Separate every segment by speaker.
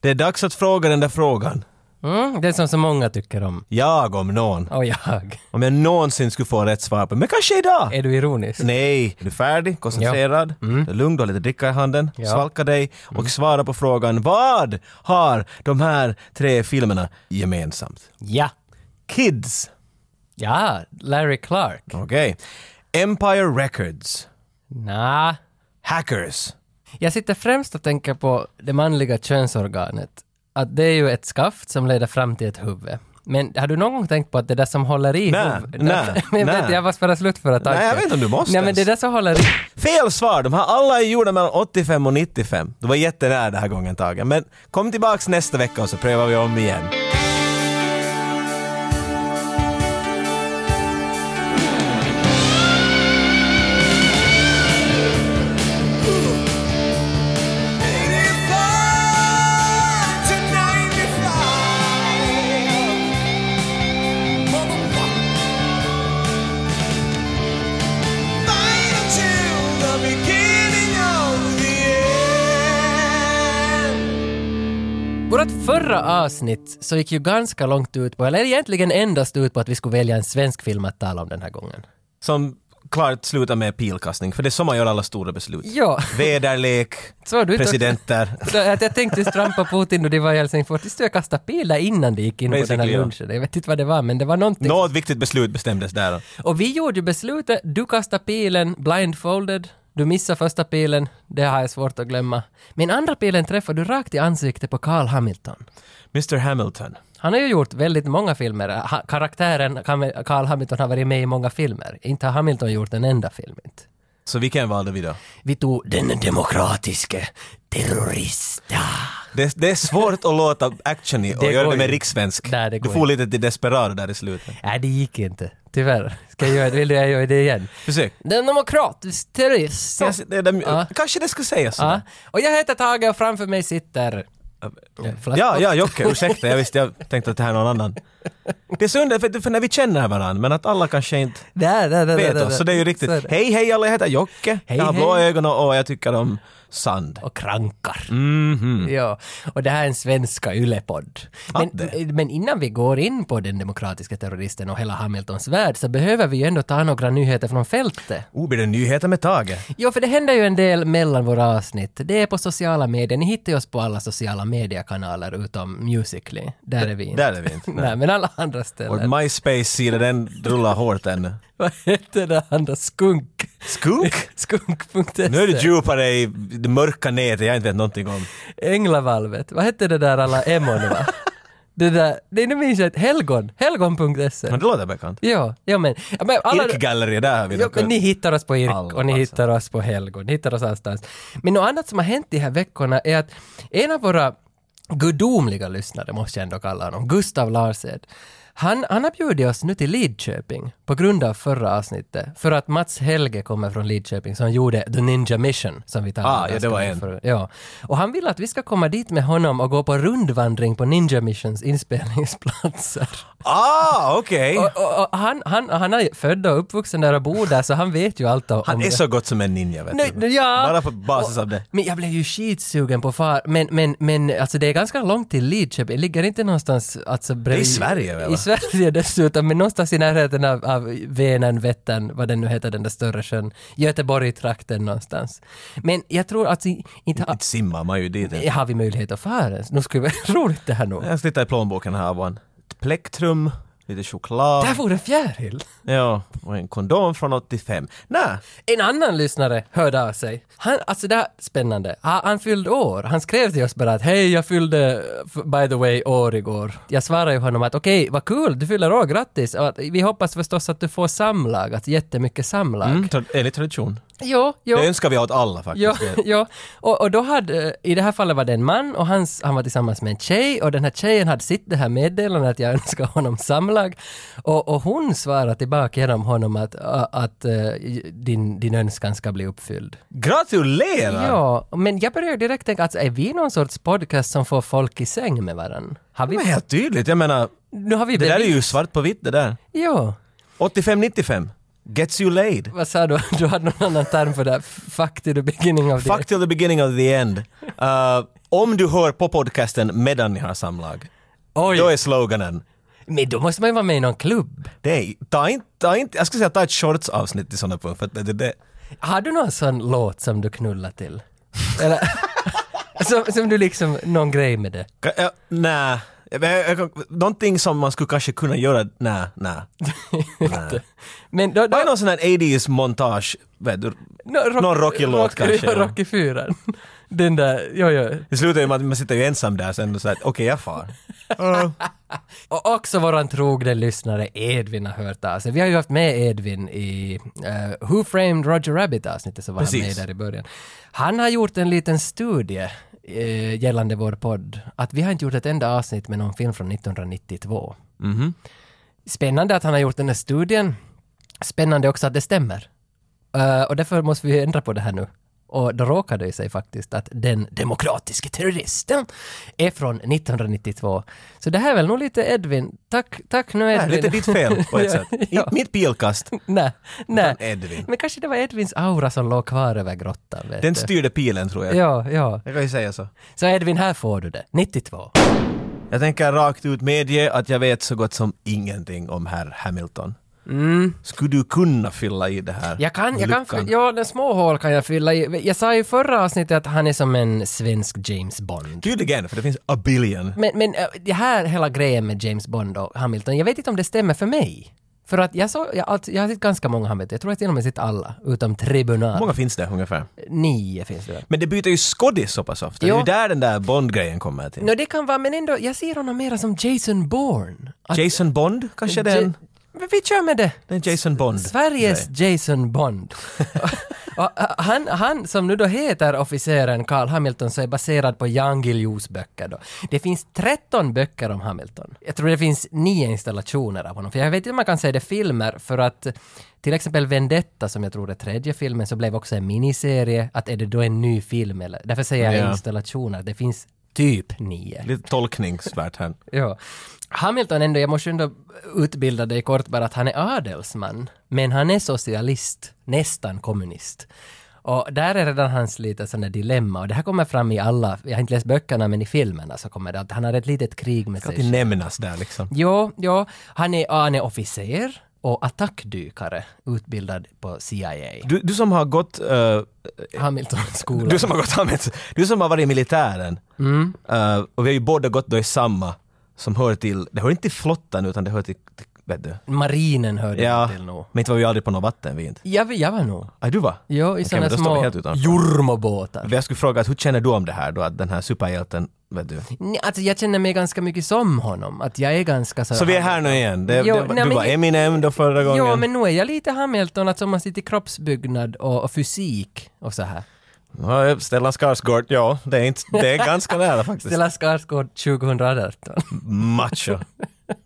Speaker 1: Det är dags att fråga den där frågan.
Speaker 2: Mm, det som så många tycker om.
Speaker 1: Jag om någon.
Speaker 2: Och jag.
Speaker 1: Om jag någonsin skulle få rätt svar på, men kanske idag!
Speaker 2: Är du ironisk?
Speaker 1: Nej, är du färdig, koncentrerad, lugn, du har lite dricka i handen,
Speaker 2: Ja.
Speaker 1: svalka dig och svara på frågan vad har de här tre filmerna gemensamt?
Speaker 2: Ja.
Speaker 1: Kids,
Speaker 2: Ja, Larry Clark.
Speaker 1: okej. Empire Records,
Speaker 2: Nja.
Speaker 1: Hackers,
Speaker 2: Jag sitter främst och tänker på det manliga könsorganet. Att det är ju ett skaft som leder fram till ett huvud. Men har du någon gång tänkt på att det där som håller i
Speaker 1: Nej,
Speaker 2: huvudet...
Speaker 1: nej,
Speaker 2: Men jag vet,
Speaker 1: nej.
Speaker 2: jag var bara slut för att
Speaker 1: Nej, jag vet inte om du måste
Speaker 2: Nej, men det
Speaker 1: ens.
Speaker 2: där som håller i...
Speaker 1: Fel svar! De här alla är gjorda mellan 85 och 95. Du var jättenära den här gången Tage. Men kom tillbaks nästa vecka och så prövar vi om igen.
Speaker 2: Vårt förra avsnitt så gick ju ganska långt ut på, eller egentligen endast ut på att vi skulle välja en svensk film att tala om den här gången.
Speaker 1: Som klart slutar med pilkastning, för det är så man gör alla stora beslut.
Speaker 2: Ja.
Speaker 1: Väderlek,
Speaker 2: Så har du inte-
Speaker 1: presidenter.
Speaker 2: Så att jag tänkte trampa Putin och det var i Helsingfors. Tills jag kastade pil där innan det gick in på den här
Speaker 1: Basically, ja.
Speaker 2: lunchen. Jag vet inte vad det var, men det var någonting.
Speaker 1: Något viktigt beslut bestämdes där.
Speaker 2: Och vi gjorde ju beslutet, du kastade pilen blindfolded, du missade första pilen, det har jag svårt att glömma. Men andra pilen träffade du rakt i ansiktet på Carl Hamilton.
Speaker 1: Mr Hamilton.
Speaker 2: Han har ju gjort väldigt många filmer. Ha, karaktären Kam- Carl Hamilton har varit med i många filmer. Inte har Hamilton gjort en enda film inte.
Speaker 1: Så vilken valde vi då?
Speaker 2: Vi tog den demokratiske terrorista.
Speaker 1: Det, det är svårt att låta actionig och
Speaker 2: Det
Speaker 1: göra
Speaker 2: går
Speaker 1: det med
Speaker 2: ju.
Speaker 1: rikssvensk.
Speaker 2: Nej, det
Speaker 1: Du
Speaker 2: går
Speaker 1: får lite till desperado där i slutet.
Speaker 2: Nej, det gick inte. Tyvärr. Ska jag göra det? Vill du jag gör det igen?
Speaker 1: Försök.
Speaker 2: Den demokratiske terrorist.
Speaker 1: Jag, det, det,
Speaker 2: Ja.
Speaker 1: Kanske det skulle sägas så.
Speaker 2: Ja. Och jag heter Tage och framför mig sitter...
Speaker 1: Ja, ja, Jocke, ursäkta, jag visste, jag tänkte att det här är någon annan. Det är så under, för, för när vi känner varandra, men att alla kanske inte
Speaker 2: Där, där, där, där,
Speaker 1: vet
Speaker 2: där,
Speaker 1: oss, så det är ju riktigt.
Speaker 2: Så är det.
Speaker 1: Hej, hej alla, jag heter Jocke,
Speaker 2: Hej,
Speaker 1: jag har
Speaker 2: hej.
Speaker 1: blå ögon och, och jag tycker om sand.
Speaker 2: Och krankar.
Speaker 1: Mhm.
Speaker 2: Ja, och det här är en svenska ylepodd.
Speaker 1: Att
Speaker 2: Men, men innan vi går in på den demokratiska terroristen och hela Hamiltons värld så behöver vi ju ändå ta några nyheter från fältet.
Speaker 1: Oh, blir det nyheter med Tage?
Speaker 2: Jo, för det händer ju en del mellan våra avsnitt. Det är på sociala medier. Ni hittar ju oss på alla sociala mediekanaler utom Musically. Där är vi inte.
Speaker 1: Där är vi inte.
Speaker 2: Nej, men alla andra
Speaker 1: Och
Speaker 2: ställen.
Speaker 1: MySpace-sida, den rullar hårt ännu.
Speaker 2: Vad heter det andra? Skunk?
Speaker 1: Skunk?
Speaker 2: Skunk.se.
Speaker 1: Nu är det djupare i det mörka nätet jag inte vet någonting om.
Speaker 2: Änglavalvet. Vad hette det där alla emon va? det där, det nu minns jag inte. Helgon. Helgon.se.
Speaker 1: Men det låter bekant.
Speaker 2: Ja, ja men. ja, men alla,
Speaker 1: Irkgalleri, där har vi
Speaker 2: ja, men ni hittar oss på Irk
Speaker 1: Alla,
Speaker 2: och ni
Speaker 1: alltså.
Speaker 2: hittar oss på Helgon. Ni hittar oss allstans. Men något annat som har hänt de här veckorna är att en av våra gudomliga lyssnare, måste jag ändå kalla honom, Gustav Larsed, han, han har bjudit oss nu till Lidköping på grund av förra avsnittet. För att Mats Helge kommer från Lidköping som gjorde The Ninja Mission som vi talade
Speaker 1: Ah, ja, det var
Speaker 2: ganska
Speaker 1: en.
Speaker 2: för- Ja. Och han vill att vi ska komma dit med honom och gå på rundvandring på Ninja Missions inspelningsplatser.
Speaker 1: Ah, okej!
Speaker 2: Och, och, och han, han, han är född och uppvuxen där och bor där så han vet ju allt om
Speaker 1: Han är
Speaker 2: det.
Speaker 1: så gott som en ninja, vet
Speaker 2: Nej,
Speaker 1: du.
Speaker 2: nej, ja.
Speaker 1: Bara på basis av det.
Speaker 2: Men jag blev ju skitsugen på far. Men, men, men alltså det är ganska långt till Lidköping. Ligger inte någonstans alltså bredvid,
Speaker 1: Sverige, väl?
Speaker 2: I Sverige dessutom, men någonstans i närheten av, av Vänern, Vättern, vad den nu heter, den där större sjön. Göteborg-trakten någonstans. Men jag tror alltså inte... Ha,
Speaker 1: Inte simmar man ju dit. ens.
Speaker 2: har vi möjlighet att fara ens? Nu skulle det vara roligt det här nog.
Speaker 1: Jag ska titta i plånboken här var en ett plektrum, lite choklad,
Speaker 2: Där vore en fjäril!
Speaker 1: ja, och en kondom från 85. Nä,
Speaker 2: En annan lyssnare hörde av sig. Han, alltså det här, spännande. Han, han fyllde år. Han skrev till oss bara att hej, jag fyllde f- by the way år igår. Jag svarade ju honom att okej, vad kul, du fyller år, grattis. Och att, vi hoppas förstås att du får samlag, att jättemycket samlag.
Speaker 1: mm, tra- enligt tradition.
Speaker 2: Jo, jo.
Speaker 1: Det önskar vi åt alla
Speaker 2: Ja,
Speaker 1: faktiskt.
Speaker 2: ja. Och, och då hade, i det här fallet var det en man och hans, han var tillsammans med en tjej och den här tjejen hade sitt det här meddelandet att jag önskar honom samlag och, och hon svarade tillbaka genom honom att, att, eh, din, din önskan ska bli uppfylld.
Speaker 1: Gratulerar!
Speaker 2: Ja, men jag började direkt tänka, alltså, är vi någon sorts podcast som får folk i säng med varandra? Har vi,
Speaker 1: Men helt tydligt, jag menar,
Speaker 2: nu har vi
Speaker 1: det där är
Speaker 2: bevis.
Speaker 1: ju svart på vitt det där.
Speaker 2: Ja.
Speaker 1: 85-95, gets you laid.
Speaker 2: Vad sa du? Du hade någon annan term för det? här. Fuck to the beginning of the...
Speaker 1: Fuck till the beginning of the end. Uh, Om du hör på podcasten medan ni har samlag,
Speaker 2: Oj,
Speaker 1: då är sloganen
Speaker 2: men då måste man ju vara med i någon klubb.
Speaker 1: Nej, ta inte, ta inte, jag skulle säga ta ett shorts-avsnitt i sådana punkt, för att det, det, det,
Speaker 2: Har du någon sån låt som du knullar till? Eller, som, som du liksom, någon grej med det?
Speaker 1: Ka- ja, nä. Jag- jag- jag- Någonting som man skulle kanske kunna göra, nä, nä. Nä.
Speaker 2: Men då, då,
Speaker 1: Var det någon sån här 80s montage, vet du?
Speaker 2: nå- rock,
Speaker 1: någon Rocky-låt
Speaker 2: rock,
Speaker 1: kanske,
Speaker 2: Ja,
Speaker 1: ja.
Speaker 2: Rocky 4. Den där, jo, jo.
Speaker 1: Det slutar ju med att man sitter ju ensam där sen och så här, okej jag far.
Speaker 2: Och också våran trogne lyssnare Edvin har hört av sig. Vi har ju haft med Edvin i eh, Who Framed Roger Rabbit avsnittet så var han med
Speaker 1: Precis.
Speaker 2: där i början. Han har gjort en liten studie eh, gällande vår podd. Att vi har inte gjort ett enda avsnitt med någon film från 1992. Spännande att han har gjort den här studien. Spännande också att det stämmer. Eh, och därför måste vi ändra på det här nu. Och då råkar det ju sig faktiskt att den demokratiske terroristen är från 1992. Så det här är väl nog lite Edvin. Tack, tack nu
Speaker 1: Det
Speaker 2: Edvin.
Speaker 1: är lite ditt fel på ett
Speaker 2: Ja,
Speaker 1: sätt.
Speaker 2: ja.
Speaker 1: Inte mitt pilkast,
Speaker 2: Nej, nej.
Speaker 1: utan Edvin.
Speaker 2: Men kanske det var Edvins aura som låg kvar över grottan. Vet
Speaker 1: Den
Speaker 2: du.
Speaker 1: styrde pilen tror jag.
Speaker 2: Ja, ja.
Speaker 1: Jag kan ju säga så.
Speaker 2: Så Edvin, här får du det. 92.
Speaker 1: Jag tänker rakt ut medge att jag vet så gott som ingenting om herr Hamilton. Skulle du kunna fylla i det här?
Speaker 2: Mm. Jag kan, jag kan,
Speaker 1: luckan?
Speaker 2: fy- ja, den små hål kan jag fylla i. Jag sa i förra avsnittet att han är som en svensk James Bond.
Speaker 1: Tydligen, för det finns a billion.
Speaker 2: Men, men äh, det här hela grejen med James Bond och Hamilton, jag vet inte om det stämmer för mig. För att jag, så, jag, alltså, jag har sett ganska många Hamilton, jag tror att jag till och med sett alla, utom Tribunal.
Speaker 1: Hur många finns det ungefär?
Speaker 2: Nio finns det väl?
Speaker 1: Men det byter ju skådis så pass ofta.
Speaker 2: Ja.
Speaker 1: Det är ju där den där Bond-grejen kommer till.
Speaker 2: Nå det kan vara, men ändå, jag ser honom mera som Jason Bourne. Att-
Speaker 1: Jason Bond kanske det är en?
Speaker 2: Ja- Men vi kör med det!
Speaker 1: Det är en Jason Bond.
Speaker 2: Sveriges
Speaker 1: grej.
Speaker 2: Jason Bond. och, och, han, han som nu då heter officeren Carl Hamilton så är baserad på Jan Guillous böcker då. Det finns 13 böcker om Hamilton. Jag tror det finns nio installationer av honom. För jag vet inte om man kan säga det filmer för att till exempel Vendetta som jag tror är tredje filmen så blev också en miniserie. Att är det då en ny film eller? Därför säger jag
Speaker 1: Ja.
Speaker 2: installationer. Det finns typ nio.
Speaker 1: Lite tolkningsvärt här.
Speaker 2: Ja. Hamilton ändå, jag måste ändå utbilda dig kort bara att han är adelsman, men han är socialist, nästan kommunist. Och där är redan hans lite sån där dilemma och det här kommer fram i alla, jag har inte läst böckerna men i filmerna så kommer det att han har ett litet krig med sig
Speaker 1: Att det nämnas där liksom.
Speaker 2: Jo, jo, han är, ja, han är officer och attackdykare, utbildad på CIA.
Speaker 1: Du, du som har gått... eh,
Speaker 2: Hamiltonskolan.
Speaker 1: du som har gått Hamilton, Du som har varit i militären. eh, och vi har ju båda gått då i samma som hör till... Det hör inte till flottan utan det hör till... till vet du?
Speaker 2: Marinen hörde
Speaker 1: Ja.
Speaker 2: till nog.
Speaker 1: Men inte var vi aldrig på någon vatten vi inte.
Speaker 2: Jag, jag var nog.
Speaker 1: Ah, du var?
Speaker 2: Jo,
Speaker 1: Okej,
Speaker 2: i
Speaker 1: men
Speaker 2: såna
Speaker 1: då står vi
Speaker 2: små
Speaker 1: helt utanför.
Speaker 2: jurmobåtar.
Speaker 1: Jag skulle fråga att hur känner du om det här då? Att den här superhjälten, vet du?
Speaker 2: Nej, Alltså jag känner mig ganska mycket som honom, att jag är ganska så...
Speaker 1: Så vi är här nu igen. Det,
Speaker 2: Jo,
Speaker 1: det,
Speaker 2: nej,
Speaker 1: du
Speaker 2: men-
Speaker 1: var Eminem då förra gången.
Speaker 2: Ja, men nu är jag lite Hamilton, att som man sitter i kroppsbyggnad och, och fysik och så här.
Speaker 1: Ja, Stellan Skarsgård, ja, det är, inte, det är ganska nära faktiskt.
Speaker 2: Stellan Skarsgård 2018.
Speaker 1: Macho.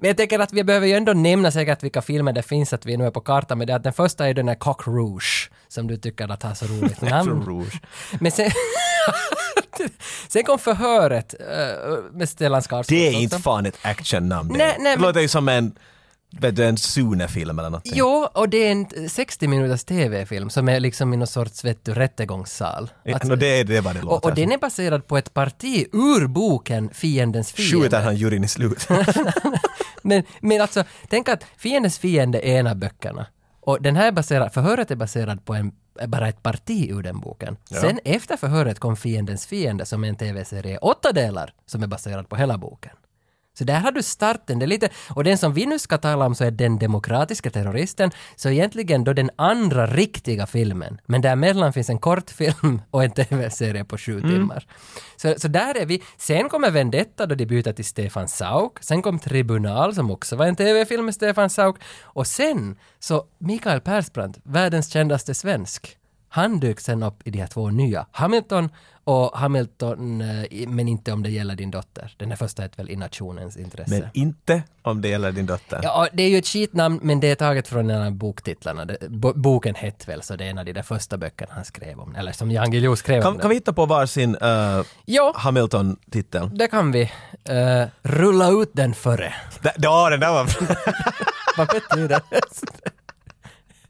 Speaker 2: Men jag tänker att vi behöver ju ändå nämna säkert vilka filmer det finns att vi nu är på kartan med det. Att den första är den här Cock Rouge, som du tycker att har så roligt namn.
Speaker 1: Rouge.
Speaker 2: Men sen... sen kom förhöret eh, med Stellan Skarsgård.
Speaker 1: Det är
Speaker 2: också.
Speaker 1: inte fan ett actionnamn. det.
Speaker 2: Nej, nej,
Speaker 1: det
Speaker 2: men-
Speaker 1: låter ju som en, vet du, en Sune-film eller någonting.
Speaker 2: Jo, och det är en t- 60 minuters tv-film som är liksom i någon sorts vet du, rättegångssal.
Speaker 1: Ja,
Speaker 2: Att-
Speaker 1: no, det, är- det är vad det
Speaker 2: alltså- och,
Speaker 1: låter
Speaker 2: och den är baserad på ett parti ur boken Fiendens
Speaker 1: som. Skjuter
Speaker 2: fiende.
Speaker 1: han juryn i slut.
Speaker 2: Alltså. Men, men alltså, tänk att Fiendens fiende är en av böckerna. Och den här är baserad, förhöret är baserad på en, bara ett parti ur den boken. Sen efter förhöret kom Fiendens fiende som är en tv-serie i åtta delar som är baserad på hela boken. Så där har du starten. Det är lite, och den som vi nu ska tala om så är den demokratiska terroristen, så egentligen då den andra riktiga filmen. Men däremellan finns en kortfilm och en tv-serie på sju timmar. Så, så där är vi. Sen kommer Vendetta då de byter till Stefan Sauk. Sen kom Tribunal som också var en tv-film med Stefan Sauk. Och sen så Mikael Persbrandt, världens kändaste svensk. Han dök sen upp i de här två nya, Hamilton och Hamilton, eh, i- men inte om det gäller din dotter. Den här första heter väl I nationens intresse.
Speaker 1: men inte om det gäller din dotter.
Speaker 2: Ja, och det är ju ett skitnamn, men det är taget från en av boktitlarna. Det, bo, boken hette väl, så det är en av de där första böckerna han skrev om, eller som Jan Guillou skrev om.
Speaker 1: Kan,
Speaker 2: den.
Speaker 1: kan vi hitta på varsin eh,
Speaker 2: Ja,
Speaker 1: Hamilton-titel?
Speaker 2: det kan vi. Eh, rulla ut den före.
Speaker 1: Da- Ja, den där var...
Speaker 2: Vad betyder det?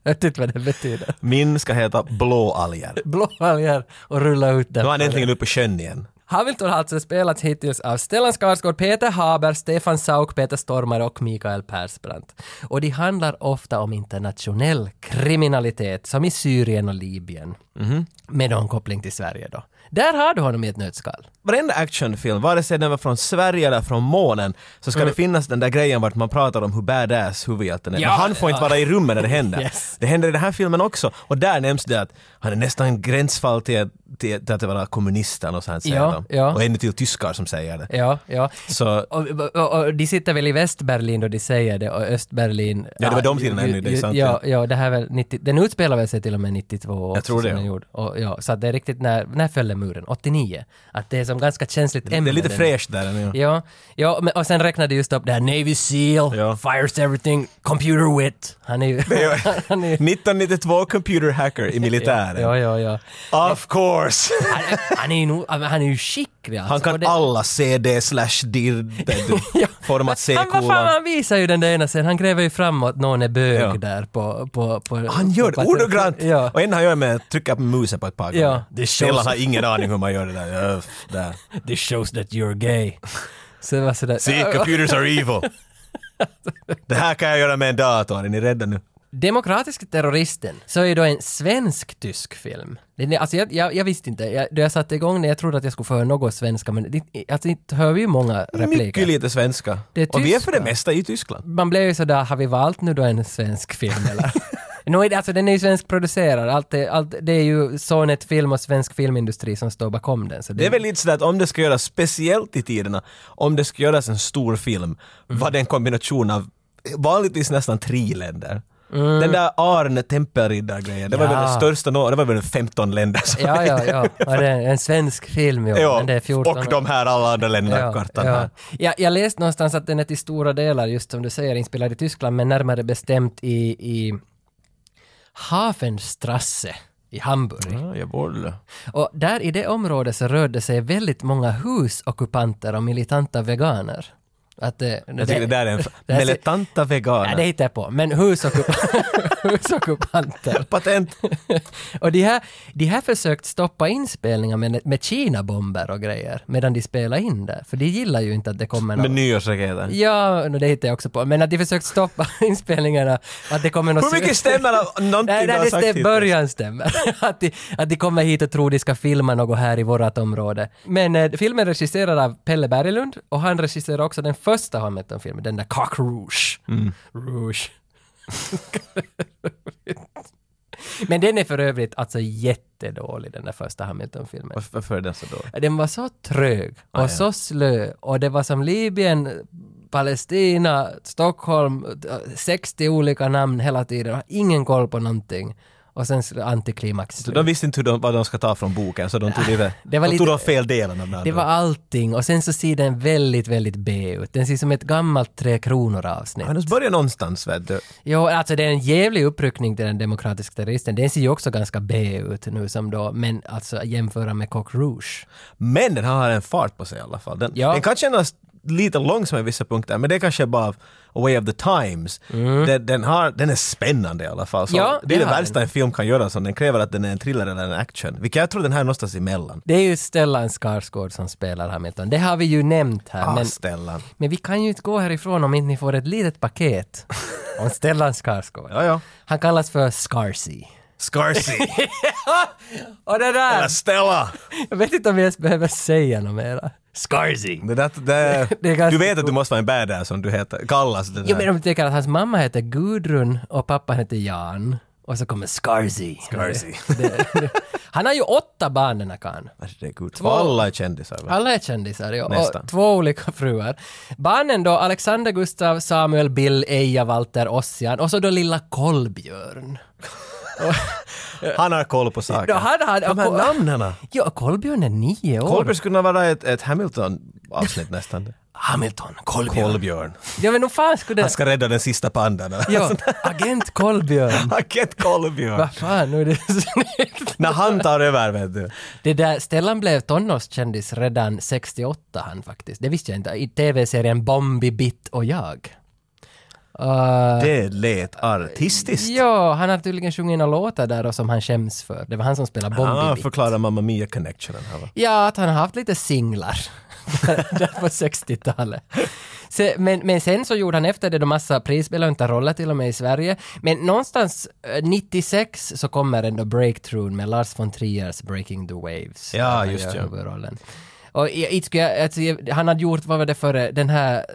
Speaker 2: Jag vet inte vad det betyder.
Speaker 1: Min ska heta Blåalger.
Speaker 2: Blåalger och rulla ut den.
Speaker 1: Nu är han äntligen uppe på sjön igen.
Speaker 2: Havildor har alltså spelats hittills av Stellan Skarsgård, Peter Haber, Stefan Sauk, Peter Stormare och Mikael Persbrandt. Och de handlar ofta om internationell kriminalitet, som i Syrien och Libyen.
Speaker 1: Mhm.
Speaker 2: Med någon koppling till Sverige då. Där har du honom i ett nötskal.
Speaker 1: Varenda actionfilm, vare sig den var från Sverige eller från månen, så ska det finnas den där grejen vart man pratar om hur badass huvudhjälten är.
Speaker 2: Mm. Ja,
Speaker 1: Men han får inte
Speaker 2: ja.
Speaker 1: vara i rummet när det händer.
Speaker 2: Yes.
Speaker 1: Det händer i den här filmen också. Och där nämns det att han är nästan gränsfall till, till, till att vara kommunist eller något sånt, säger
Speaker 2: Ja,
Speaker 1: de.
Speaker 2: ja.
Speaker 1: Och ännu till tyskar som säger det.
Speaker 2: Ja, ja.
Speaker 1: Så
Speaker 2: Och, och, och de sitter väl i Västberlin då de säger det och Östberlin...
Speaker 1: Ja, det var de tiderna ännu, det är
Speaker 2: ju-
Speaker 1: sant,
Speaker 2: Ja, ja, det här är väl 90, den utspelar väl sig till och med 92 också,
Speaker 1: tror det,
Speaker 2: som den
Speaker 1: ja.
Speaker 2: gjorde. Och, ja, så att det är riktigt, när, när föll den muren? 89? Att det är som ganska känsligt ämne.
Speaker 1: det är lite
Speaker 2: den-
Speaker 1: fräscht där ännu.
Speaker 2: Ja, ja men, och sen räknade just upp det här Navy Seal,
Speaker 1: Ja.
Speaker 2: Fires Everything, Computer Wit. Han är ju... han är,
Speaker 1: 1992 computer hacker i militären.
Speaker 2: ja, ja, ja.
Speaker 1: Of course!
Speaker 2: Han, är- han är ju nog, han är ju skicklig alltså.
Speaker 1: Han
Speaker 2: Och
Speaker 1: kan
Speaker 2: det-
Speaker 1: alla CD slash dir
Speaker 2: Ja.
Speaker 1: format
Speaker 2: Han, vad fan,
Speaker 1: C-kola.
Speaker 2: han visar ju den där ena scenen, han gräver ju framåt någon är bög
Speaker 1: Ja.
Speaker 2: där på... på, på
Speaker 1: Han gör
Speaker 2: på
Speaker 1: det ordagrant!
Speaker 2: Ja.
Speaker 1: Och en han gör med att trycka på musen på ett par
Speaker 2: Ja.
Speaker 1: gånger.
Speaker 2: Det
Speaker 1: Stellan
Speaker 2: shows-
Speaker 1: har ingen aning hur man gör det där. Öff, där.
Speaker 2: This shows that you're gay. Så det var sådär...
Speaker 1: See, computers are evil. Det här kan jag göra med en dator, är ni rädda nu?
Speaker 2: Demokratiska terroristen, så är då en svensk-tysk film. Den är- Alltså jag, jag, jag visste inte, jag, då jag satte igång den, jag trodde att jag skulle få höra något svenska, men det, alltså inte hör vi ju många
Speaker 1: Mycket
Speaker 2: repliker.
Speaker 1: lite svenska.
Speaker 2: Det är
Speaker 1: Och vi är för
Speaker 2: tyska.
Speaker 1: det mesta i Tyskland.
Speaker 2: Man blev ju sådär, har vi valt nu då en svensk film eller? Nå, är det- alltså den är ju svenskproducerad, allt är, allt, det är ju Sonet Film och svensk filmindustri som står bakom den. Så
Speaker 1: Det är väl lite sådär att om det ska göras speciellt i tiderna, om det ska göras en stor
Speaker 2: Mm.
Speaker 1: film, var det en kombination av vanligtvis nästan tre länder. Den där Arne Tempelriddar-grejen, det var väl
Speaker 2: Mm. Ja.
Speaker 1: den största nå- det var väl 15 länder som
Speaker 2: Ja, ja, ja. ja det är en svensk film, jo.
Speaker 1: Ja,
Speaker 2: men det är 14
Speaker 1: och de här alla andra länderna på kartan.
Speaker 2: ja.
Speaker 1: här.
Speaker 2: Jag, jag läste någonstans att den är till stora delar, just som du säger, inspelad i Tyskland, men närmare bestämt i, i Hafenstrasse i Hamburg.
Speaker 1: Ja, jag borde.
Speaker 2: Och där i det området så rörde sig väldigt många husockupanter och militanta veganer. Att eh, det,
Speaker 1: Jag tycker det där är en...
Speaker 2: det här ser-
Speaker 1: Militanta veganer.
Speaker 2: Ja, det hittar jag på. Men husockup- husockupanter.
Speaker 1: Patent!
Speaker 2: och de här, de här försökt stoppa inspelningar med, med Kina-bomber och grejer medan de spelar in det. För de gillar ju inte att det kommer någon...
Speaker 1: Med nyårsraketen.
Speaker 2: Ja, no, det hittade jag också på. Men att de försökt stoppa inspelningarna, att det kommer någon...
Speaker 1: Hur mycket stämmer av någonting du
Speaker 2: Nej, nej
Speaker 1: har sagt
Speaker 2: det stämmer,
Speaker 1: hittills?
Speaker 2: början stämmer. att, de, att de kommer hit och tror de ska filma något här i vårt område. Men eh, filmen regisserad av Pelle Berglund och han regisserar också den första Hamilton-filmen, den där Cock Rouge.
Speaker 1: Mm.
Speaker 2: Rouge. Men den är för övrigt alltså jättedålig, den där första Hamilton-filmen.
Speaker 1: Varför- Varför är den så dålig?
Speaker 2: Den var så trög
Speaker 1: Ah,
Speaker 2: och så slö och det var som Libyen, Palestina, Stockholm, eh, 60 olika namn hela tiden och ingen koll på någonting. Och sen sl- antiklimax.
Speaker 1: Så de visste inte hur de, vad de ska ta från boken, så de tog, det,
Speaker 2: det var
Speaker 1: de,
Speaker 2: lite-
Speaker 1: tog de fel delen av den.
Speaker 2: Det var allting och sen så ser den väldigt, väldigt B ut. Den ser som ett gammalt Tre Kronor avsnitt.
Speaker 1: Men de börjar någonstans, vet du.
Speaker 2: Jo, alltså det är en jävlig uppryckning till den demokratiska terroristen. Den ser ju också ganska B ut nu som då, men alltså jämföra med Coq Rouge.
Speaker 1: Men den har en fart på sig i alla fall. Den,
Speaker 2: Ja.
Speaker 1: den kan kännas lite långsam i vissa punkter, men det kanske är bara a way of the times. Den, den, har, den är spännande i alla fall. Så
Speaker 2: Mm. Ja,
Speaker 1: det är
Speaker 2: det
Speaker 1: det
Speaker 2: har
Speaker 1: värsta en film kan göra, som den kräver att den är en thriller eller en action. Vilket jag tror den här är någonstans emellan.
Speaker 2: Det är ju Stellan Skarsgård som spelar Hamilton. Det har vi ju nämnt här.
Speaker 1: Ah,
Speaker 2: men
Speaker 1: Stellan.
Speaker 2: Men vi kan ju inte gå härifrån om inte ni får ett litet paket om Stellan Skarsgård.
Speaker 1: Ja, ja.
Speaker 2: Han kallas för Scarsy.
Speaker 1: Scarcy.
Speaker 2: Och det där!
Speaker 1: Stella!
Speaker 2: Jag vet inte om jag ens behöver säga något mera. Scarsy!
Speaker 1: Det där, det,
Speaker 2: Det är ganska
Speaker 1: du vet att du måste vara en badass om du heter, kallas det där.
Speaker 2: Jo men de tycker att hans mamma heter Gudrun och pappa heter Jan. Och så kommer Scarsy.
Speaker 1: Scarsy.
Speaker 2: Det- det- Han har ju åtta barn den här karln.
Speaker 1: Herregud. Alla är kändisar. va?
Speaker 2: Alla är kändisar, ja.
Speaker 1: Nästan.
Speaker 2: Och två olika fruar. Barnen då, Alexander, Gustav, Samuel, Bill, Eija, Walter, Ossian och så då lilla Kolbjörn.
Speaker 1: Han har koll på
Speaker 2: Då
Speaker 1: saker.
Speaker 2: han hade,
Speaker 1: De här namnen.
Speaker 2: Ja, Kolbjörn är nio år.
Speaker 1: Kolbjörn skulle kunna vara ett, ett Hamilton-avsnitt nästan.
Speaker 2: Hamilton, Kolbjörn.
Speaker 1: Kolbjörn.
Speaker 2: ja men nog fan skulle
Speaker 1: Han
Speaker 2: det...
Speaker 1: ska rädda den sista pandan.
Speaker 2: Ja, alltså, agent Kolbjörn.
Speaker 1: Agent Kolbjörn.
Speaker 2: Vad fan, nu är det snyggt.
Speaker 1: När han tar över vet du.
Speaker 2: Det där, Stellan blev tonårskändis redan 68 han faktiskt. Det visste jag inte. I tv-serien Bombi, Bitt och jag. Uh,
Speaker 1: Det lät artistiskt.
Speaker 2: ja, han har tydligen sjungit några låtar där och som han skäms för. Det var han som spelade Bombi
Speaker 1: Ah,
Speaker 2: Bitt.
Speaker 1: förklara Mamma Mia-connectionen här va?
Speaker 2: Ja, att han har haft lite singlar där på 60-talet. Se, men, men sen så gjorde han efter det då massa prisbelönta roller till och med i Sverige. Men någonstans eh, 96 så kommer ändå breakthroughen med Lars von Triers Breaking the Waves.
Speaker 1: Ja,
Speaker 2: där han
Speaker 1: just
Speaker 2: gör
Speaker 1: ja.
Speaker 2: Huvudrollen. Och jag, inte skulle jag, alltså, jag- han hade gjort, vad var det före, den här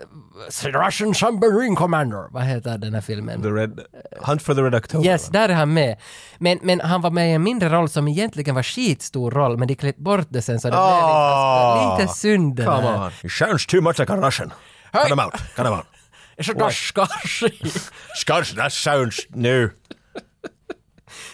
Speaker 2: eh, Russian Submarine Commander, vad heter den här filmen?
Speaker 1: The Red... Hunt for the Red October.
Speaker 2: Yes,
Speaker 1: va?
Speaker 2: där är han med. Men, men han var med i en mindre roll som egentligen var skitstor roll, men de klippte bort det sen så det blev lite,
Speaker 1: Ah.
Speaker 2: lite synd det
Speaker 1: Come
Speaker 2: där.
Speaker 1: on. It sounds too much like a Russian.
Speaker 2: Hey.
Speaker 1: Cut him out. Cut him out.
Speaker 2: Så daskar
Speaker 1: Scotch, that sounds... No.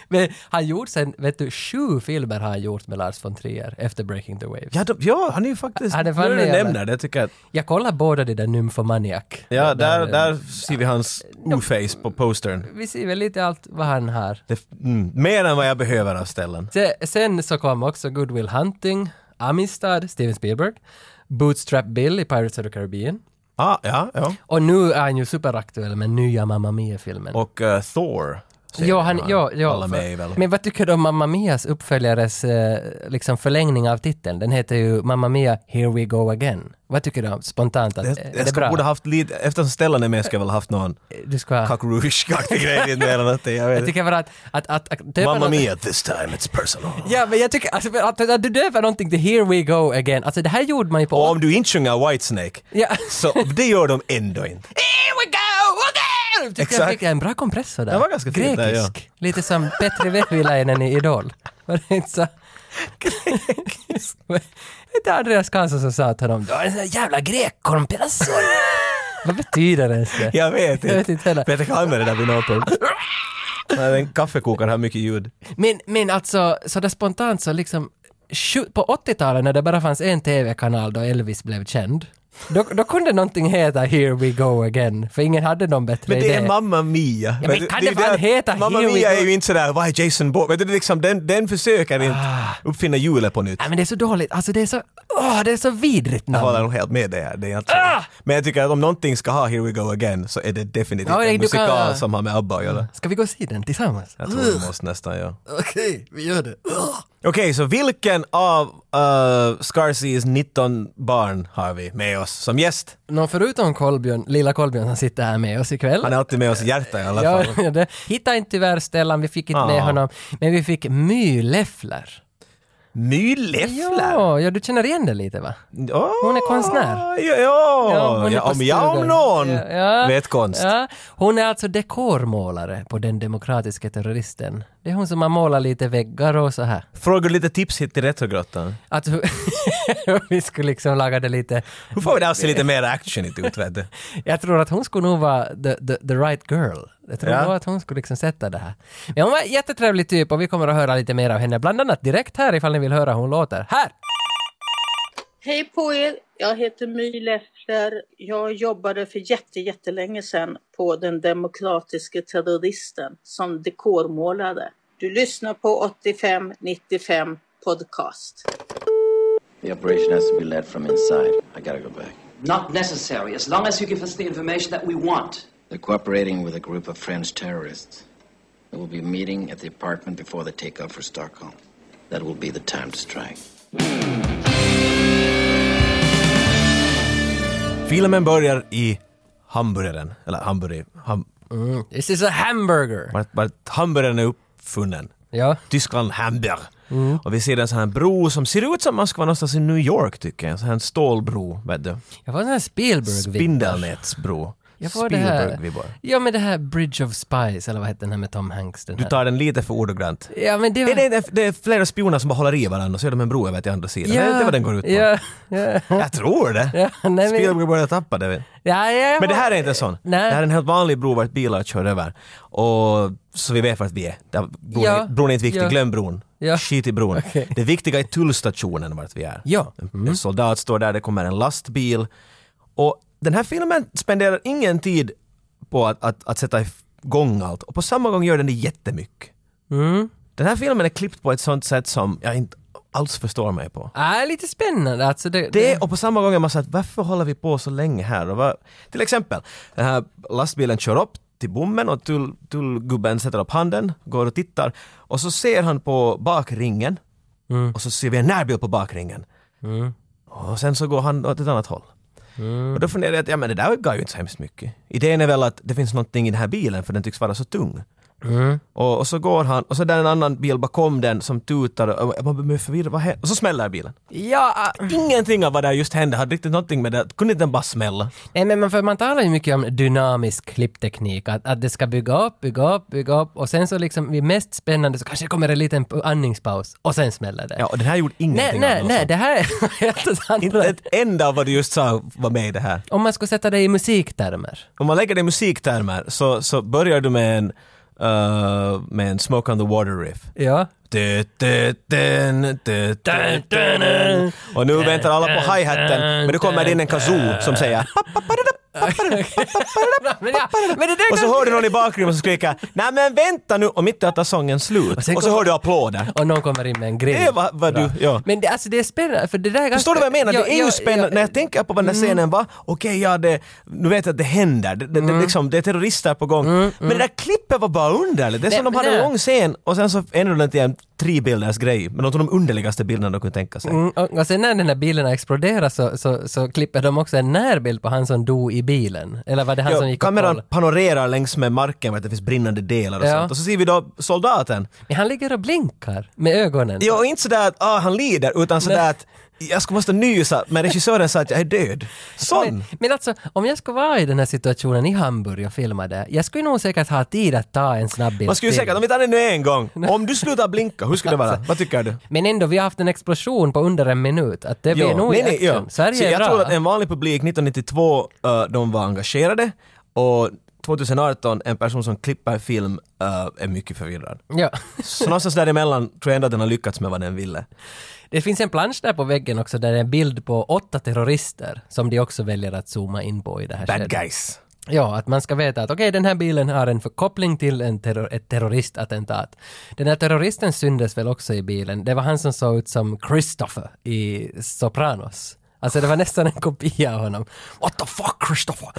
Speaker 2: Men han gjorde sen, vet du, sju filmer har han gjort med Lars von Trier efter Breaking the Waves.
Speaker 1: Ja, de, ja, han är ju faktiskt...
Speaker 2: Han är
Speaker 1: nu
Speaker 2: fan
Speaker 1: när du
Speaker 2: med, eller?
Speaker 1: nämner det tycker jag att...
Speaker 2: Jag kollar båda de där Nymphomaniac. eh,
Speaker 1: Ja, där, där ser vi hans o-face på postern.
Speaker 2: Vi ser väl lite allt vad han har.
Speaker 1: Det, mm, mer än vad jag behöver av ställen.
Speaker 2: Se- Sen så kom också Good Will Hunting, Amistad, Steven Spielberg, Bootstrap Bill i Pirates of the Caribbean.
Speaker 1: Ah, ja, ja.
Speaker 2: Och nu är han ju superaktuell med nya Mamma Mia-filmen.
Speaker 1: Och eh, Thor. säger
Speaker 2: Ja, han,
Speaker 1: man.
Speaker 2: ja, ja,
Speaker 1: Typ. Alla
Speaker 2: för-
Speaker 1: med i väl.
Speaker 2: Men vad tycker du om Mamma Mias uppföljares eh, liksom förlängning av titeln? Den heter ju Mamma Mia Here We Go Again. Vad tycker du om spontant? Att,
Speaker 1: jag,
Speaker 2: eh,
Speaker 1: jag
Speaker 2: det är
Speaker 1: ska-
Speaker 2: bra?
Speaker 1: borde haft lite, eftersom Stellan är med ska jag väl haft någon
Speaker 2: Du ska, jag
Speaker 1: kakrouche-aktig grej in där eller någonting. Jag vet inte.
Speaker 2: tycker bara att... att, att, att döpa
Speaker 1: Mamma
Speaker 2: något-
Speaker 1: mia, this time it's personal.
Speaker 2: Ja, men jag tycker alltså, att, att, att du döper någonting till Here We Go Again. Alltså det här gjorde man ju på...
Speaker 1: Och om du inte sjunger Whitesnake,
Speaker 2: Ja.
Speaker 1: så det gör de ändå inte.
Speaker 2: Here we go again! Tyckte jag
Speaker 1: Exakt.
Speaker 2: fick en bra kompressor där.
Speaker 1: Det var ganska
Speaker 2: Grekisk.
Speaker 1: fint där, ja.
Speaker 2: Lite som Petri Vehviläinen i Idol. Var det inte så? Grekisk. inte Andreas Karlsson som sa till honom du har en sån där jävla grekkompressor. Vad betyder det ens det?
Speaker 1: Jag vet inte.
Speaker 2: Jag vet inte heller.
Speaker 1: Peter kan använda det där vid någon punkt. Nej, en kaffekokare har mycket ljud.
Speaker 2: Men, men alltså, sådär spontant så liksom sju- på 80-talet när det bara fanns en TV-kanal då Elvis blev känd. Då, då kunde någonting heta Here We Go Again, för ingen hade någon bättre
Speaker 1: Men
Speaker 2: idé.
Speaker 1: det är Mamma Mia.
Speaker 2: men
Speaker 1: du,
Speaker 2: kan
Speaker 1: är
Speaker 2: det fan
Speaker 1: att
Speaker 2: heta
Speaker 1: Mamma
Speaker 2: Here We
Speaker 1: Mia är
Speaker 2: Go?
Speaker 1: ju inte sådär, vad är Jason Bourne? Vet du, det är liksom, den, den försöker inte
Speaker 2: Ah.
Speaker 1: uppfinna hjulet på nytt.
Speaker 2: Nej men det är så dåligt, alltså det är så, åh det är så vidrigt
Speaker 1: Jag
Speaker 2: namn.
Speaker 1: håller nog helt med dig. här. Det är alltså,
Speaker 2: Ah!
Speaker 1: Men jag tycker att om någonting ska ha Here We Go Again så är det definitivt
Speaker 2: Ja, du
Speaker 1: en musikal
Speaker 2: kan-
Speaker 1: som har med ABBA att göra.
Speaker 2: Ska vi gå och se den tillsammans?
Speaker 1: Jag tror vi måste nästan ja.
Speaker 2: Okej, vi gör det.
Speaker 1: Okej, så vilken av uh, Scarseas 19 barn har vi med oss som gäst?
Speaker 2: Någon förutom Kolbjörn, lilla Kolbjörn som sitter här med oss ikväll.
Speaker 1: Han är alltid med oss i hjärtat i alla
Speaker 2: Ja,
Speaker 1: fall.
Speaker 2: det. Hittade inte tyvärr Stellan, vi fick inte med
Speaker 1: Ah.
Speaker 2: honom. Men vi fick My Leffler.
Speaker 1: My Leffler!
Speaker 2: Ja, ja, du känner igen det lite va?
Speaker 1: Åh,
Speaker 2: Hon är konstnär.
Speaker 1: Ja, ja.
Speaker 2: Ja, hon är
Speaker 1: ja
Speaker 2: på
Speaker 1: om jag om
Speaker 2: stugan.
Speaker 1: någon
Speaker 2: Ja, ja.
Speaker 1: vet konst.
Speaker 2: Ja, hon är alltså dekormålare på den demokratiska terroristen. Det är hon som har målat lite väggar och så här.
Speaker 1: Frågar lite tips hit till Retrogrottan.
Speaker 2: Att vi skulle liksom laga det lite
Speaker 1: Hur får vi det här att se lite mer actionigt ut vet du?
Speaker 2: Jag tror att hon skulle nog vara the, the, the right girl. Jag tror
Speaker 1: Ja.
Speaker 2: nog att hon skulle liksom sätta det här. Men hon var en jättetrevlig typ och vi kommer att höra lite mer av henne. Bland annat direkt här ifall ni vill höra hur hon låter. Här!
Speaker 3: Hej på er! Jag heter My Leffler. Jag jobbade för jätte, jättelänge sedan på Den demokratiska terroristen som dekormålare. Du lyssnar på 8595 podcast.
Speaker 4: The operation has to be led from inside. I gotta go back.
Speaker 5: Not necessary, as long as you give us the information that we want.
Speaker 4: They're cooperating with a group of French terrorists. They will be meeting at the apartment before they take off for Stockholm. That will be the time to strike.
Speaker 1: Filmen börjar i hamburgaren, eller hamburgare, ham,
Speaker 2: This is a hamburger!
Speaker 1: vart, vart hamburgaren är uppfunnen.
Speaker 2: Ja.
Speaker 1: Tyskland Hamburg. Och vi ser en sån här bro som ser ut som man ska vara någonstans i New York tycker jag. En sån här stålbro, vet du.
Speaker 2: Jag får en sån här Spielberg-vibb.
Speaker 1: Spindelnätsbro.
Speaker 2: Jag får det här...
Speaker 1: Spielberg-vibbar.
Speaker 2: Ja men det här Bridge of Spies, eller vad hette den här med Tom Hanks? Den
Speaker 1: Du
Speaker 2: här.
Speaker 1: tar den lite för ordagrant.
Speaker 2: Ja men det var...
Speaker 1: Det är, det är flera spioner som bara håller i varandra och så gör de en bro över till andra sidan.
Speaker 2: ja,
Speaker 1: Det är inte vad den går ut på.
Speaker 2: Ja, ja.
Speaker 1: Jag tror det.
Speaker 2: Ja, nej, men-
Speaker 1: Spielberg börjar tappa det. vet du.
Speaker 2: ja, ja
Speaker 1: Men det här är inte en sån.
Speaker 2: Nej.
Speaker 1: Det här är en helt vanlig bro vart bilar kör över. Och så vi vet vart vi är. Där bron,
Speaker 2: Ja.
Speaker 1: är bron är inte viktig,
Speaker 2: Ja.
Speaker 1: glöm bron.
Speaker 2: Ja.
Speaker 1: Skit i bron.
Speaker 2: Okej.
Speaker 1: Det viktiga är tullstationen vart vi är.
Speaker 2: Ja. Mm.
Speaker 1: En soldat står där, det kommer en lastbil. Och den här filmen spenderar ingen tid på att, att, att sätta igång allt.
Speaker 2: Mm.
Speaker 1: Och på samma gång gör den det jättemycket. Den här filmen är klippt på ett sånt sätt som jag inte alls förstår mig på.
Speaker 2: Äh, lite spännande alltså. Det,
Speaker 1: Det och på samma gång är man så att varför håller vi på så länge här? Och vad, till exempel, den här lastbilen kör upp till bommen och tull, tullgubben sätter upp handen, går och tittar och så ser han på bakringen och så ser vi en närbild på bakringen. Och sen så går han åt ett annat håll. Och då funderar jag att ja, men det där gav ju inte så hemskt mycket. Idén är väl att det finns någonting i den här bilen för den tycks vara så tung. Och, och så går han och så är det en annan bil bakom den som tutar och, och man blir förvirrad, vad händer? Och så smäller bilen.
Speaker 2: Ja, ah.
Speaker 1: Ingenting av vad där just hände hade riktigt någonting med det Kunde inte den bara smälla?
Speaker 2: Nej, men man, för man talar ju mycket om dynamisk klippteknik, att, att det ska bygga upp, bygga upp, bygga upp och sen så liksom vid mest spännande så kanske det kommer en liten andningspaus och sen smäller det.
Speaker 1: Ja, och den här gjorde
Speaker 2: nej,
Speaker 1: ingenting
Speaker 2: nej,
Speaker 1: av
Speaker 2: nej,
Speaker 1: det. alltså.
Speaker 2: det här är helt åt andra.
Speaker 1: Inte ett enda av vad du just sa var med i det här.
Speaker 2: Om man skulle sätta det i musiktermer.
Speaker 1: Om man lägger det i musiktermer så, så börjar du med en, eh, med en Smoke on the Water riff.
Speaker 2: Ja.
Speaker 1: Du, du, dun, du, dun, dun, dun. Och nu väntar alla på hi-hatten, men nu kommer det in en kazoo som säger
Speaker 2: Men, ja, men det där
Speaker 1: och så
Speaker 2: kan-
Speaker 1: hör du någon i bakgrunden som skriker nej men vänta nu och mitt i att ta sången slut och,
Speaker 2: sen
Speaker 1: så
Speaker 2: kommer-
Speaker 1: hör du applåder.
Speaker 2: och någon kommer in med en grill.
Speaker 1: Det var vad du,
Speaker 2: Bra.
Speaker 1: ja.
Speaker 2: Men det, alltså det är spännande, för det där är ganska...
Speaker 1: Förstår du vad jag menar?
Speaker 2: Ja,
Speaker 1: det är
Speaker 2: ja,
Speaker 1: ju spännande.
Speaker 2: ja. Mm.
Speaker 1: När jag tänker på vad den här scenen var, okej, ja, det, nu vet jag att det händer. Det, det,
Speaker 2: Mm.
Speaker 1: det, liksom, det är terrorister på gång. Men det där klippet var bara underligt. Det är som
Speaker 2: Nej,
Speaker 1: de hade en
Speaker 2: nej.
Speaker 1: lång scen och sen så ändrade den till en trebilders grej. Men de tog de underligaste bilderna de kunde tänka sig.
Speaker 2: Mm, och, och sen när den där bilen exploderar så, så, så klipper de också en närbild på han som dog i bilen. Eller var det han som
Speaker 1: Ja,
Speaker 2: gick och
Speaker 1: kameran
Speaker 2: kollade?
Speaker 1: panorerar längs med marken för att det finns brinnande delar och
Speaker 2: Ja.
Speaker 1: sånt. Och så ser vi då soldaten.
Speaker 2: Men han ligger och blinkar med ögonen.
Speaker 1: Ja, och inte sådär att ah, han lider, utan sådär att jag skulle måste nysa, men regissören sa att jag är död. Sån!
Speaker 2: Men, men alltså, om jag skulle vara i den här situationen i Hamburg och filma det, jag skulle nog säkert ha tid att ta en snabb bild
Speaker 1: Man skulle ju
Speaker 2: till.
Speaker 1: säkert, om vi tar det nu en gång, om du slutar blinka, hur skulle det vara? Vad tycker du?
Speaker 2: Men ändå, vi har haft en explosion på under en minut. Att det blir
Speaker 1: Ja,
Speaker 2: nog i
Speaker 1: nej, nej,
Speaker 2: action.
Speaker 1: ja.
Speaker 2: Sverige
Speaker 1: Så
Speaker 2: är
Speaker 1: jag
Speaker 2: bra.
Speaker 1: tror att en vanlig publik 1992, eh, de var engagerade och 2018, en person som klipper film eh, är mycket förvirrad.
Speaker 2: Ja.
Speaker 1: Så någonstans däremellan tror jag ändå att den har lyckats med vad den ville.
Speaker 2: Det finns en plansch där på väggen också där det är en bild på åtta terrorister som de också väljer att zooma in på i det här
Speaker 1: Bad
Speaker 2: skedet.
Speaker 1: guys.
Speaker 2: Ja, att man ska veta att okej, den här bilen har en förkoppling till en terror- ett terroristattentat. Den här terroristen syndes väl också i bilen. Det var han som såg ut som Christopher i Sopranos. Alltså det var nästan en kopia av honom. What the fuck Christopher?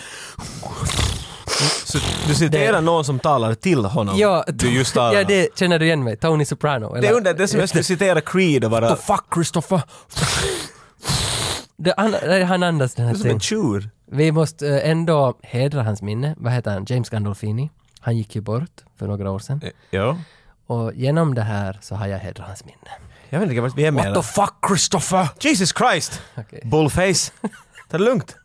Speaker 1: Så du citerar någon som talar till honom.
Speaker 2: Ja,
Speaker 1: du just talar.
Speaker 2: ja det känner du igen mig. Tony Soprano.
Speaker 1: det
Speaker 2: Eller,
Speaker 1: är under, det är som jag skulle citera Creed och bara...
Speaker 2: What the fuck Christopher? det, han, nej, han andas den här
Speaker 1: Typ Som en
Speaker 2: tiden.
Speaker 1: tjur.
Speaker 2: Vi måste eh, ändå hedra hans minne. Vad heter han? James Gandolfini. Han gick ju bort för några år sedan.
Speaker 1: Eh, Ja.
Speaker 2: Och genom det här så har jag hedrat hans minne.
Speaker 1: Jag vet inte vad vi är med.
Speaker 2: fuck Christopher?
Speaker 1: Jesus Christ!
Speaker 2: Okej.
Speaker 1: Bullface. Ta det lugnt.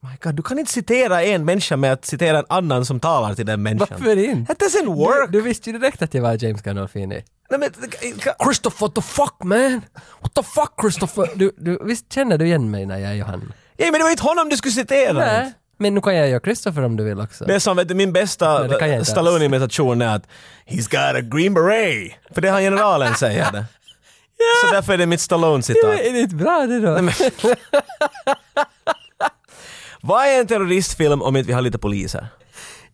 Speaker 1: My God, du kan inte citera en människa med att citera en annan som talar till den människan.
Speaker 2: Varför inte?
Speaker 1: That doesn't work!
Speaker 2: Du visste ju direkt att jag var James Gandolfini.
Speaker 1: Nej, men, det- ka-
Speaker 2: Christopher, what the fuck man? What the fuck Christopher? Du, du, visst känner du igen mig när jag är han?
Speaker 1: ja, men det var inte honom du skulle citera!
Speaker 2: Nej. Men nu kan jag göra Christopher om du vill också.
Speaker 1: Det är som vet du, min bästa
Speaker 2: Nej, det kan jag inte
Speaker 1: Stallone-imitation är att “He's got a green beret”. För det har generalen säger det. Så därför är det mitt
Speaker 2: Ja,
Speaker 1: Stallone-citat.
Speaker 2: Är det inte bra det då?
Speaker 1: Vad är en terroristfilm om inte vi har lite poliser?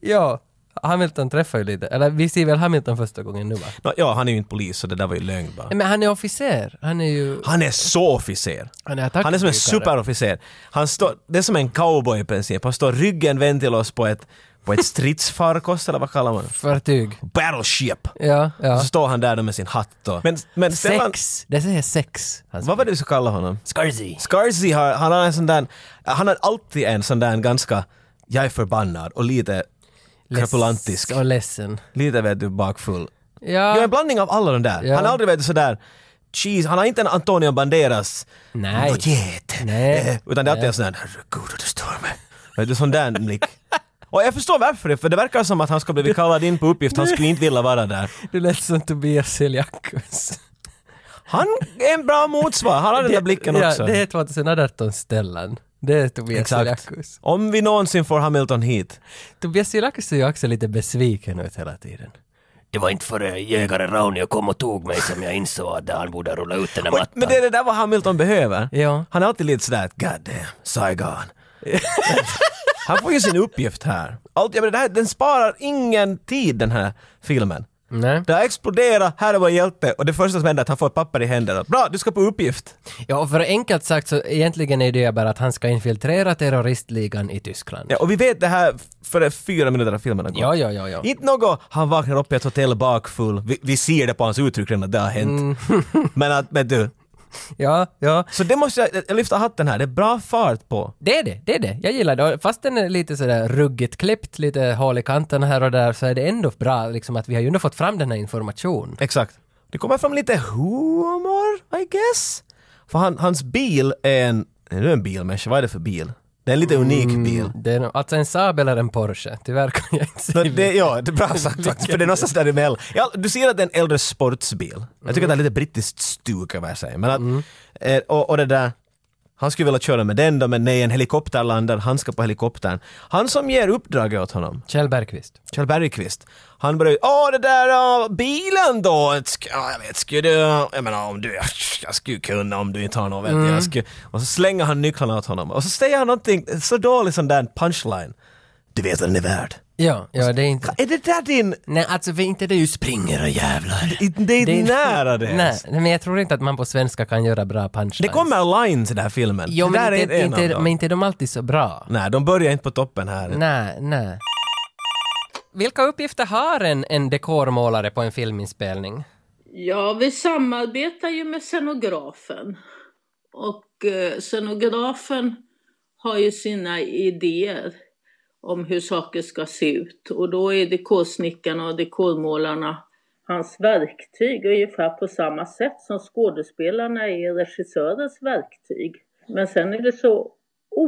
Speaker 2: ja, Hamilton träffar ju lite. Eller vi ser väl Hamilton första gången nu va?
Speaker 1: Nå, ja, han är ju inte polis så det där var ju lögn bara.
Speaker 2: Men han är officer. Han är ju...
Speaker 1: Han är så officer.
Speaker 2: Han är
Speaker 1: Han är som en
Speaker 2: attackdykare.
Speaker 1: superofficer. Han står, det är som en cowboy i princip. Han står ryggen vänd till oss på ett, på ett stridsfarkost eller vad kallar man det?
Speaker 2: Fartyg.
Speaker 1: Battleship!
Speaker 2: Ja, ja.
Speaker 1: Så står han där då med sin hatt och... Men, men Stellan,
Speaker 2: Sex. Det säger sex. Hans
Speaker 1: vad var det du skulle kalla honom?
Speaker 2: Scarzy.
Speaker 1: Scarzy har, han har en sån där, han har alltid en sån där ganska, jag är förbannad och lite krapulantisk.
Speaker 2: Och ledsen.
Speaker 1: Lite vet du bakfull.
Speaker 2: Ja.
Speaker 1: Ja, en blandning av alla de där.
Speaker 2: Ja.
Speaker 1: Han har aldrig varit sådär Cheese, han har inte en Antonio Banderas
Speaker 2: Nej.
Speaker 1: Något get.
Speaker 2: Nej.
Speaker 1: Eh, Utan det är alltid en sån där herregud och det stör mig. Vet du, sån där blick. Och jag förstår varför det, för det verkar som att han ska bli kallad in på uppgift, han skulle inte vilja vara där.
Speaker 2: Du lät som Tobias Seljakus.
Speaker 1: Han är en bra motsvar, han har den där blicken
Speaker 2: ja,
Speaker 1: också.
Speaker 2: Det är 2018 Stellan. Det är Tobias
Speaker 1: Exakt.
Speaker 2: Seljakus.
Speaker 1: Om vi någonsin får Hamilton hit.
Speaker 2: Tobias Seljakus ser ju också lite besviken ut hela tiden. Det var inte förrän jägare Raunio kom och tog mig som jag insåg att han borde rulla ut den här mattan.
Speaker 1: Men det är det där vad Hamilton behöver.
Speaker 2: Ja.
Speaker 1: Han är alltid lite sådär, God damn, Saigon. han får ju sin uppgift här. Allt, jag menar, det här, den sparar ingen tid den här filmen.
Speaker 2: Nej.
Speaker 1: Det har exploderat, här är vår hjälte och det första som händer är att han får ett papper i händerna. Bra, du ska på uppgift!
Speaker 2: Ja, och för enkelt sagt så egentligen är det bara att han ska infiltrera terroristligan i Tyskland.
Speaker 1: Ja, och vi vet det här före fyra minuter av filmen har gått.
Speaker 2: Ja, ja, ja, ja.
Speaker 1: Inte något, han vaknar upp i ett hotell bakfull. Vi, vi ser det på hans uttryck redan att det har hänt.
Speaker 2: Mm.
Speaker 1: men att, men du.
Speaker 2: Ja, ja.
Speaker 1: Så det måste jag, jag lyfter hatten här, det är bra fart på.
Speaker 2: Det är det, det är det. Jag gillar det. Och Fast den är lite sådär ruggigt klippt, lite hål i kanten här och där, så är det ändå bra liksom att vi har ju ändå fått fram den här informationen.
Speaker 1: Exakt. Det kommer fram lite humor, I guess. För han, hans bil är en, är det en bilmänniska, vad är det för bil? Det är en lite unik bil.
Speaker 2: Det är nog- alltså en Saab eller en Porsche. Tyvärr kan jag inte
Speaker 1: Nå,
Speaker 2: säga.
Speaker 1: det, ja, det är bra sagt faktiskt, för det är någonstans däremellan. Ja, du ser att det är en äldre sportsbil. Jag tycker att det är lite brittiskt stuk över sig. Men att, eh, och, och det där, han skulle vilja köra med den då, men nej, en helikopter landar, han ska på helikoptern. Han som ger uppdraget åt honom,
Speaker 2: Kjell Bergqvist.
Speaker 1: Kjell Bergqvist, han börjar ju, åh det där ah, bilen då, sk- ja, jag vet, skulle du, jag menar om du, jag skulle kunna om du inte har något, mm. jag skulle, och så slänger han nycklarna åt honom och så säger han någonting, så dålig sån där punchline, du vet vad den är värd.
Speaker 2: Ja, ja det är inte...
Speaker 1: Är det där din
Speaker 2: Nej, alltså för inte det är ju springer och jävlar.
Speaker 1: Det, det är inte nära det
Speaker 2: Nej,
Speaker 1: ens.
Speaker 2: nej, men jag tror inte att man på svenska kan göra bra punchlines.
Speaker 1: Det kommer lines i den här filmen.
Speaker 2: Jo,
Speaker 1: det där
Speaker 2: men,
Speaker 1: är
Speaker 2: inte,
Speaker 1: en av
Speaker 2: inte,
Speaker 1: dem.
Speaker 2: men inte är de alltid så bra.
Speaker 1: Nej, de börjar inte på toppen här.
Speaker 2: Nej, nej. Vilka uppgifter har en, en dekormålare på en filminspelning?
Speaker 3: Ja, vi samarbetar ju med scenografen. Och eh, scenografen har ju sina idéer om hur saker ska se ut. Och då är dekorsnickarna och dekormålarna hans verktyg ungefär på samma sätt som skådespelarna är regissörens verktyg. Men sen är det så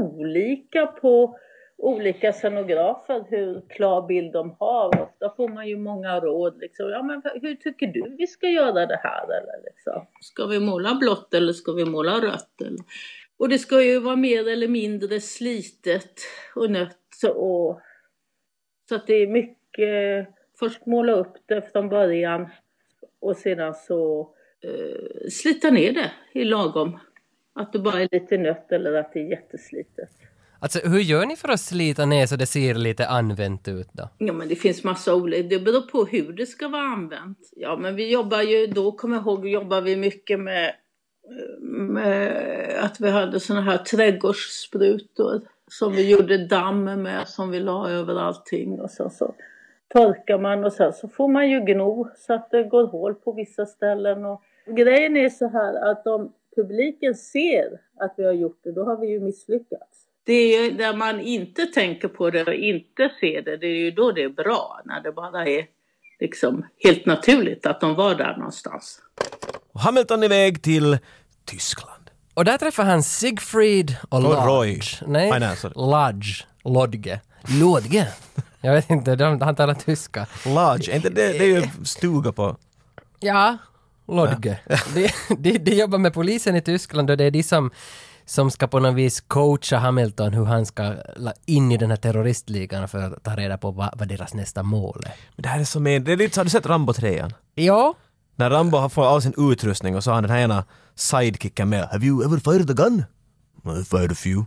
Speaker 3: olika på olika scenografer hur klar bild de har. Ofta får man ju många råd. Liksom. Ja, men hur tycker du vi ska göra det här? Eller, liksom. Ska vi måla blått eller ska vi måla rött? Eller? Och det ska ju vara mer eller mindre slitet och nött. Och... Så att det är mycket, först måla upp det från början och sedan så eh, slita ner det i lagom. Att det bara är lite nött eller att det är jätteslitet.
Speaker 2: Alltså hur gör ni för att slita ner så det ser lite använt ut då?
Speaker 3: Ja, men det finns massa olika. Det beror på hur det ska vara använt. Ja, men vi jobbar ju, då kommer jag ihåg, jobbar vi mycket med, med att vi hade såna här trädgårdssprutor som vi gjorde damm med som vi la över allting och sen så torkar man och sen så får man ju gno så att det går hål på vissa ställen och grejen är så här att om publiken ser att vi har gjort det, då har vi ju misslyckats. Det är ju när man inte tänker på det och inte ser det, det är ju då det är bra. När det bara är liksom helt naturligt att de var där någonstans.
Speaker 1: Och Hamilton är iväg till Tyskland.
Speaker 2: Och där träffar han Siegfried och Lodge.
Speaker 1: Roy.
Speaker 2: Nej,
Speaker 1: Ah, nej, sorry.
Speaker 2: Lodge. Lodge. Lodge. Jag vet inte, de, han talar tyska.
Speaker 1: Lodge, är inte det, det är ju en stuga på...
Speaker 2: Ja, Lodge. De, de, de jobbar med polisen i Tyskland och det är de som, som ska på något vis coacha Hamilton hur han ska la- in i den här terroristligan för att ta reda på vad, vad deras nästa mål är.
Speaker 1: Men det här är som en... Det är lite, så- har du sett Rambo 3?
Speaker 2: Ja,
Speaker 1: När Rambo har fått all sin utrustning och så har han den här ena sidekicken med. Have you ever fired a gun? I fired a few.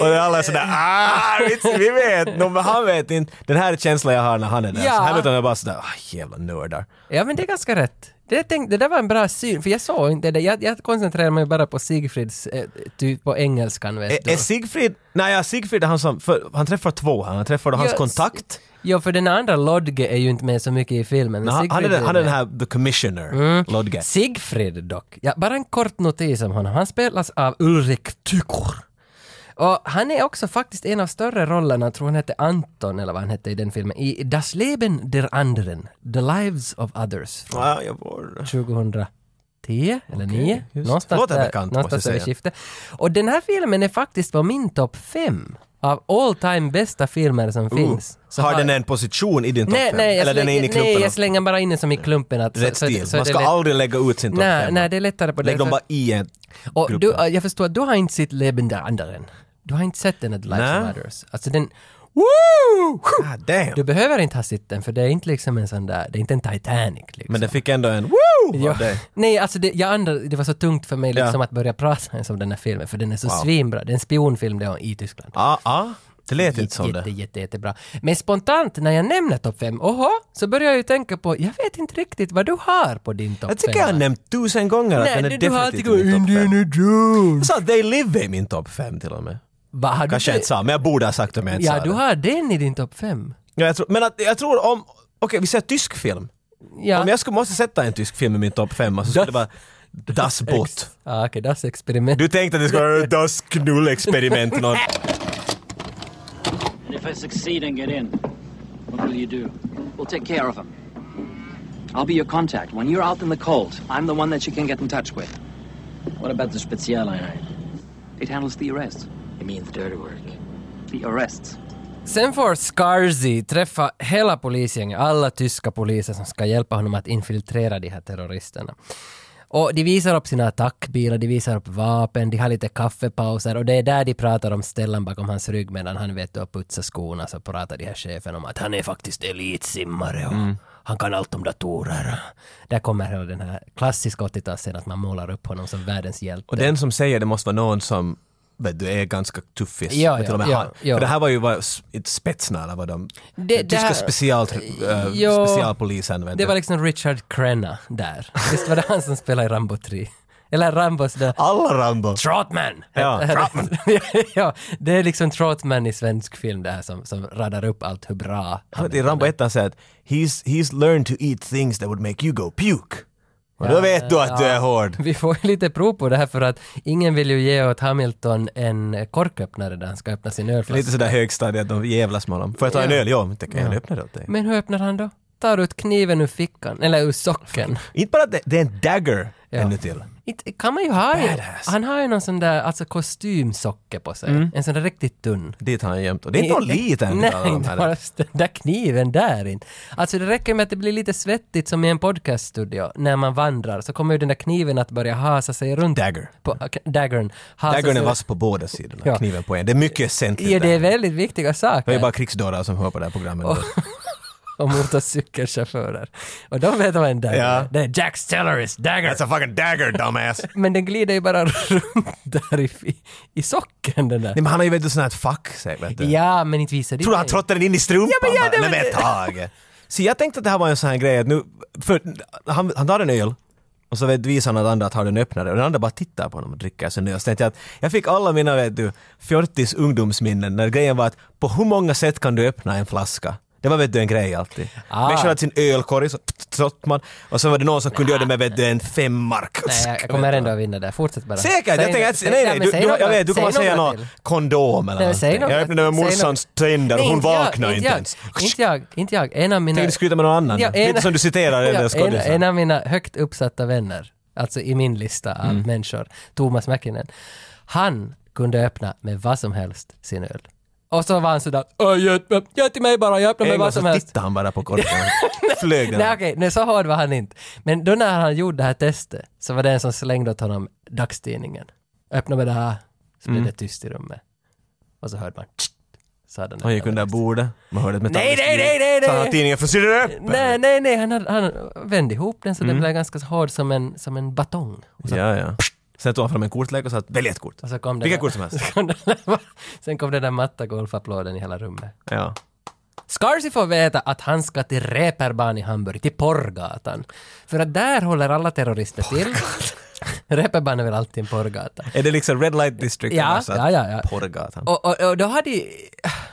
Speaker 1: Och alla är sådär ah, vi- vi vet! No, men han vet inte. Den här är känslan jag har när han är där.
Speaker 2: Ja.
Speaker 1: Så Hamilton är bara sådär, ah, jävla nördar.
Speaker 2: Ja men det är ganska rätt. Det, tänk, det där var en bra syn, för jag såg inte det. Jag, jag koncentrerade mig bara på Sigfrids, eh, typ på engelskan vet
Speaker 1: Är,
Speaker 2: du.
Speaker 1: är Sigfrid... Nej, ja, Sigfrid är han som... För, han träffar två här. Han träffar då hans
Speaker 2: Ja,
Speaker 1: kontakt.
Speaker 2: Ja för den andra Lodge är ju inte med så mycket i filmen. men
Speaker 1: Men han, han, är
Speaker 2: Siegfried Mm.
Speaker 1: den, han är den
Speaker 2: med.
Speaker 1: här the commissioner, Lodge.
Speaker 2: Sigfrid dock. Ja, bara en kort notis om honom. Han spelas av Ulrik Tykor. Och han är också faktiskt en av större rollerna, jag tror han hette Anton eller vad han hette i den filmen, i Das Leben der Anderen, The Lives of Others från
Speaker 1: Ja, jag var...
Speaker 2: 2010 eller 9.
Speaker 1: just.
Speaker 2: Någonstans
Speaker 1: Låter
Speaker 2: där-
Speaker 1: bekant,
Speaker 2: någonstans
Speaker 1: måste jag
Speaker 2: över
Speaker 1: säga.
Speaker 2: skiftet. Och den här filmen är faktiskt på min topp 5 av all time bästa filmer som finns. Så
Speaker 1: har den en position i din topp
Speaker 2: Nej,
Speaker 1: fem?
Speaker 2: nej, jag
Speaker 1: Eller den är inne
Speaker 2: slänger-
Speaker 1: i
Speaker 2: nej,
Speaker 1: klumpen?
Speaker 2: jag
Speaker 1: av-
Speaker 2: slänger bara in den som i klumpen. Att,
Speaker 1: Rätt
Speaker 2: så- så-
Speaker 1: stil.
Speaker 2: så
Speaker 1: Man
Speaker 2: det är
Speaker 1: ska
Speaker 2: lätt-
Speaker 1: aldrig lägga ut sin topp
Speaker 2: Nej,
Speaker 1: fem.
Speaker 2: nej, det är lättare på
Speaker 1: Lägg
Speaker 2: det.
Speaker 1: dem bara i en
Speaker 2: och
Speaker 1: grupp
Speaker 2: du,
Speaker 1: där.
Speaker 2: äh, jag förstår att du har inte sett Leben der anderen. Du har inte sett den at Lives
Speaker 1: Nej.
Speaker 2: Matters. Alltså den... Woo!
Speaker 1: Ah, damn.
Speaker 2: Du behöver inte ha sett den för det är inte liksom en sån där, det är inte en Titanic liksom.
Speaker 1: Men den fick ändå en woo!
Speaker 2: Ja.
Speaker 1: av dig.
Speaker 2: Nej, alltså det, jag andra, det var så tungt för mig liksom
Speaker 1: Ja.
Speaker 2: att börja prata ens om den här filmen, för den är så svinbra. Det är en spionfilm det är i Tyskland.
Speaker 1: Ah, ah. Det lät inte
Speaker 2: Jätte,
Speaker 1: som
Speaker 2: jätte,
Speaker 1: det.
Speaker 2: jätte, jättebra. Men spontant när jag nämner topp fem, oho, så börjar jag ju tänka på, jag vet inte riktigt vad du har på din topp
Speaker 1: Jag tycker jag har
Speaker 2: femma.
Speaker 1: nämnt tusen gånger att
Speaker 2: Nej,
Speaker 1: den
Speaker 2: nu
Speaker 1: är
Speaker 2: du har
Speaker 1: definitivt i
Speaker 2: alltid
Speaker 1: min topp fem.
Speaker 2: Indiana Jones.
Speaker 1: Jag sa att They Live är min topp fem till och med.
Speaker 2: Vad har
Speaker 1: Kanske jag
Speaker 2: du
Speaker 1: inte sa, men jag borde ha sagt det om jag inte
Speaker 2: Ja,
Speaker 1: sa
Speaker 2: du
Speaker 1: det.
Speaker 2: har den i din topp fem.
Speaker 1: Ja, jag tror, men att, jag tror om... Okej, vi säger tysk film.
Speaker 2: Ja.
Speaker 1: Om jag skulle måste sätta en tysk film i min topp femma så skulle det vara Das Boot.
Speaker 2: Ah, Okej, das experiment.
Speaker 1: Du tänkte att det skulle vara Das Knull-experiment någon.
Speaker 5: And if I succeed and get in, what will you do? We'll take care of him. I'll be your contact. When you're out in the cold, I'm the one that you can get in touch with.
Speaker 4: What about the Spezialeinheit?
Speaker 5: It handles the arrests.
Speaker 4: It means dirty work.
Speaker 5: The arrests.
Speaker 2: Sen får Scarzy träffa hela polisgänget, alla tyska poliser som ska hjälpa honom att infiltrera de här terroristerna. Och de visar upp sina attackbilar, de visar upp vapen, de har lite kaffepauser och det är där de pratar om Stellan bakom hans rygg medan han vet att putsa skorna så pratar de här chefen om att han är faktiskt elitsimmare och
Speaker 1: Mm.
Speaker 2: han kan allt om datorer. Där kommer hela den här klassiska 80-talsscenen att man målar upp honom som världens hjälte.
Speaker 1: Och den som säger det måste vara någon som vet du, är ganska tuffis.
Speaker 2: Ja,
Speaker 1: Men till och med
Speaker 2: ja,
Speaker 1: han.
Speaker 2: ja.
Speaker 1: För det här var ju vad, inte spetsna eller vad de...
Speaker 2: Det- det
Speaker 1: tyska
Speaker 2: här-
Speaker 1: special, äh,
Speaker 2: Ja.
Speaker 1: specialpolisen. vet
Speaker 2: Det
Speaker 1: du.
Speaker 2: var liksom Richard Crenna där. Visst var det han som spelade i Rambo 3? Eller Rambos där...
Speaker 1: Alla Rambo!
Speaker 2: Trotman!
Speaker 1: Ja,
Speaker 2: Trotman. ja, det är liksom Trotman i svensk film det här som, som radar upp allt hur bra han
Speaker 1: I Rambo 1 säger att he's, he's learned to eat things that would make you go puke. Och då vet du att du är hård.
Speaker 2: Vi får ju lite prov på det här för att ingen vill ju ge åt Hamilton en korköppnare där han ska öppna sin ölflaska.
Speaker 1: Lite sådär högstadiet, de jävlas med honom. Får jag ta en öl? Ja, men tänker jag öppna det åt dig.
Speaker 2: Men hur öppnar han då? Tar ut kniven ur fickan, eller ur socken.
Speaker 1: Inte bara att det, det är en dagger ännu till.
Speaker 2: Inte, kan man ju ha ju,
Speaker 1: Badass. Mm.
Speaker 2: Han har ju någon sån där alltså kostymsocke på sig. En sån där riktigt tunn.
Speaker 1: Dit har han gömt. Och det är inte någon liten
Speaker 2: Nej,
Speaker 1: av de
Speaker 2: inte
Speaker 1: här.
Speaker 2: bara den där kniven där inte. Alltså det räcker med att det blir lite svettigt som i en podcaststudio när man vandrar så kommer ju den där kniven att börja hasa sig runt.
Speaker 1: Dagger.
Speaker 2: På, ok, daggern. Hasa
Speaker 1: Daggern är
Speaker 2: sig-
Speaker 1: vass på båda sidorna,
Speaker 2: Alltså Ja.
Speaker 1: kniven på en. Det är mycket essentligt
Speaker 2: Ja, det är
Speaker 1: där.
Speaker 2: väldigt viktiga
Speaker 1: Det är
Speaker 2: saker.
Speaker 1: bara krigsdårar som hör på det här programmet.
Speaker 2: Och- Och motorcykelchaufförer. Och de vet vad en dagger
Speaker 1: Ja. Alltså-
Speaker 2: är. Det är Jack Stellaris dagger.
Speaker 1: a fucking dagger dumbass! Nej
Speaker 2: Men den glider ju bara runt där i, i, i socken den där.
Speaker 1: men han har ju vet du sån här ett fack säkert vet du.
Speaker 2: Ja, men inte visar det
Speaker 1: Tror du han
Speaker 2: mig.
Speaker 1: trottade den in i strumpan?
Speaker 2: Ja, men ja,
Speaker 1: bara?
Speaker 2: det
Speaker 1: Nej
Speaker 2: var
Speaker 1: men Tage! Så jag tänkte att det här var en sån här grej att nu, för han, han tar en öl och så vet, visar han att andra att har den öppnare och den andra bara tittar på honom och dricker sin öl. Så tänkte jag att jag fick alla mina vet du, 40 ungdomsminnen när grejen var att på hur många sätt kan du öppna en flaska? Det var vet du en grej alltid.
Speaker 2: Ah.
Speaker 1: Människan hade sin ölkorg, så trott man. Och så var det någon som kunde göra det med vet du, en femmark.
Speaker 2: Nej, jag- jag kommer ändå att vinna där. Fortsätt bara.
Speaker 1: Säkert!
Speaker 2: Säg
Speaker 1: jag tänker
Speaker 2: några-
Speaker 1: att, nej,
Speaker 2: ja,
Speaker 1: nej,
Speaker 2: men
Speaker 1: du,
Speaker 2: säg
Speaker 1: du, jag
Speaker 2: några-
Speaker 1: vet, du kommer
Speaker 2: säg
Speaker 1: säga
Speaker 2: några
Speaker 1: något
Speaker 2: till.
Speaker 1: kondom eller
Speaker 2: Nej, men säg
Speaker 1: någonting.
Speaker 2: några,
Speaker 1: Jag öppnade med
Speaker 2: säg
Speaker 1: morsans
Speaker 2: några.
Speaker 1: tänder och
Speaker 2: Nej,
Speaker 1: hon
Speaker 2: jag,
Speaker 1: vaknade inte
Speaker 2: jag,
Speaker 1: ens.
Speaker 2: Inte jag, inte jag. En av mina...
Speaker 1: Tänkte du skryta med någon annan?
Speaker 2: Ja, en-
Speaker 1: Lite som du citerar den där
Speaker 2: en, en
Speaker 1: skådisen.
Speaker 2: av mina högt uppsatta vänner, alltså i min lista av
Speaker 1: Mm.
Speaker 2: människor, Thomas Mäkinen, han kunde öppna med vad som helst sin öl. Och så var han sådär, "Åh, gör gör till mig bara, jag öppnar med
Speaker 1: En gång
Speaker 2: vad som
Speaker 1: så
Speaker 2: helst.
Speaker 1: tittade han bara på korken. Flög den.
Speaker 2: Nej okej, nej, så hård var han inte. Men då när han gjorde det här testet så var det en som slängde åt honom dagstidningen. Öppna med det här, så
Speaker 1: Mm.
Speaker 2: blev det tyst i rummet. Och så hörde man tsk, så hade
Speaker 1: Han gick
Speaker 2: öppnat
Speaker 1: under bordet. Man hörde ett
Speaker 2: Nej,
Speaker 1: metalliskt
Speaker 2: nej, nej, nej,
Speaker 1: ljud. Så han
Speaker 2: nej.
Speaker 1: tidningen för sig öppen.
Speaker 2: Nej, nej, nej, han, hade, han vände ihop den så
Speaker 1: Mm.
Speaker 2: den blev ganska hård som en, som en batong.
Speaker 1: Ja, ja. Sen tog han fram en kortlek och sa att välj ett kort.
Speaker 2: Och så kom det
Speaker 1: Vilka
Speaker 2: där-
Speaker 1: kort som helst.
Speaker 2: så kom det där- Sen kom den där matta golfapplåden i hela rummet.
Speaker 1: Ja.
Speaker 2: Scarsy får veta att han ska till Reeperbahn i Hamburg, till porrgatan. För att där håller alla terrorister till. Reeperbahn är väl alltid en porrgata.
Speaker 1: Är det liksom Red Light District?
Speaker 2: Ja,
Speaker 1: eller så att-
Speaker 2: ja, ja, ja.
Speaker 1: Porrgatan.
Speaker 2: Och, och, och då har de...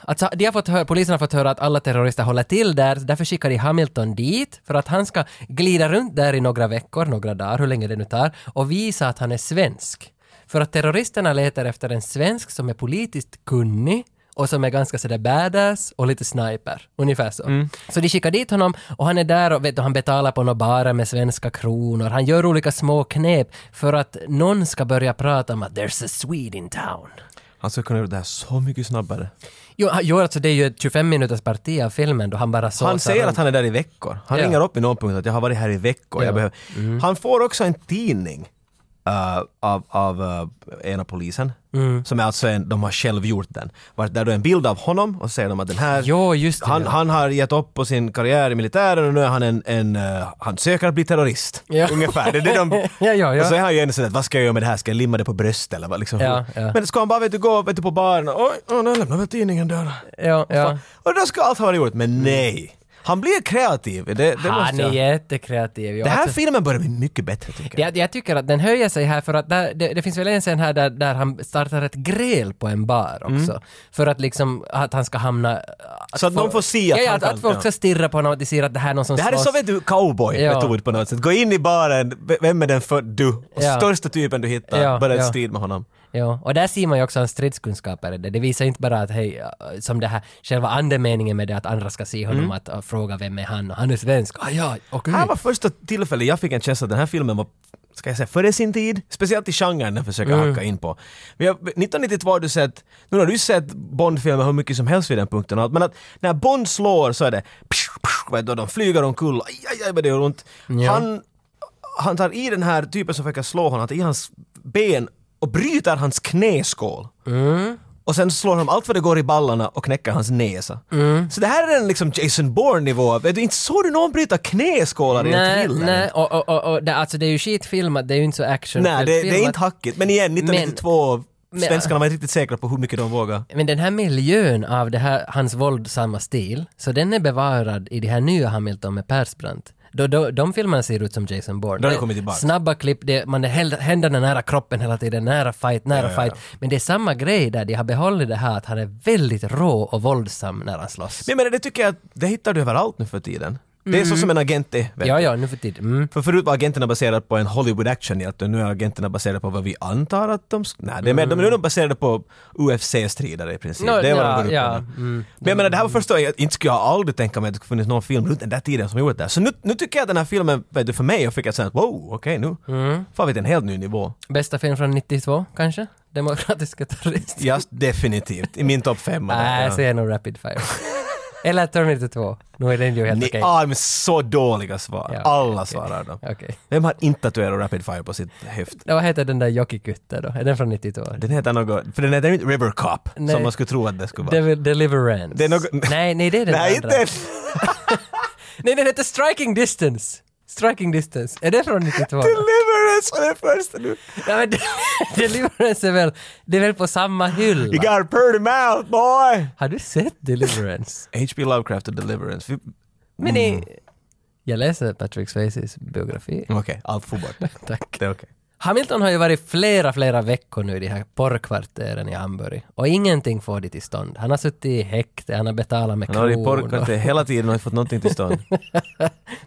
Speaker 2: Alltså, de har fått höra, polisen har fått höra att alla terrorister håller till där, så därför skickar de Hamilton dit för att han ska glida runt där i några veckor, några dagar, hur länge det nu tar, och visa att han är svensk. För att terroristerna letar efter en svensk som är politiskt kunnig och som är ganska sådär badass och lite sniper. Ungefär så. Så de skickar dit honom och han är där och vet, du, han betalar på några barer med svenska kronor. Han gör olika små knep för att någon ska börja prata om att “there's a Swede in town”.
Speaker 1: Han skulle kunna göra det här så mycket snabbare.
Speaker 2: Jo, han- jo alltså det är ju ett 25 minuters parti av filmen då han bara såsar
Speaker 1: Han säger
Speaker 2: runt.
Speaker 1: att han är där i veckor. Han
Speaker 2: Ja.
Speaker 1: ringer upp i någon punkt att jag har varit här i veckor.
Speaker 2: Ja. Mm.
Speaker 1: Jag behöver... Han får också en tidning. eh, av, av eh, ena polisen.
Speaker 2: Mm.
Speaker 1: Som är alltså en, de har själv gjort den. Vart där då är en bild av honom och så säger de att den här
Speaker 2: Jo, just det.
Speaker 1: han,
Speaker 2: ja.
Speaker 1: han har gett upp på sin karriär i militären och nu är han en, en eh, han söker att bli terrorist.
Speaker 2: Ja.
Speaker 1: Ungefär. Det är det de,
Speaker 2: Ja, ja, ja.
Speaker 1: Och så är han ju ändå sån att vad ska jag göra med det här, ska jag limma det på bröstet eller vad liksom.
Speaker 2: Ja, ja.
Speaker 1: Men ska han bara vet du, gå vet du, på baren och oj, oh, nu lämnar väl tidningen där.
Speaker 2: ja, ja. Mm.
Speaker 1: Och då ska allt ha varit gjort, men nej. Han blir kreativ, det, det måste
Speaker 2: Han är
Speaker 1: jag.
Speaker 2: jättekreativ. Ja,
Speaker 1: Den här
Speaker 2: alltså-
Speaker 1: filmen börjar bli mycket bättre tycker jag.
Speaker 2: Jag, jag tycker att den höjer sig här för att där, det, det finns väl en scen här där, där han startar ett gräl på en bar också. För att liksom att han ska hamna...
Speaker 1: Mm. Så att
Speaker 2: folk-
Speaker 1: de får se att
Speaker 2: ja, ja,
Speaker 1: han
Speaker 2: att,
Speaker 1: kan-
Speaker 2: att folk
Speaker 1: ja.
Speaker 2: ska stirra på honom och att de ser att det här är någon som
Speaker 1: Det här är
Speaker 2: slåss.
Speaker 1: så vet du cowboy-metod på något sätt. Gå in i baren, v- vem är den för du? Och
Speaker 2: Ja.
Speaker 1: största typen du hittar,
Speaker 2: Ja,
Speaker 1: börja en
Speaker 2: ja.
Speaker 1: strid med honom.
Speaker 2: Ja, och där ser man ju också hans stridskunskaper. i Det, det visar inte bara att hej, äh, som det här, själva andemeningen med det att andra ska se
Speaker 1: Mm.
Speaker 2: honom att äh, fråga vem är han och han är svensk. Ah, ja, okej.
Speaker 1: Här var första tillfället jag fick en känsla att den här filmen var, ska jag säga, före sin tid? Speciellt i genren den försöker
Speaker 2: Mm.
Speaker 1: hacka in på. Men jag, 1992 har du sett, nu har du ju sett Bond-filmer hur mycket som helst vid den punkten och allt, men att när Bond slår så är det psh, psh, vet du, de flyger omkull, aj, aj, aj vad det gör ont. Han, han tar i den här typen som försöker slå honom, han tar i hans ben och bryter hans knäskål.
Speaker 2: Mm.
Speaker 1: Och sen slår han allt vad det går i ballarna och knäcker hans näsa.
Speaker 2: Mm.
Speaker 1: Så det här är en liksom Jason Bourne-nivå. Vet du, Inte såg du någon bryta knäskålar i en
Speaker 2: Nej,
Speaker 1: thriller?
Speaker 2: nej, och, och, och, och det, alltså det är ju skitfilmat, det är ju inte så action.
Speaker 1: Nej, det, det är inte hackigt. Men igen, 1992,
Speaker 2: Men-
Speaker 1: svenskarna var inte riktigt säkra på hur mycket de vågar.
Speaker 2: Men den här miljön av det här, hans våldsamma stil, så den är bevarad i det här nya Hamilton med Persbrandt. Då, då, de filmerna ser ut som Jason Bourne.
Speaker 1: Då har det kommit tillbaka.
Speaker 2: Snabba klipp, det, man är häl- händerna nära kroppen hela tiden, nära fight, nära fight. Men det är samma grej där, de har behållit det här att han är väldigt rå och våldsam när han slåss.
Speaker 1: Men jag menar, det tycker jag att det hittar du överallt nu för tiden. Det är så som en agent är. vet
Speaker 2: Mm. Ja,
Speaker 1: du.
Speaker 2: ja, nu för tiden. Mm.
Speaker 1: För förut var agenterna baserade på en Hollywood action i att nu är agenterna baserade på vad vi antar att de... sk- Nej, det är mer, de är nog baserade på UFC-stridare i princip.
Speaker 2: Mm. Nå,
Speaker 1: det är vad
Speaker 2: ja,
Speaker 1: de går ut
Speaker 2: ja, Mm.
Speaker 1: på nu. Men jag menar, det här var första jag inte skulle jag aldrig tänka mig att det skulle funnits någon film runt den där tiden som gjorde det. här. Så nu, nu tycker jag att den här filmen, vet du, för mig, jag fick ett sånt wow, okej nu
Speaker 2: Mm.
Speaker 1: får vi till en helt ny nivå.
Speaker 2: Bästa film från 92, kanske? Demokratiska terrorister.
Speaker 1: Ja, definitivt. I min topp fem.
Speaker 2: Nej,
Speaker 1: Ja.
Speaker 2: så är det nog Rapid Fire. Eller Terminator 2. Nu är den ju helt
Speaker 1: Ni
Speaker 2: okej.
Speaker 1: ah, men så dåliga svar.
Speaker 2: Ja,
Speaker 1: Alla
Speaker 2: okej.
Speaker 1: svarar då.
Speaker 2: Okej.
Speaker 1: Vem har inte tatuerat Rapid Fire på sitt höft?
Speaker 2: Ja, Vad heter den där Jokikutte då? Är den från 92?
Speaker 1: Den heter något, för den heter inte River Cop,
Speaker 2: Nej.
Speaker 1: som man skulle tro att det skulle vara.
Speaker 2: Devil Deliverance.
Speaker 1: Det är något-
Speaker 2: Nej, nej det är den
Speaker 1: Nej,
Speaker 2: andra.
Speaker 1: inte
Speaker 2: Nej, den heter Striking Distance. Striking Distance. Är det från 92?
Speaker 1: Deliverance var det första du...
Speaker 2: nej, men Deliverance är väl, det är väl på samma
Speaker 1: You
Speaker 2: hylla?
Speaker 1: got a pretty mouth boy!
Speaker 2: Har du sett Deliverance?
Speaker 1: H.P. Lovecraft och Deliverance. Vi-
Speaker 2: Men
Speaker 1: Mm.
Speaker 2: det... Jag läser Patrick Swayzes biografi.
Speaker 1: Okej, allt får bort.
Speaker 2: Tack.
Speaker 1: Det är okej.
Speaker 2: Hamilton har ju varit flera, flera veckor nu i de här porrkvarteren i Hamburg och ingenting får det till stånd. Han har suttit i häkte, han har betalat med
Speaker 1: Han har i
Speaker 2: kronor.
Speaker 1: porrkvarter hela tiden och inte fått någonting till stånd.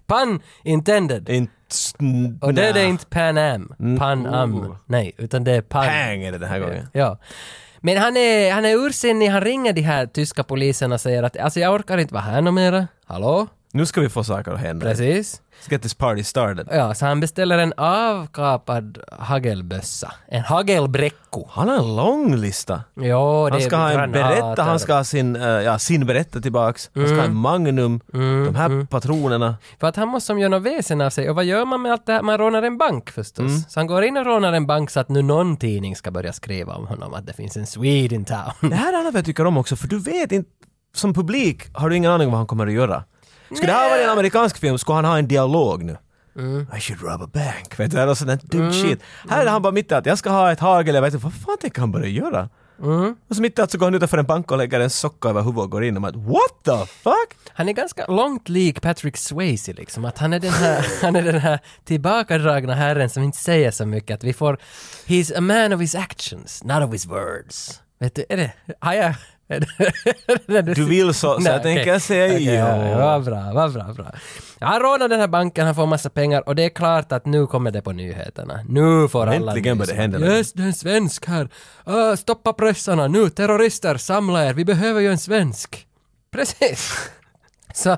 Speaker 2: Pan intended!
Speaker 1: Inte... sn-
Speaker 2: Och det är det
Speaker 1: nä.
Speaker 2: inte Pan Am, Pan Am, nej, utan det är Pan.
Speaker 1: Mm. Oh. Pang är det den här gången.
Speaker 2: Ja. Men han är, han är ursinnig, han ringer de här tyska poliserna och säger att alltså jag orkar inte vara här någon mera. Hallå?
Speaker 1: Nu ska vi få saker att hända.
Speaker 2: Precis.
Speaker 1: Let's get this party started.
Speaker 2: Ja, så han beställer en avkapad hagelbössa. En hagelbräcko.
Speaker 1: Han har en lång lista.
Speaker 2: Jo, det
Speaker 1: Han ska
Speaker 2: är
Speaker 1: ha en
Speaker 2: granater.
Speaker 1: berätta, han ska ha sin, eh, ja, sin berätta tillbaks. Han ska ha
Speaker 2: Mm.
Speaker 1: en Magnum, de här patronerna.
Speaker 2: För att han måste som göra något väsen av sig. Och vad gör man med allt det här? Man rånar en bank förstås. Så han går in och rånar en bank så att nu någon tidning ska börja skriva om honom att det finns en Swede in town.
Speaker 1: Det här är annat jag tycker om också, för du vet inte, som publik har du ingen aning om vad han kommer att göra. Skulle det här vara en amerikansk film skulle han ha en dialog nu. I should rob a bank, vet du, eller sån där dum shit. Här är han bara mitt i att jag ska ha ett hagel, jag vet inte, vad fan tänker han börja göra? Och så mitt i att så går han utanför en bank och lägger en socka över huvudet och går in och man what the fuck?
Speaker 2: Han är ganska långt lik Patrick Swayze liksom. Att han är den här, han är den här tillbakadragna herren som inte säger så mycket. Att vi får, he's a man of his actions, not of his words. Vet du, är det, har jag, är det, är det
Speaker 1: Du vill så, så
Speaker 2: Nej,
Speaker 1: jag tänker
Speaker 2: okej.
Speaker 1: säga
Speaker 2: Okej, ja.
Speaker 1: jo.
Speaker 2: ja, Vad bra, vad bra, bra. Han rånar den här banken, han får massa pengar och det är klart att nu kommer det på nyheterna. Nu får alla...
Speaker 1: Äntligen börjar det hända något.
Speaker 2: Yes, det är en svensk här. Ah, stoppa pressarna nu, terrorister, samla er, vi behöver ju en svensk. Precis. Så,
Speaker 1: I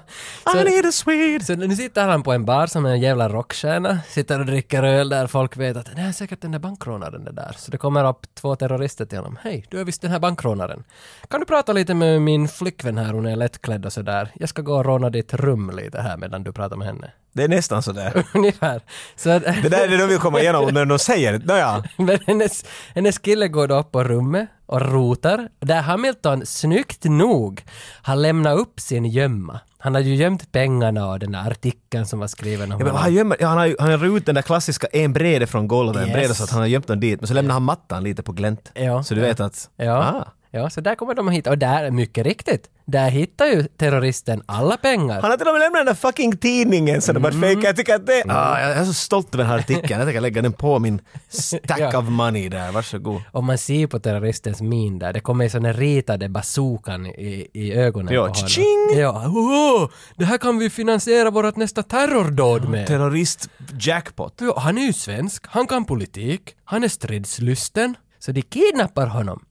Speaker 2: så,
Speaker 1: need a Swede!
Speaker 2: så nu sitter han på en bar som är en jävla rockstjärna, sitter och dricker öl där folk vet att det är säkert den där bankrånaren det där. Så det kommer upp två terrorister till honom. Hej, du är visst den här bankrånaren. Kan du prata lite med min flickvän här, hon är lättklädd och sådär. Jag ska gå och råna ditt rum lite här medan du pratar med henne.
Speaker 1: Det är nästan sådär.
Speaker 2: Ungefär. Så att,
Speaker 1: Det där är det de vill komma igenom när de säger nåja.
Speaker 2: Men hennes, hennes kille går då upp på rummet och rotar, där Hamilton snyggt nog har lämnat upp sin gömma. Han hade ju gömt pengarna och den där artikeln som var skriven om
Speaker 1: Ja, men
Speaker 2: honom.
Speaker 1: han, gömmer, ja, han, har, ju- han har ut den där klassiska en brede från golvet, en
Speaker 2: Yes.
Speaker 1: brede så att han har gömt den dit. Men så lämnar han mattan lite på glänt.
Speaker 2: Ja.
Speaker 1: så du vet att...
Speaker 2: Ja,
Speaker 1: Ah,
Speaker 2: ja, så där kommer de att hitta. Och där, mycket riktigt, där hittar ju terroristen alla pengar.
Speaker 1: han har till och med lämnat den där fucking tidningen så de bara fejkar. Jag tycker att det...
Speaker 2: Mm.
Speaker 1: Ah, jag är så stolt över den här artikeln. Jag tänker lägga den på min stack
Speaker 2: Ja.
Speaker 1: of money där. Varsågod.
Speaker 2: Och man ser på terroristens min där, det kommer ju sådana ritade bazookan i, i ögonen
Speaker 1: Ja,
Speaker 2: på honom.
Speaker 1: tjing!
Speaker 2: Ja, oh, det här kan vi finansiera vårt nästa terrordåd med.
Speaker 1: Terrorist jackpot.
Speaker 2: Ja, han är ju svensk, han kan politik, han är stridslysten. Så de kidnappar honom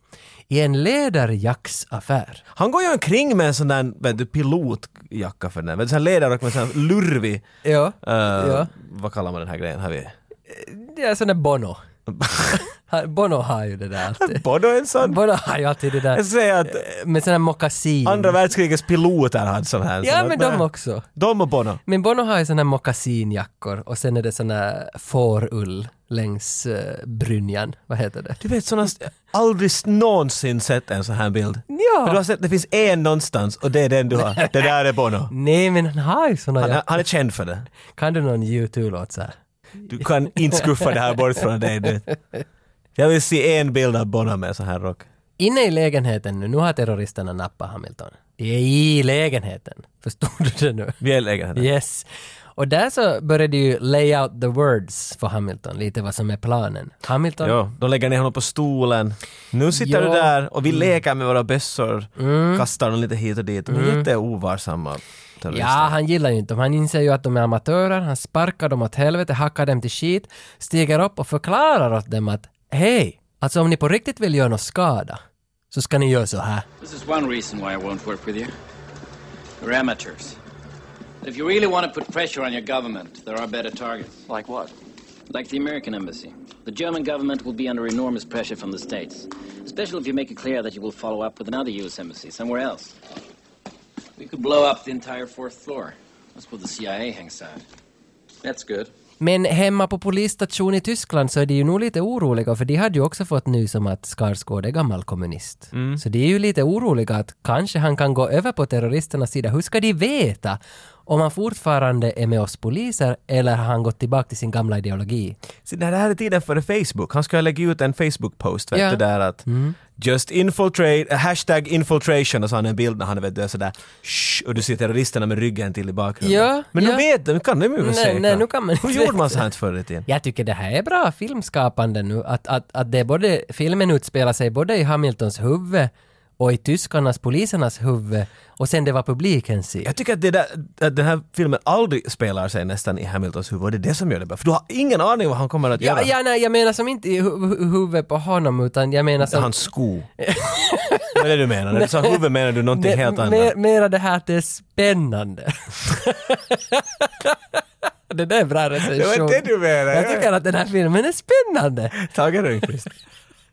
Speaker 2: i en ledarjacksaffär.
Speaker 1: Han går ju omkring med en sån där vet du, pilotjacka för den där. Vet du, sån här ledarrock med sån här lurvig...
Speaker 2: Ja.
Speaker 1: eh,
Speaker 2: Ja.
Speaker 1: Vad kallar man den här grejen? Har vi...
Speaker 2: Det är sån där Bono. Han- Bono har ju det där alltid.
Speaker 1: Bono är en sån?
Speaker 2: Bono har ju alltid det där
Speaker 1: Jag säger att
Speaker 2: med sån där mockasin.
Speaker 1: andra världskrigets piloter hade sån här.
Speaker 2: Mm. Ja,
Speaker 1: sån
Speaker 2: men
Speaker 1: här-
Speaker 2: de också.
Speaker 1: De och Bono.
Speaker 2: Men Bono har ju såna här mockasinjackor och sen är det sån här fårull längs eh, brynjan. Vad heter det?
Speaker 1: Du vet sådana, aldrig någonsin sett en sån här bild.
Speaker 2: Ja.
Speaker 1: Men du har sett, det finns en någonstans och det är den du har. Det där är Bono.
Speaker 2: Nej, men han har ju såna
Speaker 1: Han, är-
Speaker 2: jackor.
Speaker 1: han är känd för det.
Speaker 2: Kan du någon U2-låt så här?
Speaker 1: Du kan inte skuffa det här bort från dig. Du. Jag vill se en bild av Bono med sån här rock.
Speaker 2: Inne i lägenheten nu, nu har terroristerna nappat Hamilton. De är i lägenheten. Förstod du det nu?
Speaker 1: Vi är lägenheten.
Speaker 2: Yes. Och där så började ju lay out the words för Hamilton, lite vad som är planen. Hamilton,
Speaker 1: Ja, de lägger ner honom på stolen. Nu sitter
Speaker 2: Ja. Mm.
Speaker 1: du där och vi leker med våra bössor, kastar dem lite hit och dit. De är jätteovarsamma terrorister.
Speaker 2: Mm. ja han gillar ju inte dem. Han inser ju att de är amatörer, han sparkar dem åt helvete, hackar dem till skit, stiger upp och förklarar åt dem att hej, alltså om ni på riktigt vill göra någon skada så ska ni göra så här.
Speaker 5: This is one reason why I won't work with you. You're amateurs. But if you really want to put pressure on your government, there are better targets. Like what? Like the American embassy. The German government will be under enormous pressure from the States, especially if you make it clear that you will follow up with another U.S. embassy somewhere else. We could blow up the entire fourth floor. That's where the CIA hangs out. That's good.
Speaker 2: Men hemma på polisstation i Tyskland så är de ju nog lite oroliga för de hade ju också fått nys om att Skarsgård är gammal kommunist. Så de är ju lite oroliga att kanske han kan gå över på terroristernas sida. Hur ska de veta om han fortfarande är med oss poliser eller har han gått tillbaka till sin gamla ideologi?
Speaker 1: Så det här är tiden före Facebook. Han ska lägga ut en Facebook-post, vet
Speaker 2: Ja.
Speaker 1: du, där att just infiltrate, äh, hashtag infiltration och så har han en bild när han vet du, är sådär shh, och du ser terroristerna med ryggen till i bakgrunden.
Speaker 2: Ja,
Speaker 1: Men
Speaker 2: ja.
Speaker 1: nu vet de, nu kan de ju
Speaker 2: Nej,
Speaker 1: säkra.
Speaker 2: nej, nu kan man
Speaker 1: Hur
Speaker 2: inte
Speaker 1: gjorde man
Speaker 2: veta.
Speaker 1: så här förr i tiden?
Speaker 2: Jag tycker det här är bra filmskapande nu, att, att, att det är både, filmen utspelar sig både i Hamiltons huvud och i tyskarnas, polisernas huvud och sen det var publikens sida.
Speaker 1: Jag tycker att, det där, att den här filmen aldrig spelar sig nästan i Hamiltons huvud och det är det som gör det bra. För du har ingen aning vad han kommer att
Speaker 2: Ja,
Speaker 1: göra.
Speaker 2: ja, nej, jag menar som inte i hu- hu- huvudet på honom utan jag menar som...
Speaker 1: Hans sko. Vad är det du menar? När du sa huvud menar du någonting
Speaker 2: Me-
Speaker 1: helt annat?
Speaker 2: mer- mera det här att det är spännande. det där är bra recension.
Speaker 1: Det var det du menade.
Speaker 2: Jag tycker att den här filmen är spännande.
Speaker 1: Tage Rönnqvist.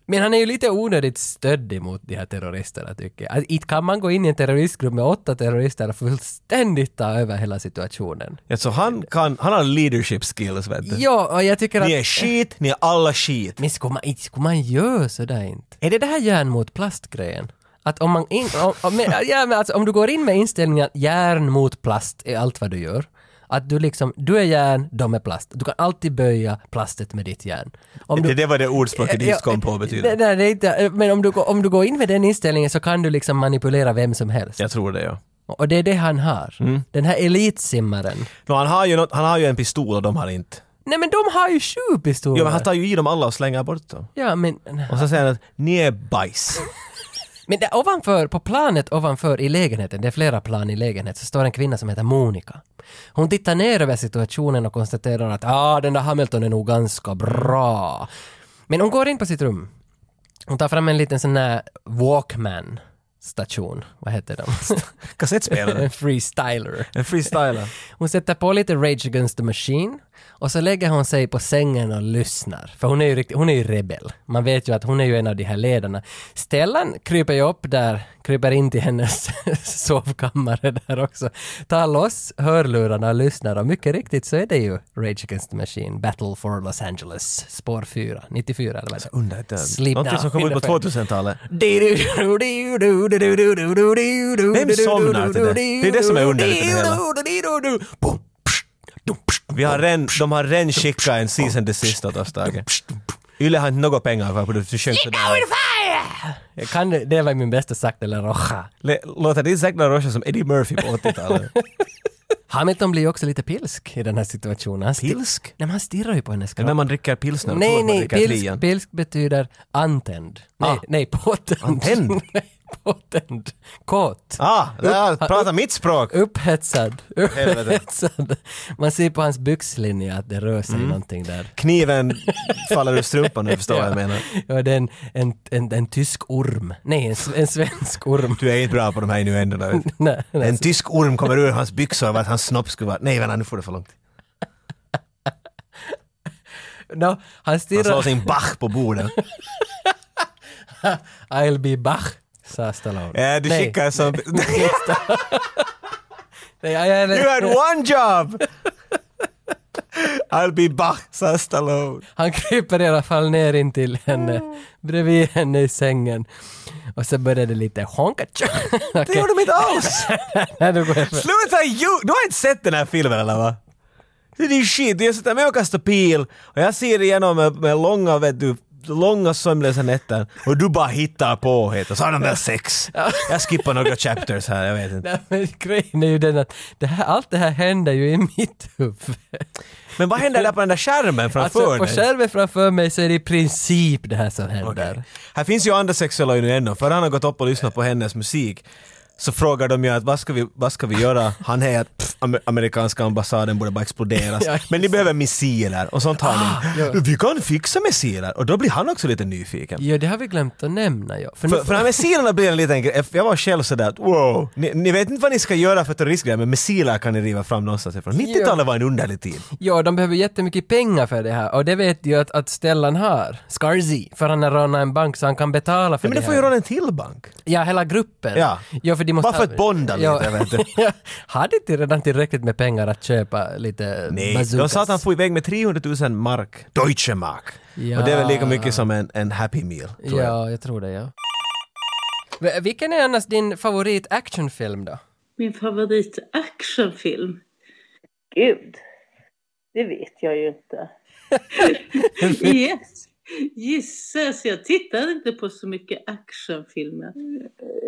Speaker 2: Men han är ju lite onödigt stöddig mot de här terroristerna tycker jag. Alltså, Inte kan man gå in i en terroristgrupp med åtta terrorister och fullständigt ta över hela situationen.
Speaker 1: Alltså han, kan, han har leadership skills vet du.
Speaker 2: Ja, och jag tycker att...
Speaker 1: Mm. Ni är skit, ni är alla skit.
Speaker 2: Men skulle man, inte- skulle man göra sådär inte? Är det det här järn mot plast-grejen? Att om man in, om, om, men, ja, men alltså, om du går in med inställningen att järn mot plast är allt vad du gör. Att du liksom, du är järn, de är plast. Du kan alltid böja plastet med ditt järn. Om du,
Speaker 1: Det, det var det ordspråket du just kom på
Speaker 2: Nej,
Speaker 1: betyder.
Speaker 2: nej, det är inte, men om du, går- om du går in med den inställningen så kan du liksom manipulera vem som helst.
Speaker 1: Jag tror det ja. Mm.
Speaker 2: Och det är det han har. Den här elitsimmaren.
Speaker 1: Nå, han, har ju något, han har ju en pistol och de har inte.
Speaker 2: Nej men de har ju sju pistoler!
Speaker 1: Jo men han tar ju i dem alla och slänger bort dem.
Speaker 2: ja, men,
Speaker 1: Och så säger han att ni är bajs.
Speaker 2: Men där ovanför, på planet ovanför i lägenheten, det är flera plan i lägenheten, så står en kvinna som heter Monica. Hon tittar ner över situationen och konstaterar att ah, den där Hamilton är nog ganska bra. Men hon går in på sitt rum. Hon tar fram en liten sån här Walkman-station. Vad heter de?
Speaker 1: Kassettspelare.
Speaker 2: en freestyler.
Speaker 1: En freestyler.
Speaker 2: Hon sätter på lite Rage Against the Machine. Och så lägger hon sig på sängen och lyssnar. För hon är ju, riktigt, hon är ju rebell. Man vet ju att hon är ju en av de här ledarna. Stellan kryper ju upp där, kryper in till hennes sovkammare där också. Tar loss hörlurarna och lyssnar och mycket riktigt så är det ju Rage Against the Machine, Battle for Los Angeles, spår 4, 94 eller vad det är.
Speaker 1: Undrar inte.
Speaker 2: Sleep
Speaker 1: Någonting
Speaker 2: now,
Speaker 1: som kom ut på
Speaker 2: ungefär.
Speaker 1: 2000-talet.
Speaker 2: Vem
Speaker 1: somnar till det? Det är det som är underligt i det hela. Vi har redan, de har redan skickat en season desist åt oss Tage. Yle har inte några pengar kvar på det, du sjöng sådär.
Speaker 2: Jag kan, det var min bästa sagt eller rocha.
Speaker 1: Le- Låter din Zack LaRoche som Eddie Murphy på 80-talet?
Speaker 2: Hamilton blir ju också lite pilsk i den här situationen. Han sti-
Speaker 1: Pilsk?
Speaker 2: Nej, men han stirrar ju på hennes
Speaker 1: När
Speaker 2: kropp.
Speaker 1: man dricker pilsner, tror
Speaker 2: Nej,
Speaker 1: man
Speaker 2: nej,
Speaker 1: dricker
Speaker 2: pilsk,
Speaker 1: Klien.
Speaker 2: pilsk betyder antänd. Nej,
Speaker 1: Ah.
Speaker 2: nej påtänd.
Speaker 1: Antänd?
Speaker 2: nej, påtänd. Kåt.
Speaker 1: Ah, där, prata mitt språk!
Speaker 2: Upphetsad.
Speaker 1: Helvete.
Speaker 2: Upphetsad. Man ser på hans byxlinje att det rör sig
Speaker 1: Mm.
Speaker 2: någonting där.
Speaker 1: Kniven faller ur strumpan, du förstår vad jag menar.
Speaker 2: Ja, det är en, en, en, en tysk orm. Nej, en, s- en svensk orm.
Speaker 1: Du är inte bra på de här innuendona. vet du.
Speaker 2: Nej, nej.
Speaker 1: En tysk orm kommer ur hans byxor av att hans snopp skulle vara... Nej, vänta, nu får det för långt.
Speaker 2: No, han
Speaker 1: Han slår
Speaker 2: stirrar...
Speaker 1: sin Bach på bordet.
Speaker 2: I'll be Bach, sa Stallone.
Speaker 1: Ja, Eh, du
Speaker 2: Nej,
Speaker 1: skickar som...
Speaker 2: nej, jag- jag-
Speaker 1: You had one job! I'll be Bach, sa Stallone.
Speaker 2: Han kryper i alla fall ner in till henne, bredvid henne i sängen. Och så börjar det lite honka.
Speaker 1: Det gjorde de inte alls!
Speaker 2: Nej, då går jag för...
Speaker 1: Sluta ju! Du har inte sett den här filmen eller va? Det är din shit, jag sitter med och kastar pil och jag ser igenom med, med långa, vet du, långa sömnlösa nätter och du bara hittar på helt och så har de väl sex. Jag skippar några chapters här, jag vet inte.
Speaker 2: Nej, men grejen är ju den att det här, allt det här händer ju i mitt huvud.
Speaker 1: Men vad händer där på den där skärmen framför
Speaker 2: Alltså på
Speaker 1: dig?
Speaker 2: skärmen framför mig så är det i princip det här som händer.
Speaker 1: Okej. Här finns ju andra sexuella innuendon, för han har gått upp och lyssnat på hennes musik så frågar de ju att vad ska vi, vad ska vi göra? Han är att pff, amer- amerikanska ambassaden borde bara exploderas.
Speaker 2: Ja, Ah,
Speaker 1: Men ni behöver missiler och sånt har ni. Vi kan fixa missiler! Och då blir han också lite nyfiken.
Speaker 2: Ja, det har vi glömt att nämna. Ja. nu-
Speaker 1: För, för de här missilerna blir en liten grej. Jag var själv sådär att wow, ni, ni vet inte vad ni ska göra för terroristgrejer men missiler kan ni riva fram någonstans ifrån. 90-talet var en underlig tid.
Speaker 2: Ja, de behöver jättemycket pengar för det här och det vet ju att, att Stellan har. Scarzi, för han har rånat en bank så han kan betala för
Speaker 1: Men
Speaker 2: det
Speaker 1: det får
Speaker 2: här.
Speaker 1: ju råda en till bank.
Speaker 2: Ja, hela gruppen.
Speaker 1: Ja.
Speaker 2: ja för de måste
Speaker 1: Bara för att bonda lite, vet du.
Speaker 2: ja. Hade inte redan tillräckligt med pengar att köpa lite
Speaker 1: Nej, de
Speaker 2: bazookas?
Speaker 1: sa att han får iväg med 300 000 mark, Deutsche Mark.
Speaker 2: Ja.
Speaker 1: Och det är väl lika mycket som en, en Happy Meal, tror jag.
Speaker 2: Ja, jag tror det, ja. V- Vilken är annars din favorit actionfilm då?
Speaker 3: Min favorit actionfilm? Gud, det vet jag ju inte. yes. Gissas, jag tittar inte på så mycket actionfilmer.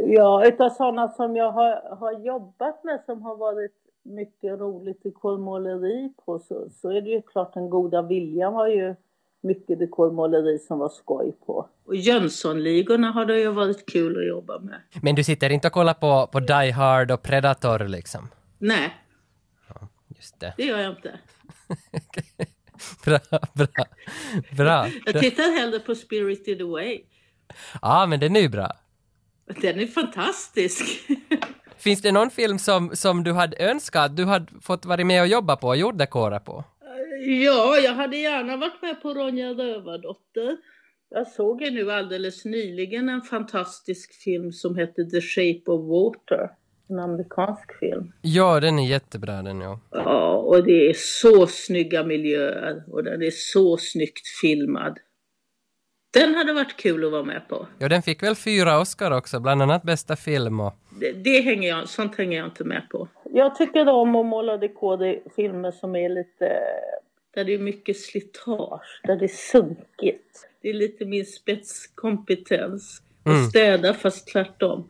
Speaker 3: Ja, utav sådana som jag har, har jobbat med som har varit mycket roligt i kolmåleri på så, så är det ju klart den goda viljan var ju mycket det kolmåleri som var skoj på. Och Jönssonligorna har det ju varit kul att jobba med.
Speaker 2: Men du sitter inte och kollar på, på Die Hard och Predator liksom?
Speaker 3: Nej,
Speaker 2: Just det.
Speaker 3: det gör jag inte.
Speaker 2: Bra, bra. Bra.
Speaker 3: Jag tittar hellre på Spirited Away.
Speaker 2: Ja, ah, men den är ju bra.
Speaker 3: Den är fantastisk.
Speaker 2: Finns det någon film som, som du hade önskat att du hade fått vara med och jobba på och gjort dekora på?
Speaker 3: ja, jag hade gärna varit med på Ronja Rövardotter. Jag såg ju nu alldeles nyligen en fantastisk film som hette The Shape of Water. En amerikansk film.
Speaker 2: Ja, den är jättebra den ja.
Speaker 3: Ja, och det är så snygga miljöer och den är så snyggt filmad. Den hade varit kul att vara med på.
Speaker 2: Ja, den fick väl fyra Oscar också, bland annat bästa film och...
Speaker 3: Det, det hänger jag, sånt hänger jag inte med på. Jag tycker om att måla dekoder filmer som är lite... Där det är mycket slitage, där det är sunkigt. Det är lite min spetskompetens. Att städa fast tvärtom.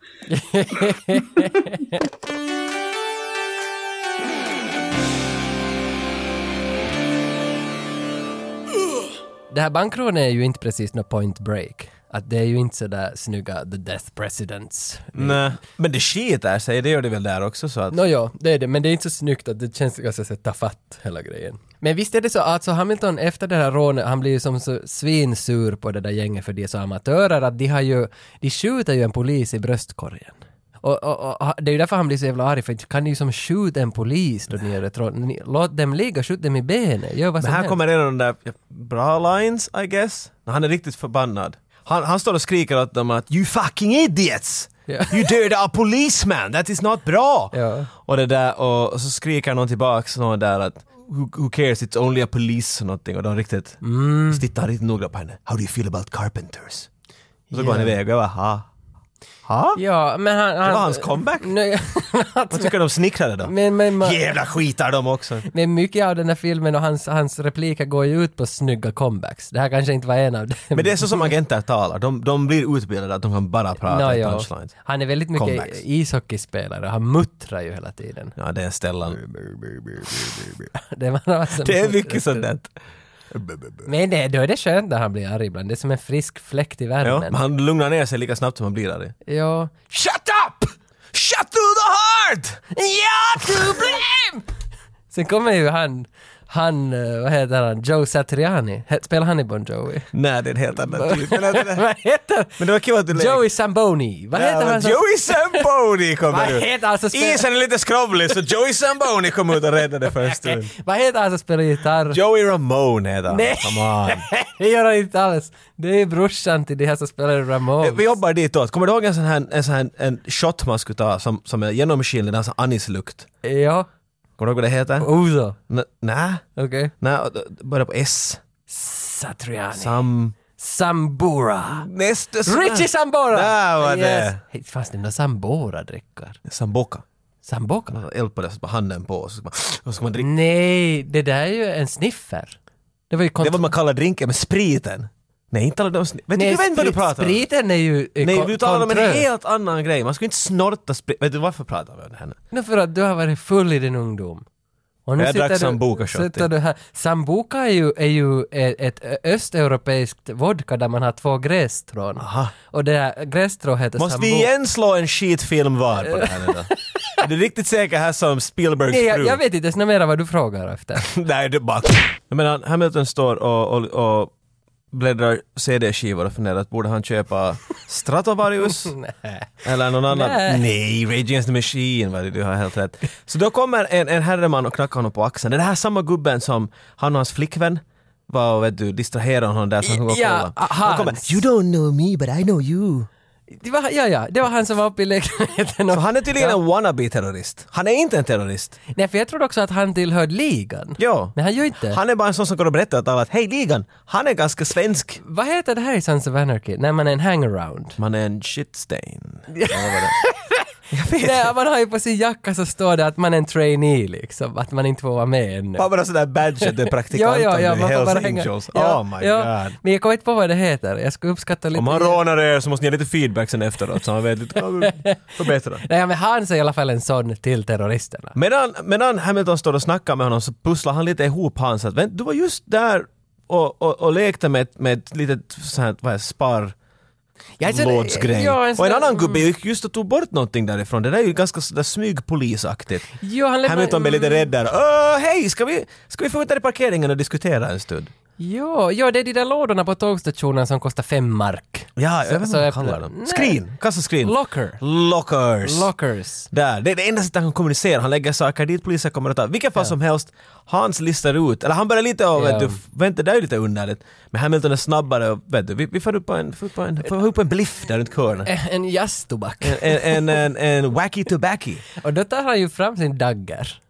Speaker 2: Det här bankrånet är ju inte precis något point break. Att det är ju inte sådär snygga the death presidents.
Speaker 1: Nej, men det skiter sig, det gör det väl där också så att...
Speaker 2: Nåja, det är det, men det är inte så snyggt att det känns ganska så ta fatt hela grejen. Men visst är det så, alltså Hamilton efter det här rånet, han blir ju som så svinsur på det där gänget för de är så amatörer att de har ju, de skjuter ju en polis i bröstkorgen. Och, och, och det är ju därför han blir så jävla arg, för inte kan ni ju som skjuta en polis då ni gör ett rån. Ni- Låt dem ligga, skjut dem i benet, gör vad
Speaker 1: Men
Speaker 2: som
Speaker 1: här
Speaker 2: helst.
Speaker 1: kommer en av de där ja, bra lines, I guess. När han är riktigt förbannad. Han, han står och skriker åt dem att “You fucking idiots!
Speaker 2: Ja.
Speaker 1: You dödade a policeman! That is not bra!”
Speaker 2: Ja.
Speaker 1: och, det där, och, och så skriker någon tillbaks någon där att who, “Who cares? It's only a police” och någonting. Och de riktigt mm. tittar riktigt noga på henne. “How do you feel about carpenters?” Och så går han
Speaker 2: Ja.
Speaker 1: iväg och jag bara “Ha? Ha?
Speaker 2: Ja, men han... han
Speaker 1: var hans comeback.
Speaker 2: Nej, alltså,
Speaker 1: Vad tycker de snickrade då?”
Speaker 2: men, men, man,
Speaker 1: Jävla skitar de också!
Speaker 2: men mycket av den här filmen och hans, hans repliker går ju ut på snygga comebacks. Det här kanske inte var en av dem.
Speaker 1: Men det är så som agenter talar, de, de blir utbildade att de kan bara prata
Speaker 2: Nå,
Speaker 1: i
Speaker 2: ja.
Speaker 1: punchlines.
Speaker 2: Han är väldigt mycket
Speaker 1: Comebacks.
Speaker 2: ishockeyspelare, han muttrar ju hela tiden.
Speaker 1: Ja, det är Stellan.
Speaker 2: Det, var alltså
Speaker 1: Det är mycket sånt där.
Speaker 2: Men det, då är det skönt när han blir arg ibland, det är som en frisk fläkt i
Speaker 1: Ja,
Speaker 2: värmen.
Speaker 1: men han lugnar ner sig lika snabbt som han blir arg.
Speaker 2: Ja.
Speaker 1: Shut up! Shut through the heart!
Speaker 2: Ja, du blem! Sen kommer ju han, han, eh, vad heter han, Joe Satriani. He- Spelar han i Bon Jovi?
Speaker 1: Nej, det är en helt annan typ. Men, men,
Speaker 2: vad heter
Speaker 1: men det var kul att du lekte.
Speaker 2: Joey Samboni. Vad heter
Speaker 1: Ja,
Speaker 2: han? som-
Speaker 1: Joey Zamboni
Speaker 2: Vad
Speaker 1: kommer ut!
Speaker 2: heter han som spelar...
Speaker 1: Isen är lite skrovlig så Joey Zamboni kom ut och räddade för en stund.
Speaker 2: Okej, Vad heter han som spelar gitarr?
Speaker 1: Joey Ramone heter han.
Speaker 2: Nej.
Speaker 1: Come on.
Speaker 2: det gör han inte alls. Det är brorsan till de här som spelar i Ramones.
Speaker 1: Eh, Vi jobbar ditåt. Kommer du ihåg en sån här, en sån här en shot man skulle ta som, som är genomskinlig, den har sån anislukt?
Speaker 2: Ja.
Speaker 1: Kommer du ihåg vad det heter?
Speaker 2: Ozo.
Speaker 1: N- Nej,
Speaker 2: Okej.
Speaker 1: nej,
Speaker 2: äh,
Speaker 1: börjar på S.
Speaker 2: Satriani.
Speaker 1: Sam...
Speaker 2: Sambora.
Speaker 1: Nästa
Speaker 2: Richie Sambora!
Speaker 1: Där var det.
Speaker 2: Hey, Fanns det några Sambora-drickor?
Speaker 1: Samboka.
Speaker 2: Samboka?
Speaker 1: Man har eld på det, så bara handen på och så ska man, och så ska man
Speaker 2: Mm.
Speaker 1: dricka.
Speaker 2: Nej, det där är ju en sniffer. Det var ju
Speaker 1: Det är
Speaker 2: kont-
Speaker 1: vad man kallar drinken, men spriten. Nej, inte alla de... sn- Vet du,
Speaker 2: Nej,
Speaker 1: du vet inte vad du
Speaker 2: sprit-
Speaker 1: pratar om.
Speaker 2: Spriten är ju eh,
Speaker 1: Nej,
Speaker 2: kon-
Speaker 1: du talar om en
Speaker 2: kontrör.
Speaker 1: helt annan grej. Man ska inte snorta sprit. Vet du varför pratar vi om det här nu?
Speaker 2: Nu för att du har varit full i din ungdom. Och
Speaker 1: Jag drack
Speaker 2: sitter du-
Speaker 1: Sambuca, Shotti.
Speaker 2: sitter du här. Sambuca är ju, är ju eh, ett ö- östeuropeiskt vodka där man har två grästrån.
Speaker 1: Aha.
Speaker 2: Och det här grässtrået heter
Speaker 1: Måste vi
Speaker 2: Sambuca.
Speaker 1: igen slå en skitfilm var på det här nu då? Är du riktigt säker här som Spielbergs
Speaker 2: Nej, jag,
Speaker 1: fru?
Speaker 2: jag vet inte ens något mera vad du frågar efter.
Speaker 1: Nej, det är bara... Jag menar, Hamilton står och, och, och bläddrar CD-skivor och funderar att borde han köpa Stratovarius?
Speaker 2: Nej.
Speaker 1: Eller någon annan.
Speaker 2: Nej.
Speaker 1: Nej, Rage Against the Machine var det, du har helt rätt. Så då kommer en, en herreman och knackar honom på axeln. Det är det här samma gubben som han och hans flickvän var och vet du, distraherade honom där så han kunde gå och
Speaker 2: Ja,
Speaker 1: kolla. Han
Speaker 2: Hans.
Speaker 1: kommer, you don't know me but I know you.
Speaker 2: Det var, ja, ja, det var han som var uppe i lägenheten.
Speaker 1: Så
Speaker 2: Och,
Speaker 1: han är tydligen en wannabe-terrorist. Han är inte en terrorist.
Speaker 2: nej, för jag trodde också att han tillhörde ligan.
Speaker 1: Ja.
Speaker 2: Men han gör ju inte.
Speaker 1: Han är bara en sån som går och berättar åt alla att hej ligan, han är ganska svensk.
Speaker 2: Vad heter det här i Sons of Anarchy? När man är en hangaround.
Speaker 1: Man är en shitstain. Eller vad var det? Jag vet
Speaker 2: Nej,
Speaker 1: inte.
Speaker 2: man har ju på sin jacka så står det att man är en trainee liksom, att man inte får vara med ännu.
Speaker 1: Bara sådär badge att du är praktikant om du är Hells Angels.
Speaker 2: Ja,
Speaker 1: oh my
Speaker 2: ja.
Speaker 1: god.
Speaker 2: Men jag kommer inte på vad det heter, jag skulle uppskatta lite.
Speaker 1: Om han rånar er så måste ni ge lite feedback sen efteråt så han vet lite, förbättra.
Speaker 2: Nej men han är i alla fall en sån till terroristerna.
Speaker 1: Medan, medan Hamilton står och snackar med honom så pusslar han lite ihop hans att "Vänt, du var just där och, och, och lekte med, ett- med ett litet sånt här, vad är det, spar
Speaker 2: Jag är sån-
Speaker 1: lådsgrej.
Speaker 2: alltså, Ja, en sån-
Speaker 1: och en annan
Speaker 2: mm.
Speaker 1: gubbe gick just och tog bort någonting därifrån. Det där är ju ganska sådär smygpolisaktigt.
Speaker 2: Jo, han lämnar-
Speaker 1: Hamilton blir lite rädd där. Åh, hej, ska vi, ska vi få ut där i parkeringen och diskutera en stund?
Speaker 2: Jo, ja, det är de där lådorna på tågstationen som kostar fem mark.
Speaker 1: Ja, jag vet inte vad man
Speaker 2: jag-
Speaker 1: kallar dem.
Speaker 2: Nej.
Speaker 1: Skrin, kasta skrin.
Speaker 2: Locker.
Speaker 1: Lockers.
Speaker 2: Lockers.
Speaker 1: Där, det är det enda sättet han kan kommunicera. Han lägger saker dit polisen kommer att ta. Vilken fall som helst, Hans listar ut, eller han börjar lite av,
Speaker 2: Ja.
Speaker 1: vet du, f- vänta det där är ju lite underligt. Men Hamilton är snabbare och vet du, vi, vi får upp en, får upp en, får upp en bliff där runt hörnet.
Speaker 2: Eh, En jazztobak.
Speaker 1: En, en, en, en wacky tobacco.
Speaker 2: Och då tar han ju fram sin dagger.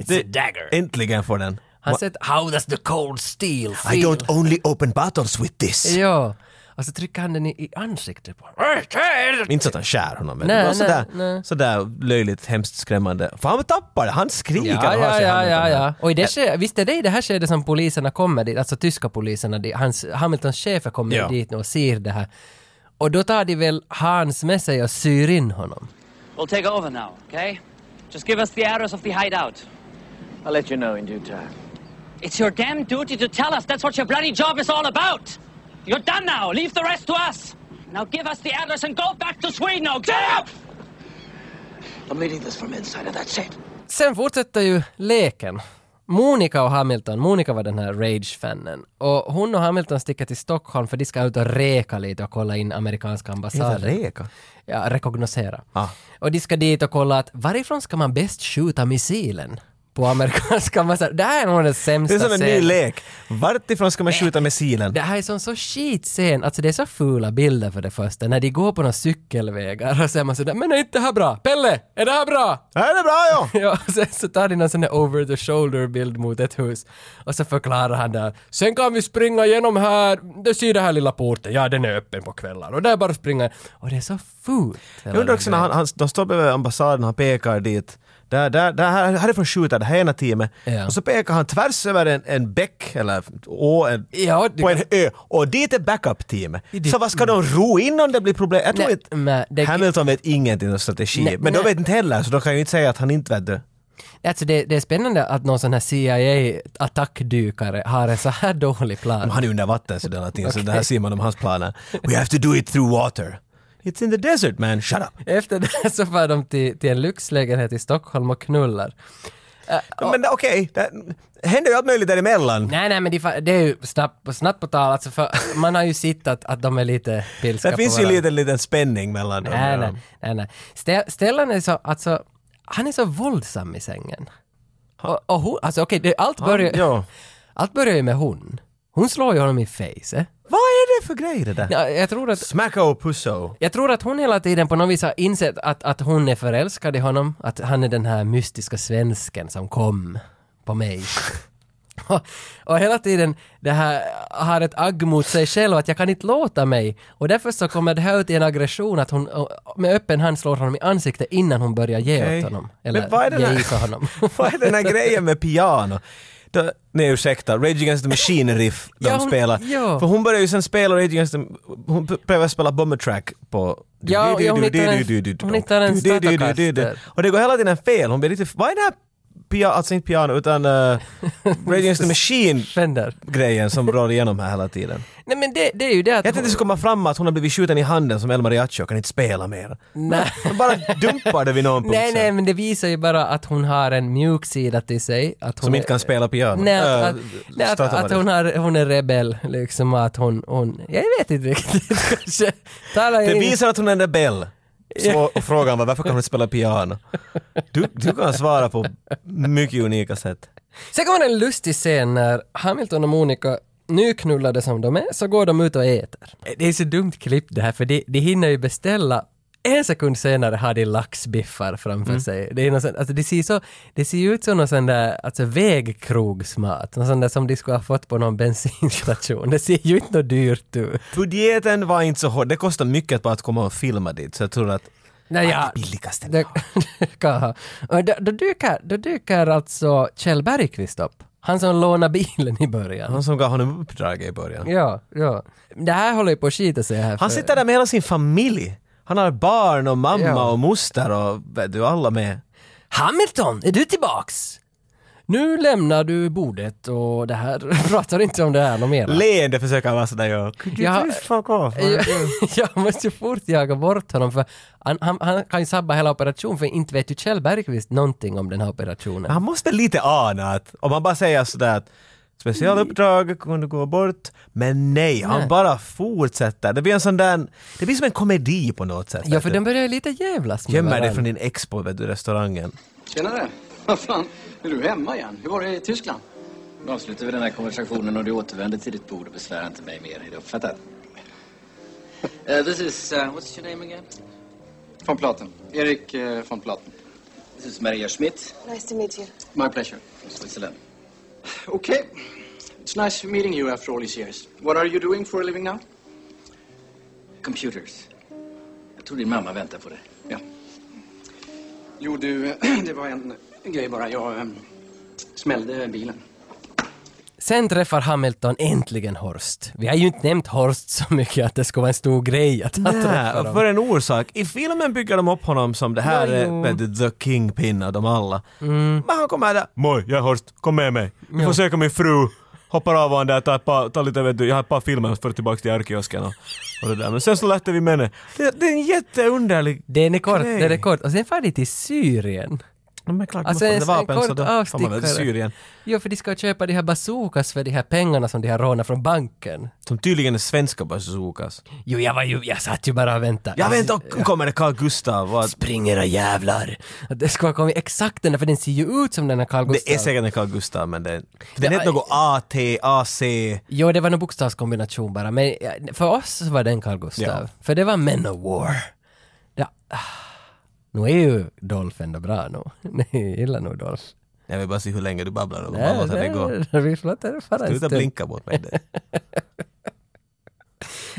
Speaker 2: It's a dagger.
Speaker 1: Äntligen får den.
Speaker 2: Han säger “How does the cold steel feel?”
Speaker 1: I don't only open bottles with this.
Speaker 2: Ja. Och så trycker han den i, i ansiktet på honom.
Speaker 1: Inte så att han skär honom, men
Speaker 2: Nej,
Speaker 1: det var sådär,
Speaker 2: nej, nej.
Speaker 1: sådär löjligt, hemskt skrämmande. För han tappar det, han skriker
Speaker 2: Ja,
Speaker 1: och har
Speaker 2: ja,
Speaker 1: sig i
Speaker 2: ja,
Speaker 1: handen
Speaker 2: ja,
Speaker 1: där.
Speaker 2: ja. Och i det ske, visst är det i det här skedet som poliserna kommer dit, alltså tyska poliserna, dit, hans, Hamiltons chefer kommer
Speaker 1: Ja.
Speaker 2: dit nu och ser det här. Och då tar de väl Hans med sig och syr in honom.
Speaker 5: We'll take over now, okay? Just give us the address of the hideout. I'll let you know in due time.
Speaker 6: It's your damn duty to tell us. That's what your bloody job is all about. You're done now. Leave the rest to us. Now give us the address and go back to Sweden, okay?
Speaker 4: I'm leading this from inside, and that's it.
Speaker 2: Sen fortsätter ju leken. Monica och Hamilton, Monica var den här Rage-fannen. Och hon och Hamilton sticker till Stockholm för de ska ut och reka lite och kolla in amerikanska
Speaker 1: Heter
Speaker 2: ambassaden.
Speaker 1: Reka?
Speaker 2: Ja, rekognosera.
Speaker 1: Ah.
Speaker 2: Och de ska dit och kolla att varifrån ska man bäst skjuta missilen? På amerikanska ambassaden. Det här är nog den
Speaker 1: Det
Speaker 2: sämsta
Speaker 1: är som en ny
Speaker 2: scenen.
Speaker 1: lek. Vartifrån ska man skjuta med silen?
Speaker 2: Det här är som så skitscen, alltså det är så fula bilder för det första, när de går på några cykelvägar och så är man sådär ”men är inte det här bra? Pelle, är det här bra?”
Speaker 1: Ja, Äh, det är bra ja!
Speaker 2: Ja, och sen så tar de någon sån där over the shoulder bild mot ett hus och så förklarar han där ”sen kan vi springa genom här, du ser den här lilla porten, ja den är öppen på kvällar och där bara springa” och det är så fult.
Speaker 1: Jag undrar också när han, han, de står bredvid ambassaden, han pekar dit. Där, där, där, här- härifrån skjuter det här ena teamet.
Speaker 2: Ja.
Speaker 1: Och så pekar han tvärs över en, en bäck, eller å, en,
Speaker 2: Ja, det-
Speaker 1: på en ö. Och dit är backup-teamet. Så vad ska de ro in om det blir problem? Jag tror
Speaker 2: Nej,
Speaker 1: inte...
Speaker 2: men det-
Speaker 1: Hamilton vet ingenting om strategi.
Speaker 2: Nej,
Speaker 1: men de
Speaker 2: nej.
Speaker 1: vet inte heller, så de kan ju inte säga att han inte vet det.
Speaker 2: Alltså det, det är spännande att någon sån här CIA-attackdykare har en så här dålig plan.
Speaker 1: Men Han är under vatten så det är någonting, så det här ser man om hans planer. We have to do it through water. It's in the desert man, shut up!
Speaker 2: Efter det så far de till, till en lyxlägenhet i Stockholm och knullar.
Speaker 1: Men okej, det händer ju allt möjligt däremellan.
Speaker 2: Nej, nej, men det, fa- det är ju snabbt, på- snabbt på tal, alltså för man har ju sett att, att de är lite pilska
Speaker 1: Det finns
Speaker 2: på
Speaker 1: ju lite
Speaker 2: varandra.
Speaker 1: liten spänning mellan dem.
Speaker 2: Nej,
Speaker 1: ja.
Speaker 2: nej, nej, nej. Ste- Stellan är så, alltså, han är så våldsam i sängen. Och, och hon, alltså okej, det- allt, börjar-
Speaker 1: ja.
Speaker 2: allt börjar ju med hon. Hon slår ju honom i face. Eh?
Speaker 1: Vad är det för grej det där?
Speaker 2: Ja, jag tror att
Speaker 1: Smacka och pusso.
Speaker 2: Jag tror att hon hela tiden på något vis har insett att, att hon är förälskad i honom, att han är den här mystiska svensken som kom på mig. och, och hela tiden det här har ett agg mot sig själv att jag kan inte låta mig. Och därför så kommer det här ut i en aggression att hon och- och med öppen hand slår honom i ansiktet innan hon börjar ge
Speaker 1: Okej.
Speaker 2: åt honom.
Speaker 1: Men
Speaker 2: Eller
Speaker 1: vad är den
Speaker 2: ge
Speaker 1: här-
Speaker 2: is åt honom.
Speaker 1: Vad är den här grejen med piano? Då, nej ursäkta, Rage Against the Machine riff de
Speaker 2: Ja, hon-
Speaker 1: spelar.
Speaker 2: ja.
Speaker 1: För hon började ju sen spela Rage Against the... Hon p- prövade spela Bomber Track på...
Speaker 2: Ja, och hon hittar en- hon hittar en statocaster.
Speaker 1: Och det går hela tiden fel. Hon blir lite... Vad är det här piano, alltså inte piano utan uh, Rage Against the Machine
Speaker 2: Fender.
Speaker 1: grejen som rör igenom här hela tiden.
Speaker 2: Nej men det, det är ju det
Speaker 1: Jag
Speaker 2: att
Speaker 1: tänkte det skulle komma fram att hon har blivit skjuten i handen som El Mariachi och kan inte spela mer. Nej. Hon bara dumpar det vid någon punkt
Speaker 2: Nej,
Speaker 1: sen.
Speaker 2: nej, men det visar ju bara att hon har en mjuk sida till sig. Att hon
Speaker 1: Som
Speaker 2: är-
Speaker 1: inte kan spela piano.
Speaker 2: Nej, att,
Speaker 1: Äh,
Speaker 2: att, nej, att, att
Speaker 1: Stratovarius.
Speaker 2: hon, har, hon är rebell, liksom, och att hon, hon... Jag vet inte riktigt, kanske. Talar
Speaker 1: Det
Speaker 2: in-
Speaker 1: visar att hon är en rebell. Så och frågan var varför kan hon inte spela piano? Du, du kan svara på mycket unika sätt.
Speaker 2: Sen kommer en lustig scen när Hamilton och Monica, nyknullade som de är, så går de ut och äter. Det är så dumt klipp det här, för de, de hinner ju beställa en sekund senare har de laxbiffar framför sig. Det, är någon sån, alltså det, ser så, det ser ju ut som någon sån där alltså vägkrogsmat, någon sån där som de skulle ha fått på någon bensinstation. Det ser ju inte något dyrt ut.
Speaker 1: Budgeten var inte så hård. Det kostar mycket bara att komma och filma dit. Så jag tror att
Speaker 2: Nej,
Speaker 1: Ah, det billigaste.
Speaker 2: Det, det kan ha. Och då, då, dyker, då dyker alltså Kjell Bergqvist upp. Han som lånade bilen i början.
Speaker 1: han som gav honom uppdraget i början.
Speaker 2: Ja, ja. Det här håller ju på att skita sig här.
Speaker 1: Han
Speaker 2: för-
Speaker 1: sitter där med hela sin familj. Han har barn och mamma
Speaker 2: Ja.
Speaker 1: och moster och vet du, alla med.
Speaker 2: Hamilton, är du tillbaks? Nu lämnar du bordet och det här pratar inte om det här något mer.
Speaker 1: Leende försöker han vara sådär ja. Could you
Speaker 2: Ja.
Speaker 1: please fuck off?
Speaker 2: jag, jag måste ju fort jaga bort honom för han, han, han kan ju sabba hela operationen för inte vet ju Kjell Bergqvist någonting om den här operationen.
Speaker 1: Han måste lite ana att om han bara säger sådär att specialuppdrag kunde gå bort. Men nej, han bara fortsätter. Det blir en sån där, det blir som en komedi på något sätt.
Speaker 2: Ja,
Speaker 1: vet
Speaker 2: för
Speaker 1: du.
Speaker 2: de börjar ju lite jävlas med
Speaker 1: Gömmer dig
Speaker 2: varandra.
Speaker 1: från din ex på vet du, restaurangen.
Speaker 5: Tjenare! Vad fan, är du hemma igen? Hur var det i Tyskland?
Speaker 4: Nu avslutar vi den här konversationen och du återvänder till ditt bord och besvärar inte mig mer. Är det uppfattat?
Speaker 5: Uh, this is, uh, what's your name again?
Speaker 7: Von Platen. Erik eh, von Platen.
Speaker 5: This is Maria Schmidt,
Speaker 8: Nice to meet you.
Speaker 7: My pleasure.
Speaker 5: from Switzerland.
Speaker 7: Okay. It's nice meeting you after all these years. What are you doing for a living now?
Speaker 5: Computers. Jag tror din mamma väntar på dig.
Speaker 7: Ja. Jo, du, det var en grej bara. Jag eh, smällde bilen.
Speaker 2: Sen träffar Hamilton äntligen Horst. Vi har ju inte nämnt Horst så mycket att det skulle vara en stor grej att han
Speaker 1: Nej,
Speaker 2: träffar
Speaker 1: och
Speaker 2: honom.
Speaker 1: för en orsak. I filmen bygger de upp honom som det här
Speaker 2: Ja, jo. Mm.
Speaker 1: är vet du, the kingpin av dem alla. Men han kommer där. Moj, jag är Horst, kom med mig. Vi får söka min fru. Hoppar av honom där, tar, ett par, tar lite, vet du, jag har ett par filmer för tillbaka till arkkiosken och, och det där. Men sen så lättar vi med henne. Det, det är en jätteunderlig
Speaker 2: Den är kort,
Speaker 1: grej.
Speaker 2: den är kort. Och sen far de till Syrien.
Speaker 1: No, men klart,
Speaker 2: Alltså
Speaker 1: man
Speaker 2: en,
Speaker 1: får
Speaker 2: en
Speaker 1: vapen så
Speaker 2: kort
Speaker 1: då får man väl till
Speaker 2: avstickare.
Speaker 1: Syrien.
Speaker 2: Jo, för de ska köpa de här bazookas för de här pengarna som de har rånat från banken.
Speaker 1: Som tydligen är svenska bazookas.
Speaker 2: Jo, jag var ju, jag satt ju bara och väntade.
Speaker 1: Jag vet inte, och kommer det Carl Gustav? Vad?
Speaker 2: Spring era jävlar! Att Det skulle ha kommit exakt den där, för den ser ju ut som den här Carl Gustav.
Speaker 1: Det är säkert en Carl Gustav men den,
Speaker 2: Det
Speaker 1: den heter
Speaker 2: är-
Speaker 1: något AT, AC.
Speaker 2: Jo, det var nog bokstavskombination bara, men ja, för oss så var den Carl Gustav.
Speaker 1: Ja.
Speaker 2: För det var Men of War. Ja. ah. Nu är ju Dolph ändå bra nu. Nej, jag gillar nog Dolph.
Speaker 1: Jag vill bara se hur länge du babblar och bara låter det gå.
Speaker 2: nej, Vi låter det fara en
Speaker 1: Sluta
Speaker 2: stund.
Speaker 1: blinka mot mig. Det-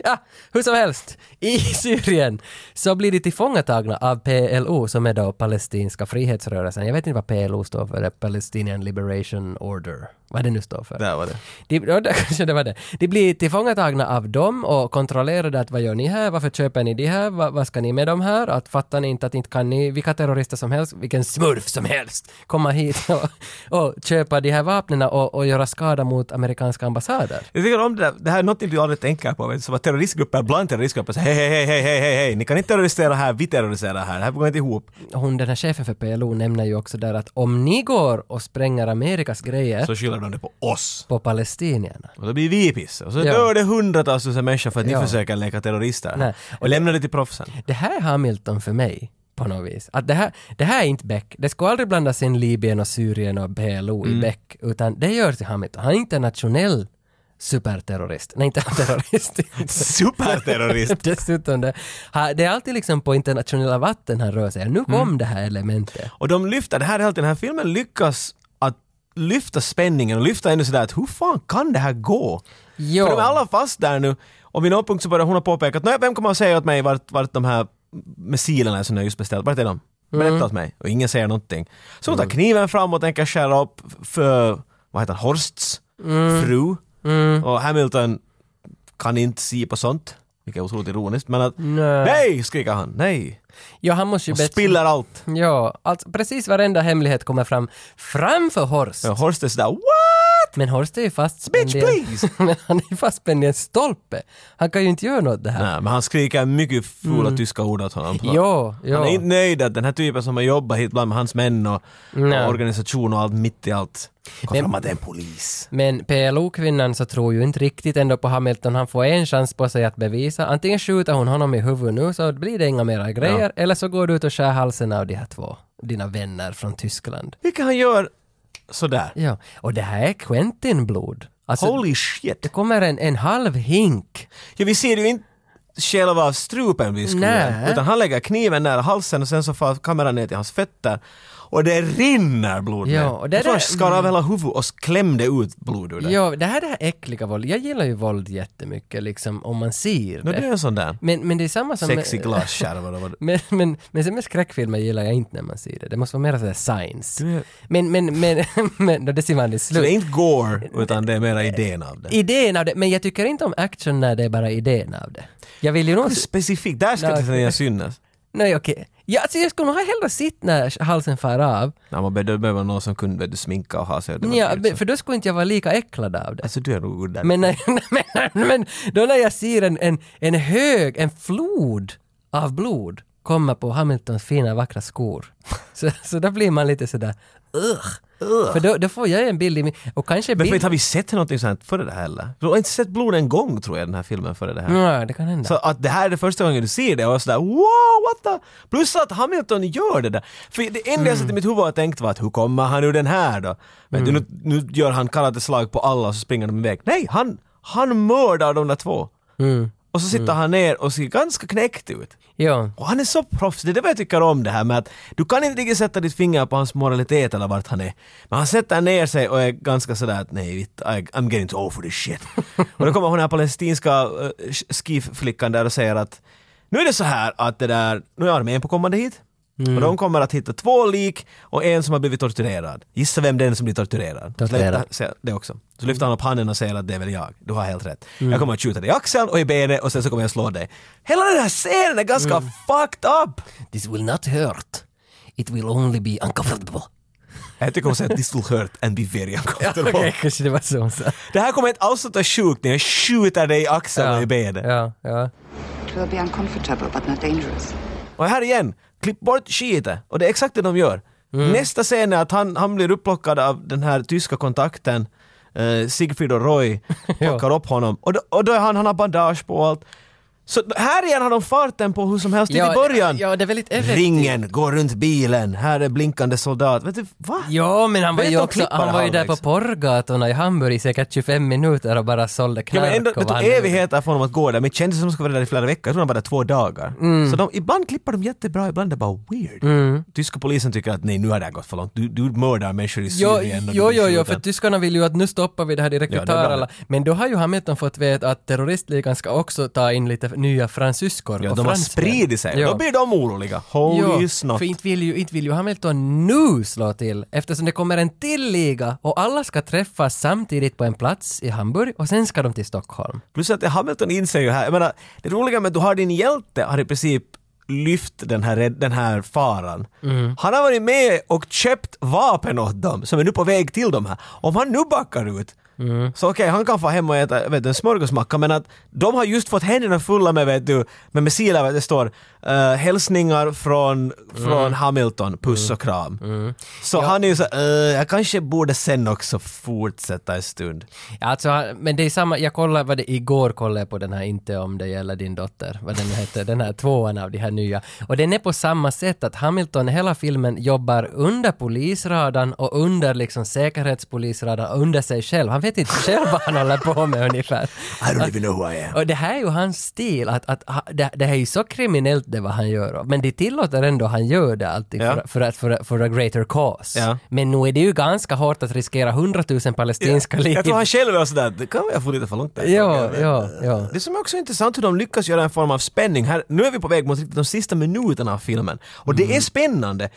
Speaker 2: Ja, hur som helst, i Syrien så blir de tillfångatagna av PLO som är då palestinska frihetsrörelsen. Jag vet inte vad PLO står för, det är Palestinian Liberation Order, vad det nu står för.
Speaker 1: Där var det.
Speaker 2: De, ja, det kanske det var det. De blir tillfångatagna av dem och kontrollerade att vad gör ni här, varför köper ni det här, vad, vad ska ni med dem här, att fattar ni inte att inte kan ni, vilka terrorister som helst, vilken smurf som helst, komma hit och, och köpa de här vapnen och, och göra skada mot amerikanska ambassader.
Speaker 1: Jag tycker om det där. Det här är något du aldrig tänker på. vet du, Som att terroristgrupper bland terroristgrupper säger hej, hej, hej, hej, hej, hej, ni kan inte terrorisera här, vi terroriserar här. Det här går inte ihop.
Speaker 2: hon, den här chefen för PLO nämner ju också där att om ni går och spränger Amerikas grejer
Speaker 1: Så skyller de det på oss.
Speaker 2: på palestinierna.
Speaker 1: Och då blir vi piss. Och så
Speaker 2: Ja.
Speaker 1: dör det hundratals tusen människor för att ni
Speaker 2: Ja.
Speaker 1: försöker leka terrorister.
Speaker 2: Nej.
Speaker 1: Och lämna det till proffsen.
Speaker 2: Det här är Hamilton för mig på något vis. Att det, här, det här är inte Beck. Det ska aldrig blandas in Libyen och Syrien och PLO
Speaker 1: Mm.
Speaker 2: i Beck, utan det gör till Hamilton. Han är internationell superterrorist. Nej, inte terrorist.
Speaker 1: Superterrorist!
Speaker 2: Dessutom, det, ha- det är alltid liksom på internationella vatten han rör sig.
Speaker 1: Mm.
Speaker 2: Nu kom det här elementet.
Speaker 1: Och de lyfter, det här är helt, den här filmen lyckas att lyfta spänningen och lyfta ännu sådär att hur fan kan det här gå?
Speaker 2: Ja.
Speaker 1: För de är alla fast där nu och vid någon punkt så börjar hon ha påpekat att vem kommer att säga åt mig vart, vart de här missilerna som jag just beställt, vart är de? Berätta åt mig. Och ingen säger någonting. Så hon tar kniven fram och tänker skära upp för, vad heter han, Horsts fru. Och Hamilton kan inte se på sånt. Vilket är otroligt ironiskt men att
Speaker 2: Nej.
Speaker 1: nej skriker han, nej.
Speaker 2: Ja, han måste ju
Speaker 1: Och
Speaker 2: bättre-
Speaker 1: spiller allt.
Speaker 2: Ja, alltså precis varenda hemlighet kommer fram framför Horst.
Speaker 1: Ja, Horst är sådär what?
Speaker 2: Men Horst är ju fastspänd
Speaker 1: Bitch,
Speaker 2: i en-
Speaker 1: please!
Speaker 2: Men han är ju fastspänd i en stolpe. Han kan ju inte göra något det här.
Speaker 1: Nej, men han skriker mycket fula tyska ord åt honom.
Speaker 2: Jo, jo.
Speaker 1: Han är inte nöjd att den här typen som har jobbat hit bland hans män och,
Speaker 2: Nej.
Speaker 1: och organisation och allt mitt i allt kom
Speaker 2: Men-
Speaker 1: fram att det är en polis.
Speaker 2: Men PLO-kvinnan så tror ju inte riktigt ändå på Hamilton. Han får en chans på sig att bevisa. Antingen skjuter hon honom i huvudet nu så blir det inga mera grejer. Eller så går du ut och skär halsen av de här två. Dina vänner från Tyskland.
Speaker 1: Vilket han gör sådär.
Speaker 2: Ja, och det här är Quentin-blod. Alltså,
Speaker 1: Holy shit!
Speaker 2: det kommer en, en halv hink.
Speaker 1: Ja, vi ser ju inte själva strupen bli skuren
Speaker 2: Nej.
Speaker 1: utan han lägger kniven nära halsen och sen så far kameran ner till hans fötter och det rinner blod
Speaker 2: Ja,
Speaker 1: ner.
Speaker 2: och det
Speaker 1: Jag tror
Speaker 2: där-
Speaker 1: han skar av hela huvudet och klämde ut blod ur det.
Speaker 2: Ja, det här är det här äckliga våld. Jag gillar ju våld jättemycket, liksom, om man ser
Speaker 1: Nå, det är
Speaker 2: det.
Speaker 1: en sån där
Speaker 2: Men, men det är samma som...
Speaker 1: sexig glasskärva. eller vad det-
Speaker 2: Men, men, men sen med skräckfilmer gillar jag inte när man ser det. Det måste vara mer sådär science.
Speaker 1: Du är-
Speaker 2: Men, men, men, men, då det ser man i
Speaker 1: Så det är
Speaker 2: slut.
Speaker 1: inte gore utan det är mera idén av det.
Speaker 2: Idén av det, men jag tycker inte om action när det är bara idén av det. Jag vill ju nog...
Speaker 1: Specifikt, där ska
Speaker 2: Nej,
Speaker 1: det
Speaker 2: okej.
Speaker 1: säga synas.
Speaker 2: Nej okej. Ja, alltså jag skulle nog hellre sitta när halsen far av.
Speaker 1: Nej, man behöver behöver någon som kunde vet du, sminka och ha sig. Det var
Speaker 2: Ja,
Speaker 1: dyrt,
Speaker 2: men-
Speaker 1: så.
Speaker 2: för då skulle inte jag vara lika äcklad av det.
Speaker 1: Alltså du är nog där.
Speaker 2: Men, när, men, men då när jag ser en, en, en hög, en flod av blod komma på Hamiltons fina vackra skor. Så, så då blir man lite sådär Ugh. För då, då får jag en bild i min... Och kanske
Speaker 1: men för
Speaker 2: bild...
Speaker 1: inte har vi sett någonting sånt här före det här heller? Du har inte sett blod en gång tror jag i den här filmen före det här.
Speaker 2: Ja, det kan hända.
Speaker 1: Så att det här är det första gången du ser det och sådär wow, what the... Plus att Hamilton gör det där. För det
Speaker 2: Mm.
Speaker 1: enda jag satt i mitt huvud och tänkt var att hur kommer han ur den här då? Men
Speaker 2: Mm.
Speaker 1: du, nu, nu gör han karateslag på alla och så springer de iväg. Nej, han, han mördar de där två.
Speaker 2: Mm.
Speaker 1: Och så sitter han ner och ser ganska knäckt ut.
Speaker 2: Ja.
Speaker 1: Och han är så proffs, det är det vad jag tycker om det här med att du kan inte riktigt sätta ditt finger på hans moralitet eller vart han är. Men han sätter ner sig och är ganska sådär att nej, vitt, I, I'm getting too old for this shit. och då kommer hon den här palestinska uh, skiflickan där och säger att nu är det så här att det där, nu är armén på kommande hit. Och de kommer att hitta två lik och en som har blivit torturerad. Gissa vem den som blir torturerad? Så
Speaker 2: Torterad.
Speaker 1: lyfter- säger Det också. Så lyfter han upp handen och säger att det är väl jag. Du har helt rätt. Jag kommer att skjuta dig i axeln och i benet och sen så kommer jag slå dig. Hela den här scenen är ganska fucked up!
Speaker 2: This will not hurt. It will only be uncomfortable.
Speaker 1: Jag tycker hon säger this will hurt and be very uncomfortable.
Speaker 2: Okej, kanske det var så hon sa.
Speaker 1: Det här kommer inte alls att ta sjukt när jag skjuter dig i axeln och i benet.
Speaker 2: Ja, ja.
Speaker 8: It will be uncomfortable, but not dangerous.
Speaker 1: Och här igen, klipp bort skitet. Och det är exakt det de gör.
Speaker 2: Mm.
Speaker 1: Nästa scen är att han, han blir upplockad av den här tyska kontakten. Eh, Sigfrid och Roy plockar upp honom. Och då, och då är han, han har bandage på och allt. Så här igen har de farten på hur som helst till i början.
Speaker 2: Ja, det är väldigt effektivt.
Speaker 1: Ringen, gå runt bilen, här är blinkande soldat. Vet du, va?
Speaker 2: Ja, men han var
Speaker 1: Vet
Speaker 2: ju
Speaker 1: de
Speaker 2: också,
Speaker 1: klippa
Speaker 2: han
Speaker 1: det
Speaker 2: var ju där på
Speaker 1: halvvägs?
Speaker 2: porrgatorna i Hamburg i säkert 25 minuter och bara sålde
Speaker 1: Ja,
Speaker 2: knark
Speaker 1: men ändå,
Speaker 2: och
Speaker 1: det tog
Speaker 2: vann.
Speaker 1: evigheter för honom att gå där, men det kändes som att de skulle vara där i flera veckor. Jag tror de var där två dagar.
Speaker 2: Mm.
Speaker 1: Så de, ibland klipper de jättebra, ibland är det bara weird. Tyska polisen tycker att nej, nu har det här gått för långt. Du, du mördar människor i
Speaker 2: Jo,
Speaker 1: Syrien. och du
Speaker 2: jo,
Speaker 1: blir
Speaker 2: jo, jo, för
Speaker 1: skjuten.
Speaker 2: tyskarna vill ju att nu stoppar vi det här direkt
Speaker 1: Ja,
Speaker 2: och
Speaker 1: det är
Speaker 2: tar
Speaker 1: bra.
Speaker 2: alla. Men då har ju Hamilton fått veta att terroristligan ska också ta in lite nya fransyskor
Speaker 1: Ja,
Speaker 2: och
Speaker 1: de har
Speaker 2: fransmän.
Speaker 1: spridit sig.
Speaker 2: Ja.
Speaker 1: Då blir de oroliga. Holy
Speaker 2: Jo,
Speaker 1: snot.
Speaker 2: för inte vill, ju, inte vill ju Hamilton nu slå till eftersom det kommer en till liga och alla ska träffas samtidigt på en plats i Hamburg och sen ska de till Stockholm.
Speaker 1: Plus att Hamilton inser ju här, jag menar, det roliga med att du har din hjälte har i princip lyft den här, rädd- den här faran. Han har varit med och köpt vapen åt dem som är nu på väg till dem här. Om han nu backar ut Så okej, han kan få hem och äta jag vet, en smörgåsmacka men att de har just fått händerna fulla med, vet du, med missiler, vet du, det står eh, hälsningar från, från Hamilton, puss och kram. Så han är ju så uh, jag kanske borde sen också fortsätta en stund.
Speaker 2: Alltså, men det är samma, jag kollade, vad det, igår kollade jag på den här Inte om det gäller din dotter, vad den nu heter, den här tvåan av de här nya. Och den är på samma sätt att Hamilton hela filmen jobbar under polisradarn och under liksom säkerhetspolisradarn, under sig själv. Han vet inte själv vad han håller på med ungefär.
Speaker 1: I don't even know who I am.
Speaker 2: Och det här är ju hans stil, att, att ha- det, det här är ju så kriminellt det vad han gör. Men det tillåter ändå han gör det alltid
Speaker 1: Ja.
Speaker 2: för, för, att- för, för a greater cause.
Speaker 1: Ja.
Speaker 2: Men nu är det ju ganska hårt att riskera hundratusen palestinska liv.
Speaker 1: Jag tror han själv var sådär, det kan jag få lite för långt där.
Speaker 2: Ja, ja, ja.
Speaker 1: Det som är också intressant hur de lyckas göra en form av spänning här, nu är vi på väg mot riktigt de sista minuterna av filmen och det
Speaker 2: Mm.
Speaker 1: är spännande.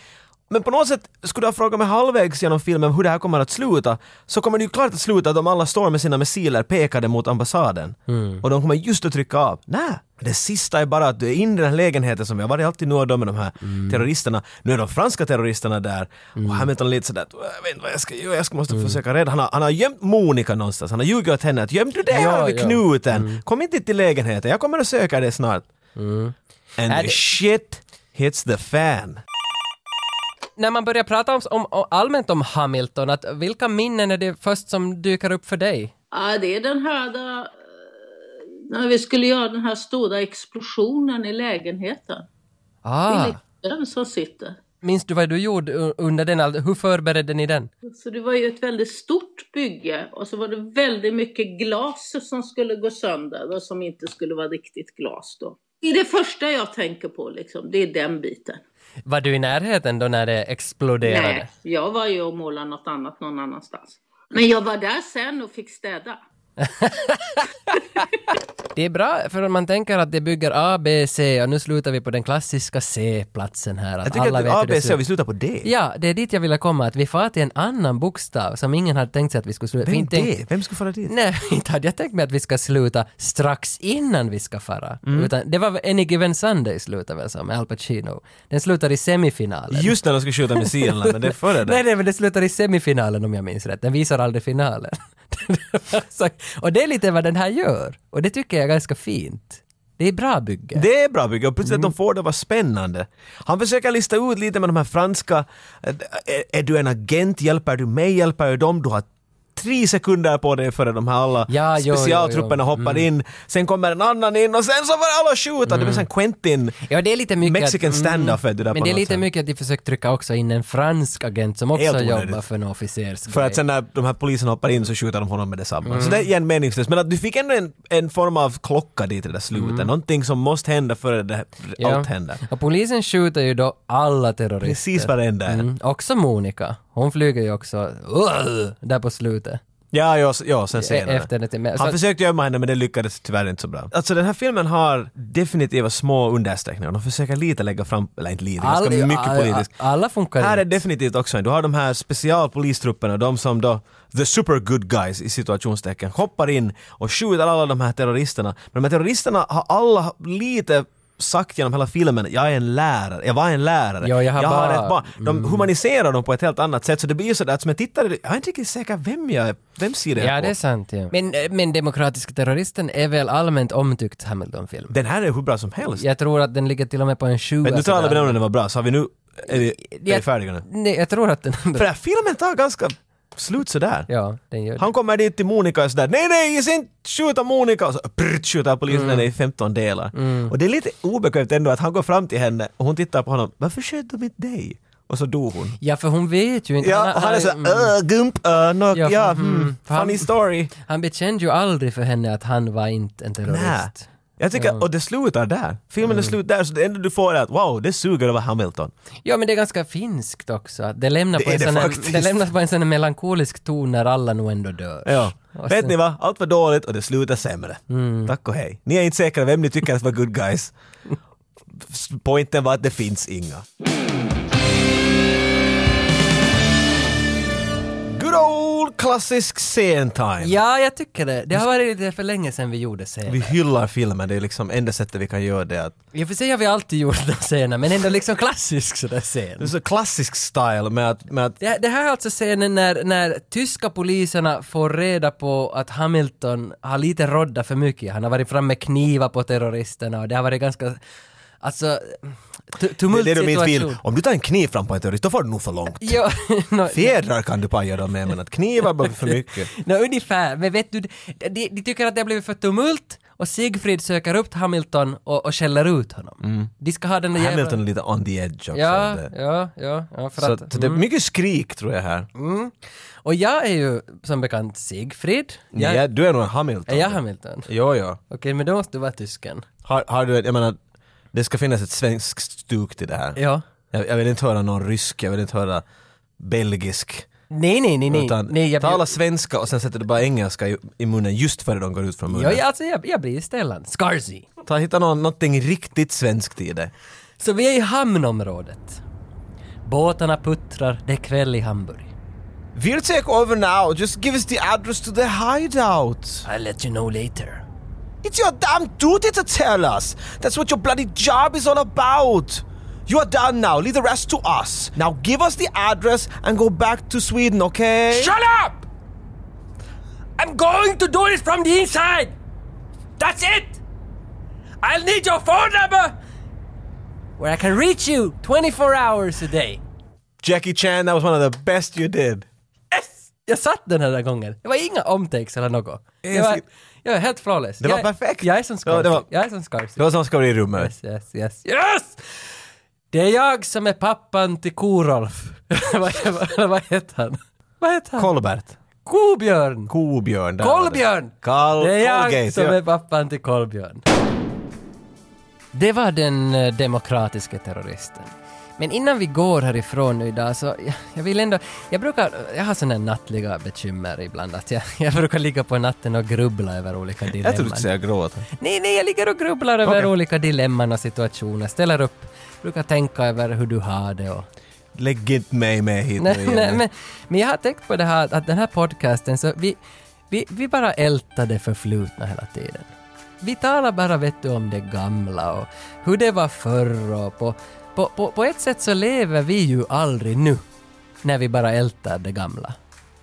Speaker 1: Men på något sätt, skulle du ha frågat mig halvvägs genom filmen hur det här kommer att sluta, så kommer det ju klart att sluta att de alla står med sina missiler pekade mot ambassaden.
Speaker 2: Mm.
Speaker 1: Och de kommer just att trycka av. Nej, det sista är bara att du är inne i den här lägenheten som jag varit alltid nu och då med de här
Speaker 2: Mm.
Speaker 1: terroristerna. Nu är de franska terroristerna där och Hamilton är lite sådär, att, jag vet inte vad jag ska göra, jag ska
Speaker 2: Mm.
Speaker 1: måste försöka rädda. Han har, han har gömt Monica någonstans, han har ljugit åt henne att gömde du det här
Speaker 2: Ja, Mm.
Speaker 1: vid
Speaker 2: ja.
Speaker 1: knuten? Kom inte till lägenheten, jag kommer att söka dig snart. And
Speaker 2: Mm. Är
Speaker 1: the
Speaker 2: det-
Speaker 1: shit hits the fan.
Speaker 2: När man börjar prata om, om, om, allmänt om Hamilton, att vilka minnen är det först som dyker upp för dig?
Speaker 3: Ja, det är den här då, när vi skulle göra den här stora explosionen i lägenheten.
Speaker 2: Ah,
Speaker 3: Det är den som sitter.
Speaker 2: minns du vad du gjorde u- under den? all- Hur förberedde ni den?
Speaker 3: Så det var ju ett väldigt stort bygge och så var det väldigt mycket glas som skulle gå sönder och som inte skulle vara riktigt glas då. Det är det första jag tänker på liksom, det är den biten.
Speaker 2: Var du i närheten då när det exploderade?
Speaker 3: Nej, jag var ju och målade något annat någon annanstans. Men jag var där sen och fick städa.
Speaker 2: Det är bra, för om man tänker att det bygger A, B, C och nu slutar vi på den klassiska C-platsen här. Att
Speaker 1: Jag tycker
Speaker 2: alla
Speaker 1: att
Speaker 2: vet hur det
Speaker 1: ABC,
Speaker 2: ser ut.
Speaker 1: vi slutar på D.
Speaker 2: Ja, det är dit jag ville komma, att vi far till en annan bokstav som ingen hade tänkt sig att vi skulle sluta. för
Speaker 1: Vem
Speaker 2: inte tänkt-
Speaker 1: det? Vem ska föra dit?
Speaker 2: Nej, inte hade jag tänkt mig att vi ska sluta strax innan vi ska fara.
Speaker 1: Mm.
Speaker 2: Utan det var Any Given Sunday slutar väl som med Al Pacino. Den slutar i semifinalen.
Speaker 1: Just när de ska skjuta missilerna, men det är före det.
Speaker 2: Nej, nej, men det slutar i semifinalen om jag minns rätt. Den visar aldrig finalen. Så- och det är lite vad den här gör. Och det tycker jag är ganska fint. Det är bra bygge.
Speaker 1: Det är bra bygge och plötsligt
Speaker 2: Mm.
Speaker 1: att de får det var spännande. Han försöker lista ut lite med de här franska, eh, är, är du en agent, hjälper du mig, hjälper du dem? Du har tre sekunder på dig före de här alla
Speaker 2: Ja, jo, Mm. jo,
Speaker 1: specialtrupperna
Speaker 2: jo.
Speaker 1: hoppar in, sen kommer en annan in och sen så var alla skjuta.
Speaker 2: Mm.
Speaker 1: Det blir sen Quentin,
Speaker 2: Ja, det är lite mycket...
Speaker 1: Mexican
Speaker 2: att- mm.
Speaker 1: standoff är det där
Speaker 2: Men
Speaker 1: på
Speaker 2: det är
Speaker 1: något
Speaker 2: lite
Speaker 1: sätt.
Speaker 2: mycket att de försöker trycka också in en fransk agent som också
Speaker 1: Helt onödigt.
Speaker 2: jobbar för en officers
Speaker 1: För att sen när de här poliserna hoppar in så skjuter de honom med detsamma. Så det är igen meningslöst. Men att du fick ändå en, en form av klocka dit i det där slutet. Någonting som måste hända före det,
Speaker 2: Ja.
Speaker 1: allt händer.
Speaker 2: Och polisen skjuter ju då alla terrorister.
Speaker 1: Precis varenda en.
Speaker 2: Mm, också Monica. Hon flyger ju också uh, där på slutet.
Speaker 1: Ja, ja, s- ja sen
Speaker 2: E-
Speaker 1: senare.
Speaker 2: efter det till- men-
Speaker 1: Han
Speaker 2: så-
Speaker 1: försökte gömma henne men det lyckades tyvärr inte så bra. Alltså den här filmen har definitiva små understreckningar. De försöker lite lägga fram, eller inte lite, ganska mycket
Speaker 2: all-
Speaker 1: politiskt.
Speaker 2: all- alla funkar
Speaker 1: Här är
Speaker 2: inte.
Speaker 1: definitivt också en. Du har de här specialpolistrupperna, de som då, the super good guys i situationstecken, hoppar in och skjuter alla de här terroristerna. Men de här terroristerna har alla lite sagt genom hela filmen, jag är en lärare, jag var en lärare,
Speaker 2: Ja, jag har bara- Mm.
Speaker 1: ett barn. De humaniserar dem på ett helt annat sätt, så det blir ju sådär att som jag tittar, jag är inte riktigt säker vem jag är, vem sida jag
Speaker 2: Ja,
Speaker 1: är på.
Speaker 2: det är sant. Ja. Men, eh, men Demokratiska Terroristen är väl allmänt omtyckt Hamilton-film?
Speaker 1: Den här är hur bra som helst.
Speaker 2: Jag tror att den ligger till och med på en 20.
Speaker 1: Men nu
Speaker 2: sådär.
Speaker 1: talade vi om den var bra, så har vi nu Är det, är det
Speaker 2: Jag-
Speaker 1: färdiga nu?
Speaker 2: Nej, jag tror att den
Speaker 1: För
Speaker 2: andra...
Speaker 1: den här filmen tar ganska slut sådär.
Speaker 2: Ja, den gör det.
Speaker 1: Han kommer dit till Monica och sådär nej nej, jag ska inte skjuta Monica och så prrt, skjuter polisen
Speaker 2: Mm.
Speaker 1: henne i 15 delar. Och det är lite obekvämt ändå att han går fram till henne och hon tittar på honom, varför sköt de inte dig? Och så dog hon.
Speaker 2: Ja, för hon vet ju inte.
Speaker 1: Ja, och han är såhär,
Speaker 2: mm.
Speaker 1: "Öh, gump, öh, no,
Speaker 2: Ja,
Speaker 1: ja,
Speaker 2: mm,
Speaker 1: hmm,
Speaker 2: för han-
Speaker 1: funny story.
Speaker 2: han bekände ju aldrig för henne att han var inte en terrorist.
Speaker 1: Nej. Jag tycker, och det slutar där. Filmen
Speaker 2: Mm.
Speaker 1: är slut där, så det enda du får är att wow, det suger att vara Hamilton.
Speaker 2: Ja, men det är ganska finskt också. att Det lämnar,
Speaker 1: Det
Speaker 2: på,
Speaker 1: är
Speaker 2: en
Speaker 1: det
Speaker 2: sån här,
Speaker 1: faktiskt.
Speaker 2: det lämnar på en sån här melankolisk ton när alla nog ändå dör.
Speaker 1: Ja.
Speaker 2: Och
Speaker 1: Vet
Speaker 2: sen-
Speaker 1: ni vad? Allt var dåligt och det slutar sämre.
Speaker 2: Mm.
Speaker 1: Tack och hej. Ni är inte säkra vem ni tycker att var good guys. Pointen var att det finns inga. Good old klassisk scentime.
Speaker 2: Ja, jag tycker det. Det har varit lite för länge sedan vi gjorde
Speaker 1: Vi
Speaker 2: scener.
Speaker 1: hyllar filmen, det är liksom enda sättet vi kan göra det är att
Speaker 2: I och för sig har vi alltid gjort den scenen, men ändå liksom klassisk sådär
Speaker 1: det är
Speaker 2: scen.
Speaker 1: så klassisk style med att, med att
Speaker 2: Det, det här är alltså scenen när, när tyska poliserna får reda på att Hamilton har lite rodda för mycket. Han har varit framme med knivar på terroristerna och det har varit ganska, alltså, tu-
Speaker 1: det är det du minst vill.
Speaker 2: tumultsituation.
Speaker 1: Om du tar en kniv fram på en terrorist, då får du nog för långt.
Speaker 2: Ja, nå-
Speaker 1: Fjädrar kan du paja dem med, men att knivar blir för mycket.
Speaker 2: Nå, ungefär, men vet du, de, de, de tycker att det har blivit för tumult och Sigfrid söker upp Hamilton och, och skäller ut honom. De ska ha den där
Speaker 1: Mm. Hamilton är lite on the edge också.
Speaker 2: Ja,
Speaker 1: Det-
Speaker 2: ja, ja, ja, för
Speaker 1: Så
Speaker 2: att, Mm.
Speaker 1: att det är mycket skrik tror jag här.
Speaker 2: Och jag är ju som bekant Sigfrid.
Speaker 1: Nej,
Speaker 2: jag,
Speaker 1: jag, du är nog en Hamilton.
Speaker 2: är jag Hamilton? Okej,
Speaker 1: Jo, jo.
Speaker 2: men då måste du vara tysken.
Speaker 1: Har, har du, jag menar, det ska finnas ett svenskt stuk till det här.
Speaker 2: Ja.
Speaker 1: Jag, jag vill inte höra någon rysk, jag vill inte höra belgisk.
Speaker 2: Nej, nej, nej, nej.
Speaker 1: utan
Speaker 2: nej jag,
Speaker 1: tala svenska och sen sätter du bara engelska i, i munnen just före de går ut från
Speaker 2: ja,
Speaker 1: munnen.
Speaker 2: ja, alltså, jag, jag blir Stellan. Scarzy.
Speaker 1: Ta, hitta någon, någonting riktigt svenskt i det.
Speaker 2: Så vi är i hamnområdet. Båtarna puttrar, det är kväll i Hamburg.
Speaker 1: We'll take over now, just give us the address to the hideout.
Speaker 2: I'll let you know later.
Speaker 1: It's your damn duty to tell us. That's what your bloody job is all about. You are done now. Leave the rest to us. Now give us the address and go back to Sweden, okay?
Speaker 2: Shut up! I'm going to do this from the inside! That's it! I'll need your phone number! Where I can reach you 24 hours a day.
Speaker 1: Jackie Chan, that was one of the best you did.
Speaker 2: Yes! Jag satt den här gången. Det var inga omtakes eller något. Jag
Speaker 1: Yes,
Speaker 2: var,
Speaker 1: it-
Speaker 2: jag var helt flawless.
Speaker 1: Det var
Speaker 2: jag,
Speaker 1: perfekt.
Speaker 2: Jag är som
Speaker 1: Ja,
Speaker 2: Scarsy.
Speaker 1: det var-
Speaker 2: Jag är som Scarsy.
Speaker 1: Det var som ska bli i rummet.
Speaker 2: Yes, yes, yes. Yes! Det är jag som är pappan till Korolf. vad, vad, vad heter han? Vad heter han?
Speaker 1: Kolbert.
Speaker 2: Kobjörn!
Speaker 1: Kobjörn. där var det.
Speaker 2: Kolbjörn!
Speaker 1: Kal-
Speaker 2: det är jag
Speaker 1: Colgate,
Speaker 2: som
Speaker 1: ja.
Speaker 2: är pappan till Kolbjörn. Det var den eh, demokratiska terroristen. Men innan vi går härifrån nu idag så jag, jag vill ändå, jag brukar, jag har sådana nattliga bekymmer ibland att jag, jag brukar ligga på natten och grubbla över olika dilemman.
Speaker 1: Jag trodde du skulle säga gråta.
Speaker 2: Nej, nej, jag ligger och grubblar över
Speaker 1: Okej.
Speaker 2: olika dilemman och situationer, ställer upp, brukar tänka över hur du har det och
Speaker 1: Lägg inte mig med hit
Speaker 2: Nej,
Speaker 1: nu igen.
Speaker 2: nej, men, men jag har tänkt på det här att den här podcasten, så vi, vi, vi bara ältar det förflutna hela tiden. Vi talar bara vet du, om det gamla och hur det var förr och på, på, på, på ett sätt så lever vi ju aldrig nu när vi bara ältar det gamla.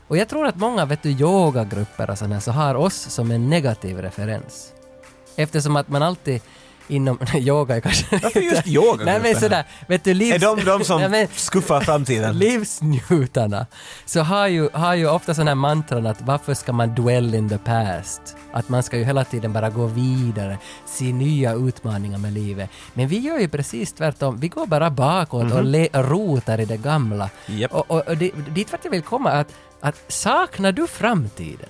Speaker 2: Och jag tror att många vet du, yogagrupper och sådana här så har oss som en negativ referens. Eftersom att man alltid inom yoga är kanske...
Speaker 1: Varför just
Speaker 2: Nej
Speaker 1: yogagrupper
Speaker 2: men
Speaker 1: här?
Speaker 2: sådär, vet du livs...
Speaker 1: Är de de som
Speaker 2: Nej, men-
Speaker 1: skuffar framtiden?
Speaker 2: livsnjutarna så har ju, har ju ofta sådana här mantran att varför ska man dwell in the past? Att man ska ju hela tiden bara gå vidare, se nya utmaningar med livet. Men vi gör ju precis tvärtom, vi går bara bakåt och le- och rotar i det gamla.
Speaker 1: Japp.
Speaker 2: Och, och, och det, dit vart jag vill komma är att, att saknar du framtiden?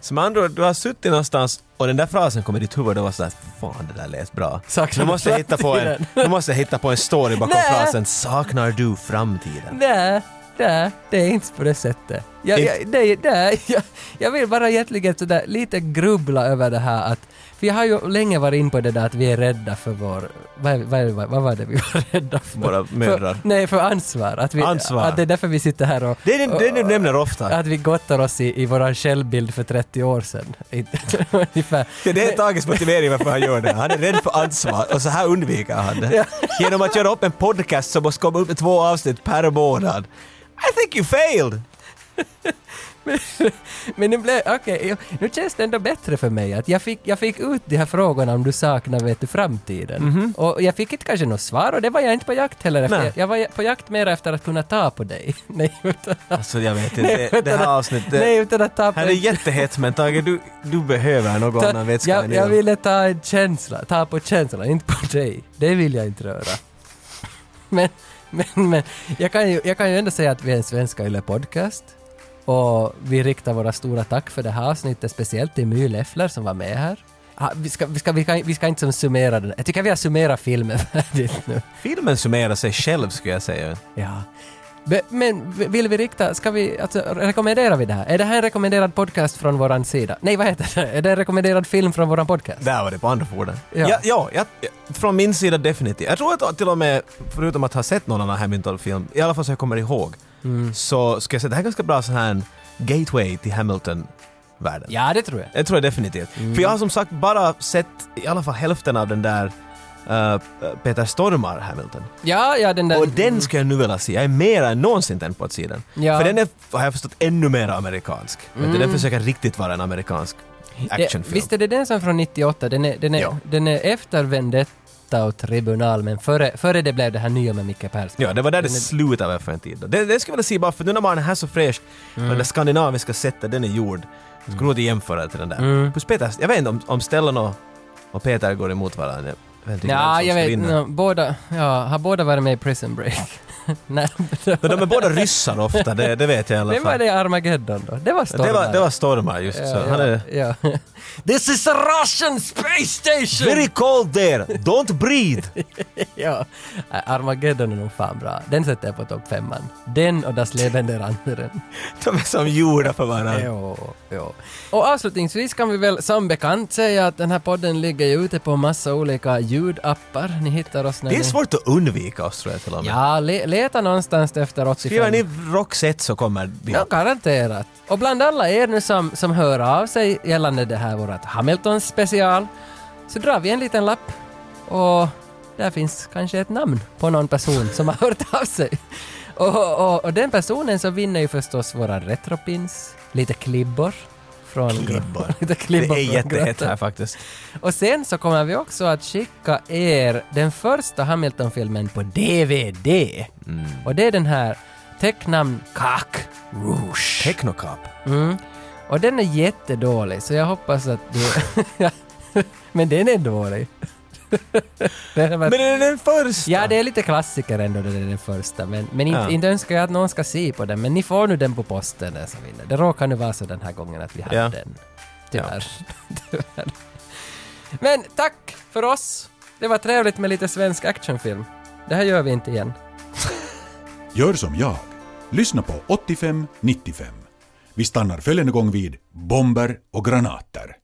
Speaker 1: Som andra ord, du har suttit någonstans och den där frasen kom i ditt huvud och var sådär fan det där lät bra.
Speaker 2: Saknar
Speaker 1: Nu
Speaker 2: du
Speaker 1: måste jag hitta på en,
Speaker 2: framtiden?
Speaker 1: nu måste jag hitta på en story bakom
Speaker 2: Nej.
Speaker 1: frasen saknar du framtiden?
Speaker 2: Nej, nej, det är inte på det sättet. Jag, jag, nej, nej, jag, jag vill bara egentligen sådär lite grubbla över det här att för jag har ju länge varit in på det där att vi är rädda för vår... Vad, är- vad, är- vad, vad var det vi var rädda för?
Speaker 1: Våra mödrar.
Speaker 2: För, nej, för ansvar. Att vi,
Speaker 1: Ansvar.
Speaker 2: Att det är därför vi sitter här och...
Speaker 1: Det är det, det, är det du nämner ofta.
Speaker 2: Att vi gottar oss i, i vår självbild för 30 år sedan. Ungefär.
Speaker 1: Det det är Tages motivering varför han gör det. Han är rädd för ansvar och så här undviker han det. Genom att göra upp en podcast som måste komma upp med två avsnitt per månad. I think you failed!
Speaker 2: Men nu blev, okej, jag- nu känns det ändå bättre för mig att jag fick, jag fick ut de här frågorna om du saknar vet du framtiden. Och jag fick inte kanske något svar och det var jag inte på jakt heller efter.
Speaker 1: Mhm. Nej.
Speaker 2: Jag var på jakt mer efter att kunna ta på dig. Nej, utan,
Speaker 1: Alltså jag vet inte, det, det här avsnittet...
Speaker 2: nej, utan att ta på
Speaker 1: här är jättehett men Tage du, du behöver någon annan vätska
Speaker 2: jag,
Speaker 1: än
Speaker 2: jag
Speaker 1: öl.
Speaker 2: ville ta en känsla, ta på känslan, inte på dig. Det vill jag inte röra. Men, men, men jag, kan ju, jag kan ju ändå säga att vi är en svenska Yle podcast. Och vi riktar våra stora tack för det här avsnittet, speciellt till My Leffler som var med här. Ah, Vi ska, vi, ska, vi, kan, vi ska inte som summera den. Jag tycker vi har summerat filmen färdigt nu.
Speaker 1: Filmen summerar sig själv skulle jag säga.
Speaker 2: Ja. Be- Men vill vi rikta, ska vi, alltså rekommenderar vi det här? Är det här en rekommenderad podcast från våran sida? Nej, vad heter det? Är det en rekommenderad film från våran podcast?
Speaker 1: Där var det på andra fordon.
Speaker 2: Ja.
Speaker 1: Ja, ja, jag, jag- från min sida definitivt. Jag tror att till och med, förutom att ha sett någon annan Hamilton-film, i alla fall så jag kommer ihåg,
Speaker 2: Mm.
Speaker 1: så ska jag säga det här är ganska bra sån här gateway till Hamilton-världen.
Speaker 2: Ja, Mm. det tror jag.
Speaker 1: Jag tror jag definitivt. För jag har som sagt bara sett i alla fall hälften av den där eh, Peter Stormar Hamilton.
Speaker 2: Ja, ja, den där...
Speaker 1: Och den ska jag nu vilja se. Jag är mer än någonsin tänd på sidan.
Speaker 2: Ja.
Speaker 1: För den är, har jag förstått, ännu mer amerikansk. Mm. Den försöker riktigt vara en amerikansk
Speaker 2: det,
Speaker 1: actionfilm.
Speaker 2: visst är det den som är från 98? Den är, den är,
Speaker 1: Ja.
Speaker 2: den är efter Vendetta och Tribunal, men före, före det blev det här nya med Micke Persson.
Speaker 1: Ja, det var där det slutade för en tid. Det, det skulle jag vilja se bara för nu när man är här så fräsch,
Speaker 2: Mm.
Speaker 1: men det skandinaviska sättet den är gjord, så går nog inte jämföra till den där.
Speaker 2: Mm.
Speaker 1: Plus Peter, jag vet inte om, om Stellan och, och Peter går emot varandra. Jag vet inte vem
Speaker 2: Ja,
Speaker 1: som ska
Speaker 2: jag vet
Speaker 1: vinna.
Speaker 2: no, båda, ja, Har båda varit med i Prison Break? Nej,
Speaker 1: Men de är båda ryssar ofta, det, det vet jag i alla
Speaker 2: vem
Speaker 1: fall.
Speaker 2: var det i Armageddon då? Det var Stormare.
Speaker 1: det, var, det var Stormar just, så
Speaker 2: Ja,
Speaker 1: han är...
Speaker 2: ja, ja. This is a Russian space station!
Speaker 1: Very cold there! Don't breathe!
Speaker 2: ja. Nej, Armageddon är nog fan bra. Den sätter jag på topp femman. Den och Das Leben der anderen.
Speaker 1: De är som gjorda för varandra.
Speaker 2: Jo, jo. Och avslutningsvis kan vi väl som bekant säga att den här podden ligger ju ute på massa olika ljudappar. Ni hittar oss när
Speaker 1: Det är
Speaker 2: ni...
Speaker 1: svårt att undvika oss tror jag till och med.
Speaker 2: Ja, le- leta någonstans efter 85.
Speaker 1: Skriver ni Roxette så kommer vi
Speaker 2: Ja, garanterat. Och bland alla er nu som, som hör av sig gällande det här vårat Hamilton special så drar vi en liten lapp och där finns kanske ett namn på någon person som har hört av sig. Och, och, och den personen så vinner ju förstås våra retropins, lite klibbor från
Speaker 1: Klibbor.
Speaker 2: lite
Speaker 1: Det
Speaker 2: klibbor
Speaker 1: är
Speaker 2: från
Speaker 1: jättehett
Speaker 2: grottan.
Speaker 1: här faktiskt.
Speaker 2: Och sen så kommer vi också att skicka er den första Hamilton-filmen på DVD.
Speaker 1: Mm.
Speaker 2: Och det är den här tecknamn Cock Rouge.
Speaker 1: Technocop.
Speaker 2: Och den är jättedålig, så jag hoppas att du... Men den är dålig. Den är
Speaker 1: Men
Speaker 2: bara-
Speaker 1: det är den första!
Speaker 2: Ja, det är lite klassiker ändå, den är den första. Men, men inte,
Speaker 1: Ja.
Speaker 2: inte önskar jag att någon ska se på den, men ni får nu den på posten den som vinner. Det råkar nu vara så den här gången att vi hade
Speaker 1: Ja.
Speaker 2: den. Tyvärr. Tyvärr. Men tack för oss! Det var trevligt med lite svensk actionfilm. Det här gör vi inte igen.
Speaker 8: Gör som jag. Lyssna på 85 95. Vi stannar följande gång vid bomber och granater.